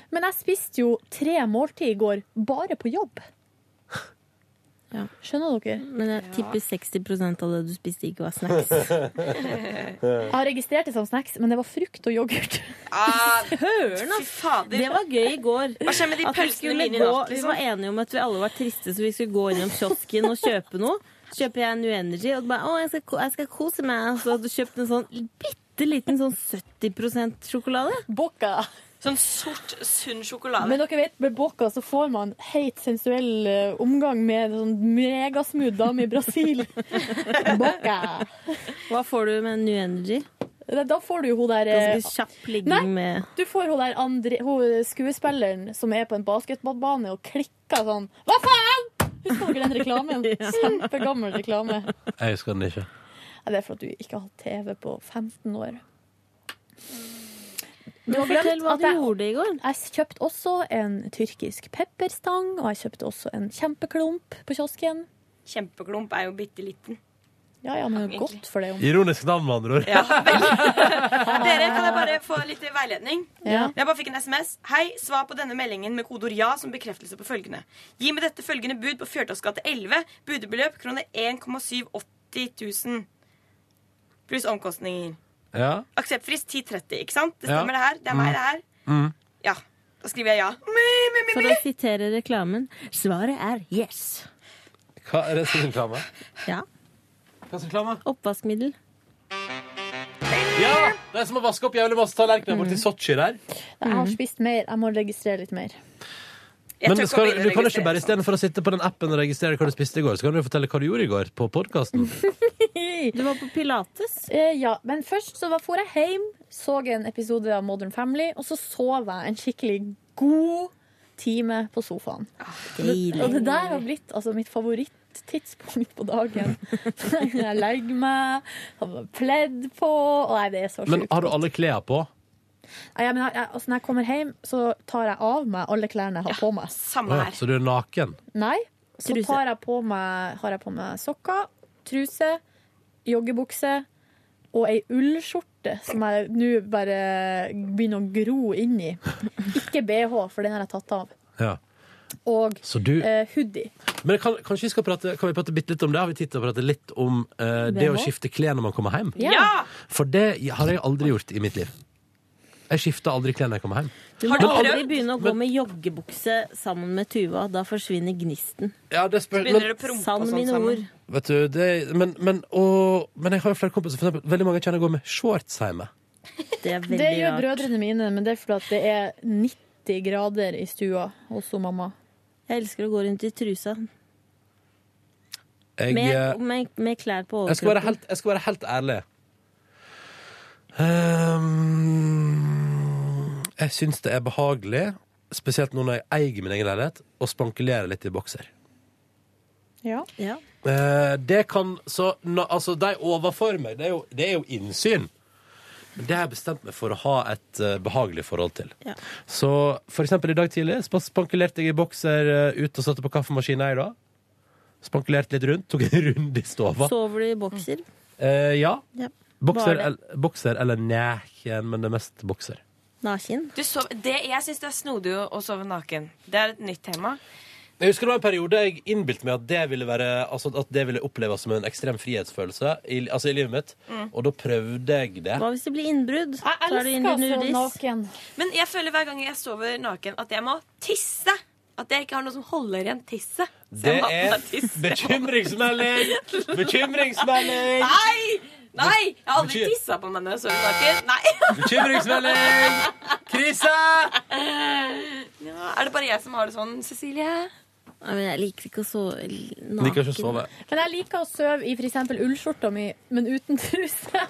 Men jeg spiste jo tre måltid i går bare på jobb.
Ja.
Skjønner dere?
Men jeg tipper 60 av det du spiste, ikke var snacks.
Jeg har registrert det som snacks, men det var frukt og yoghurt.
Ah,
Høren,
fy fader.
Det var gøy i går.
Hva skjer med de
At vi,
pølsene
skulle
mine i
gå,
natt?
vi
Liksom?
var enige om at vi alle var triste, så vi skulle gå innom kiosken og kjøpe noe. Så kjøper jeg New Energy og bare 'Å, jeg skal, ko- jeg skal kose meg'. Så hadde du kjøpt en sånn bitte liten sånn 70 sjokolade.
Bokka.
Sånn sort, sunn sjokolade.
Men dere vet, med Boca så får man heit, sensuell eh, omgang med en sånn megasmooth dame i Brasil. Boca.
Hva får du med New Energy?
Da da får du jo hun der eh,
Ganske kjapp ligging med
Du får hun der andre, hun eh, skuespilleren som er på en basketballbane og klikker sånn Hva faen?! Husker dere den reklamen? Kjempegammel reklame.
Jeg husker den ikke.
Ja, det er for at du ikke har hatt TV på 15 år. Du har
Fortell
glemt
hva
at
du
jeg
gjorde i går.
Jeg kjøpte også en tyrkisk pepperstang, og jeg kjøpte også en kjempeklump på kiosken.
Kjempeklump er jo bitte liten.
Ja, ja, men
Egentlig.
godt for det. Om.
Ironisk navn, med andre ord.
Ja, vel. Dere, kan jeg bare få litt veiledning?
Ja.
Jeg bare fikk en SMS. Hei, svar på denne meldingen med kodeord ja som bekreftelse på følgende. Gi med dette følgende bud på Fjørtoft gate 11. Budebeløp kroner 1,780 000. Pluss omkostninger.
Ja.
Akseptfrist 10.30, ikke sant? Det
Ja. Mm.
stemmer det her? Det er meg, det her? Ja. Da skriver jeg ja.
For å sitere reklamen. Svaret er yes.
Hva er det som er reklame?
Ja.
Hva slags reklame?
Oppvaskmiddel.
Ja! De som har vaska opp jævlig masse tallerkener borti Sotsji der.
Jeg har spist mer. Jeg må registrere litt mer.
Jeg
Men
tør
skal,
å begynne å
du kan ikke
registrere
bare
sånn.
istedenfor å sitte på den appen og registrere hva du spiste i går, så kan du jo fortelle hva du gjorde i går på podkasten.
Du var på pilates.
Eh, ja, men først så var- for jeg hjem, så en episode av Modern Family, og så sov jeg en skikkelig god time på sofaen. Og det der har blitt altså, mitt favorittidspunkt på dagen. Jeg legger meg, har pledd på, og nei, det er så
Men ah-
sjukt.
har du alle klærne på?
Nei, men jeg, jeg, altså, når jeg kommer hjem, så tar jeg av meg alle klærne jeg har på meg.
Å
Samme
ja,
her.
så du er naken?
Nei. Så
Truse.
tar jeg på meg, har jeg på meg sokker, truse, joggebukse og ei ullskjorte. skjorte som jeg nå bare begynner å gro inn i. Ikke BH, for den har jeg tatt av.
Ja.
Og
Så du
eh, hoodie.
Men kan, kanskje vi skal prate, kan vi prate bitte litt om det? Har vi tid til å prate litt om eh, det å
Hvem også?
skifte klær når man kommer hjem?
Ja!
For det har jeg aldri gjort i mitt liv. Jeg skifter aldri klær når jeg kommer hjem.
Du må
Har du
aldri
prøvd?
begynne å gå med joggebukse sammen med Tuva. Da forsvinner gnisten.
Ja, det spør,
Begynner å prompe og
Sann
sånn
mine ord.
sammen.
Vet du, det, men, men, og, men jeg har jo flere kompiser. For eksempel, veldig mange jeg kjenner går med shorts hjemme.
Det er
Det
veldig
gjør
rart.
brødrene mine, men det er fordi at det er 90 grader i stua hos hun mamma.
Jeg elsker å gå rundt i trusa.
Jeg, eh,
Med, med, med klær på
jeg, skal være
overkroppen.
helt, jeg skal være helt ærlig. Ehm, jeg syns det er behagelig, spesielt nå når jeg eier min egen leilighet, å spankulere litt i bokser.
Ja.
Ja.
Eh, det kan så, na, Altså, de overfor meg, det er jo, det er jo innsyn. Men det har jeg bestemt meg for å ha et eh, behagelig forhold til.
Ja.
Så for eksempel i dag tidlig sp- spankulerte jeg i bokser eh, ut og satte på kaffemaskina i dag. Spankulerte litt rundt, tok en runde i stova.
Sover du i bokser?
Eh, ja.
Ja.
Bokser,
Bare.
el, bokser eller næken, men det er mest bokser.
Naken?
Du sov, det, jeg syns det er snodig å å sove naken. Det er et nytt tema.
Jeg husker det var en periode jeg innbilte meg at det ville, være, altså at det ville oppleves som en ekstrem frihetsfølelse i, altså i livet mitt. Og da prøvde jeg det.
Hva hvis det blir innbrudd?
Jeg
Tar du inn
elsker
din
så
nudis?
naken.
Men jeg føler hver gang jeg sover naken, at jeg må tisse. At jeg ikke har noe som holder igjen tisset. Så
Det
jeg må
er
bare tisse.
bekymringsmelding! Bekymringsmelding!
Nei! Nei! Jeg har aldri
Betyr-
tissa på meg når jeg sover naken. Nei.
Bekymringsmelding! Krise!
Ja, er det bare jeg som har det sånn, Cecilie?
Nei, men jeg liker ikke å sove naken.
Liker ikke å sove.
Men jeg liker å sove i f.eks. ullskjorta mi, men uten truse.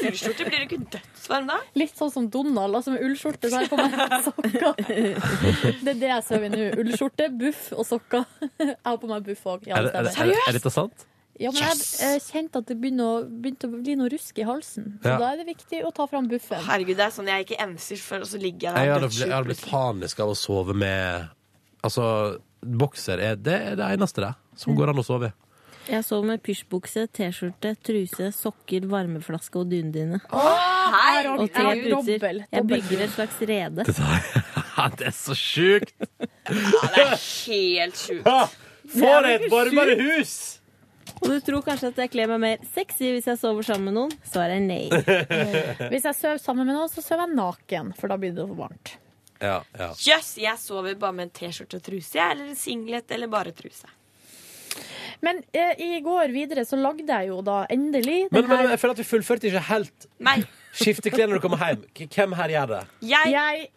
Ullskjorte blir du ikke dødsvarm da?
Litt sånn som Donald, altså med ullskjorte. Så har jeg på meg sokker. Det er det jeg sover i nå. Ullskjorte, buff og sokker. Jeg har på meg buff òg. Ja,
Er,
det
det- er, det-
stemmer.
er, det- er dette sant?
ja, men jeg eh, kjente at det begynte å, begynte å bli noe rusk i halsen. Så
Ja.
da er det viktig å ta fram buffen.
Herregud, det er sånn jeg ikke enser før, og så ligger jeg der.
Jeg hadde, blitt-
dødssjuk
jeg hadde blitt
plutselig.
panisk av å sove med Altså, bokser er det, er det eneste det som går an å sove i.
Jeg sover med pysjbukse, T-skjorte, truse, sokker, varmeflaske og dundyne.
Jeg har
Og
jeg
tre
har
puter.
dobbel-
Jeg
dobbel
bygger et slags rede.
Det er så sjukt!
Ja, det er helt sjukt.
Få deg et varmere hus!
Og du tror kanskje at jeg kler meg mer sexy hvis jeg sover sammen med noen? Svaret er nei.
Hvis jeg sover sammen med noen, så sover jeg naken, for da blir det for varmt.
Ja, ja.
Jøss, jeg sover bare med en T-skjorte og truse, jeg, eller en singlet, eller bare truse.
Men eh, i går videre så lagde jeg jo da endelig
Men,
den
men
her
jeg føler at vi fullførte ikke helt
Nei,
skifte klær når du kommer hjem. K- Hvem her gjør det?
jeg
Jeg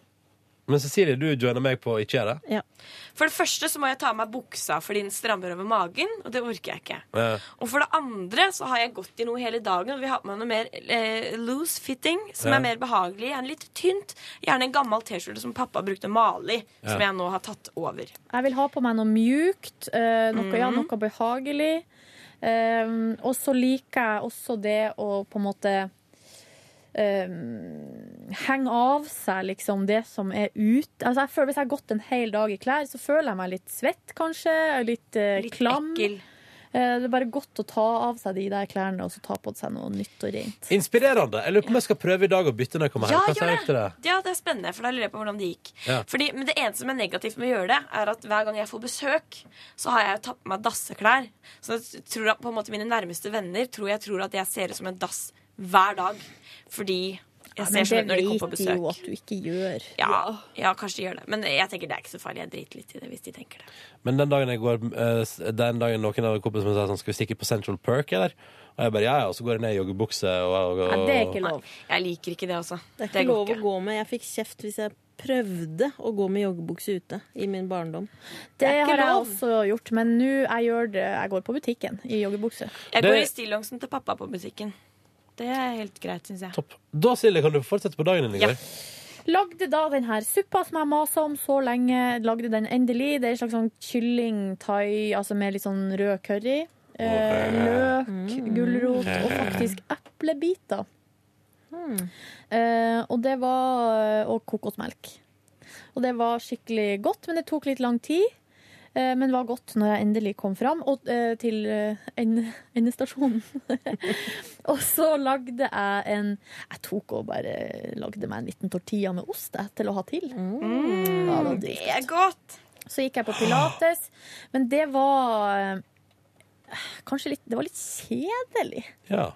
Men Cecilie, du joiner meg på ikke gjør det.
For det første så må jeg ta av meg buksa fordi den strammer over magen, og det orker jeg ikke.
Ja.
Og for det andre så har jeg gått i noe hele dagen, og vi har på meg noe mer eh, loose fitting, som
Ja.
er mer behagelig, gjerne litt tynt. Gjerne en gammel T-skjorte som pappa brukte å male i, som jeg nå har tatt over.
Jeg vil ha på meg noe mjukt, eh, noe, ja,
Mhm.
noe behagelig. Um, og så liker jeg også det å på en måte um, henge av seg liksom det som er ute. Altså, jeg føler, hvis jeg har gått en hel dag i klær, så føler jeg meg litt svett, kanskje. Litt, eh,
Litt
klam.
ekkel.
Eh, det er bare godt å ta av seg de der klærne og så ta på seg noe nytt og rent.
Inspirerende. Jeg lurer på om jeg skal prøve i dag å bytte når jeg kommer
Ja,
hjem. Hva
gjør
sier dere til det?
Ja, det er spennende, for da lurer jeg på hvordan det gikk.
Ja.
Fordi, men det eneste som er negativt med å gjøre det, er at hver gang jeg får besøk, så har jeg jo tatt på meg dasseklær. Så jeg tror at på en måte mine nærmeste venner tror jeg tror at jeg ser ut som en dass hver dag. Fordi jeg ser sånn ut når de kommer på
vet de jo
besøk.
at du ikke gjør.
Ja, ja, kanskje de gjør det. Men jeg tenker det er ikke så farlig. Jeg driter litt i det hvis de tenker det.
Men den dagen jeg går eh, s- Den dagen noen av kompisene mine sier sånn Skal vi stikke på Central Perk, eller? Og jeg bare ja, ja, og så går jeg ned i joggebukse og, og, og
Nei, det er ikke
Nei,
lov.
jeg liker ikke det, altså.
Det er ikke lov å gå med. Jeg fikk kjeft hvis jeg prøvde å gå med joggebukse ute i min barndom.
Det,
er ikke
har jeg
lov.
også gjort, men nå jeg gjør det, jeg går på butikken i joggebukse.
Jeg
Det-
går i stillongsen til pappa på butikken. Det er helt greit, syns jeg.
Topp. Da, Silje, kan du fortsette på dagen din i
Ja.
går?
Lagde da den her suppa som jeg masa om så lenge. Lagde den endelig. Det er en slags sånn kylling thai, altså med litt sånn rød curry. Eh, løk, gulrot og faktisk eplebiter. Eh, og det eh, var Og kokosmelk. Og det var skikkelig godt, men det tok litt lang tid. eh, men var godt når jeg endelig kom fram og, eh, til eh, ende- endestasjonen. og så lagde jeg en Jeg tok og bare lagde meg en liten tortilla med ost jeg, til å ha til. Ja, det var
Det
dritgodt.
er godt.
Så gikk jeg på pilates, men det var eh, Kanskje litt Det var litt kjedelig.
Ja.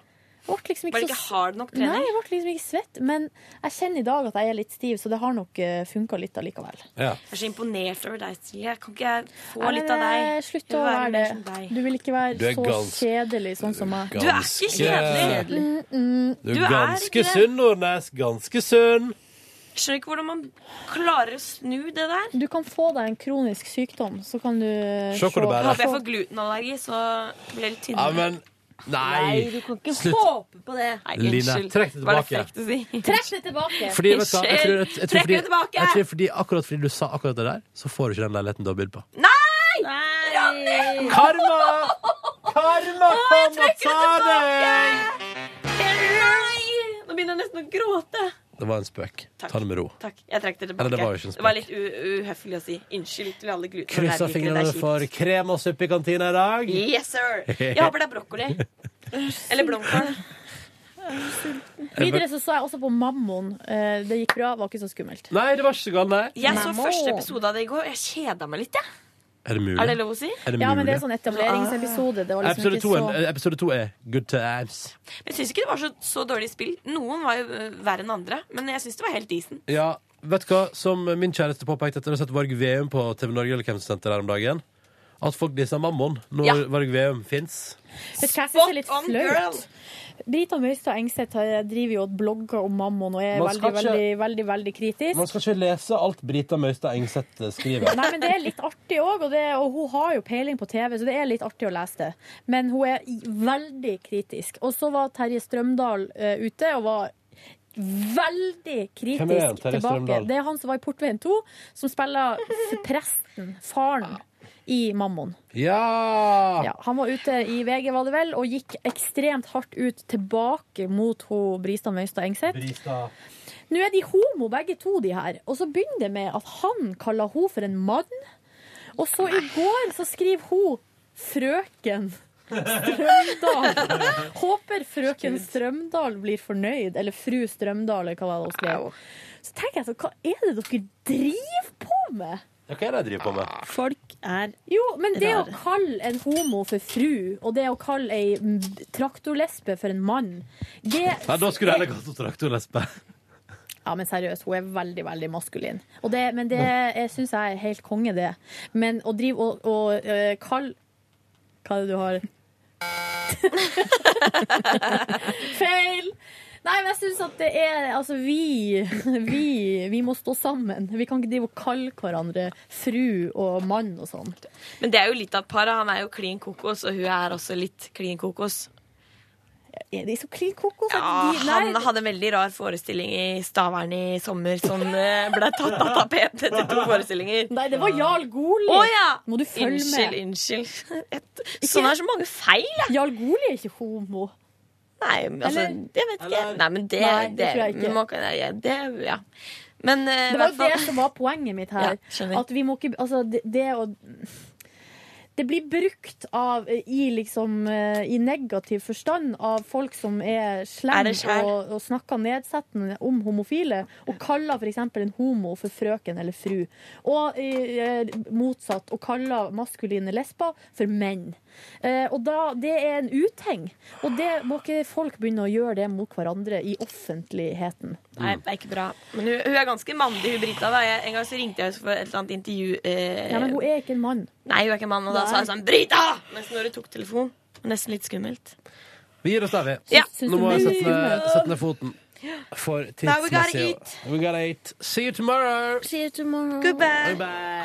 Det ble liksom
Var
ikke
det ikke
så
hard nok
Nei,
trening?
jeg ble liksom ikke svett, men jeg kjenner i dag at jeg er litt stiv, så det har nok funka litt allikevel.
ja.
Jeg er så imponert over deg, Silje. Kan ikke jeg få
Nei,
litt av deg?
men, eh, Slutt
Jeg
å
vil
være
være mer som
det.
deg.
Du vil ikke være
Du er
så
ganske-
kjedelig sånn som meg.
Du er ikke kjedelig.
Du er
Du er
ganske
ikke det.
sunn, Nordnes. Ganske sunn.
Jeg skjønner ikke hvordan man klarer å snu det der.
Du kan få deg en kronisk sykdom, så kan du eh,
Se hvor det bærer.
Håper jeg får glutenallergi, så blir jeg litt
Ja,
tynnere.
men Nei!
du kan ikke
Slutt.
håpe på det.
Nei,
Line,
unnskyld.
trekk det
Var
tilbake.
frekt å si?
Trekk det tilbake!
Fordi, vet du hva, jeg tror, jeg, jeg tror
Trekk
fordi,
det tilbake!
jeg tror fordi akkurat fordi du sa akkurat det der, så får du ikke den leiligheten du har bydd på.
Nei!
Karma! Karma kom og ta deg!
Nei! Nå begynner jeg nesten å gråte.
Det var en spøk.
Takk.
Ta det med ro.
Takk, jeg trekker det
Eller
tilbake.
det var jo ikke en spøk.
det var litt u uhøflig å si. Unnskyld til alle
Kryssa
glutenallergikere. Det
fingrene
er
for
kjipt.
krem og suppe i kantina i dag.
Yes, sir! Jeg håper det er brokkoli. Eller blomkål.
Videre så så jeg også på Mammon. Eh, Det gikk bra, var ikke så skummelt.
Nei, det var ikke så galt, nei.
Jeg så
Mamma.
første episode av det i går. Jeg kjeda meg litt, jeg.
Er det mulig?
Er det lov å si?
Er det
Ja, men det er
mulig?
sånn etableringsepisode. Det var liksom
Episode to,
ikke så
er- episode to er Good times.
Jeg syns ikke det var så, så dårlig spill. Noen var jo øh, verre enn andre, men jeg syns det var helt decent.
Ja, vet du hva? Som min kjæreste påpekte etter å ha sett Varg Veum på TV Norge eller hvem som sendte det her om dagen, at folk disser Mammon når
Ja.
Varg Veum fins.
Vet du hva jeg synes er litt
Spot on, girl.
flaut? Brita Møystad Engseth har- driver jo og blogger om Mammon og er
Man
veldig,
skal
veldig, veldig, veldig, kritisk.
Man skal ikke lese alt Brita Møystad Engseth skriver.
Nei, men Det er litt artig òg, og, det- og hun har jo peiling på TV, så det er litt artig å lese det. Men hun er i- veldig kritisk. Og så var Terje Strømdal eh, ute og var veldig kritisk
Hvem er han, Terje
tilbake.
Strømdal?
Det er han som var i Portveien 2, som spiller f- presten, faren, i Mammon.
Ja!
Ja, han var ute i VG, var det vel, og gikk ekstremt hardt ut tilbake mot ho Bristad Møystad Engseth.
Brita.
Nå er de homo, begge to, de her. Og så begynner det med at han kaller hun for en mann. Og så i går så skriver hun 'frøken'. Strømdal. Håper frøken Strømdal blir fornøyd. Eller fru Strømdal, eller hva var det hun skrev. Så tenker jeg så, hva er det dere driver på med?
Ja, Hva er det jeg driver på med?
Folk er
Jo, men det å
Rar.
kalle en homo for fru, og det å kalle ei m- traktorlesbe for en mann det,
Nei, Da skulle du heller kalt henne traktorlesbe.
Ja, men seriøst, hun er veldig, veldig maskulin. Og det, men det syns jeg er helt konge, det. Men å drive og, og øh, kalle Hva er det du har? Feil! Nei, men jeg syns at det er Altså, vi, vi Vi må stå sammen. Vi kan ikke drive og kalle hverandre fru og mann og sånn.
Men det er jo litt av paret. Han er jo klin kokos, og hun er også litt klin kokos.
Er de så klin kokos?
Ja,
at de- nei,
Ah, han hadde en veldig rar forestilling i Stavern i sommer som eh, ble tatt av tapetet etter to forestillinger.
Nei, det var Jarl Goli.
Å ja!
Må du følge
Unnskyld,
med?
unnskyld. Et, sånn er så mange feil. jeg.
Jarl Goli er ikke homo.
Nei, men altså,
Eller-
jeg vet ikke. Nei, men det,
Nei, det tror jeg ikke.
må ikke- nei, det, ja. Men eh, i
Det var
hvert
jo
fall
det som var poenget mitt her.
Ja, skjønner.
at vi må ikke Altså, det, det å det blir brukt av, i, liksom, eh, i negativ forstand av folk som er
Er
slemme
det skjær?
og, og snakker nedsettende om homofile, og kaller f.eks. en homo for frøken eller fru. Og eh, motsatt, og kaller maskuline lesber for menn. Eh, og da, Det er en utheng. Og det må ikke folk begynne å gjøre det mot hverandre i offentligheten.
Nei, det er ikke bra. Men hun, hun er ganske mandig, hun Brita. Da. Jeg, en gang så ringte jeg henne for et eller annet intervju. Eh,
Ja, men hun er ikke en mann.
Nei, hun er ikke mann, og da sa jeg sånn Brita! Nesten når hun tok telefonen. Nesten litt skummelt.
Vi gir oss der, vi.
Ja.
Syns
Nå
du
må jeg
det er
sette ned, sette ned foten. For
Now we gotta
tidsmessig We gotta eat. See you tomorrow.
See you tomorrow.
Goodbye.
Bye.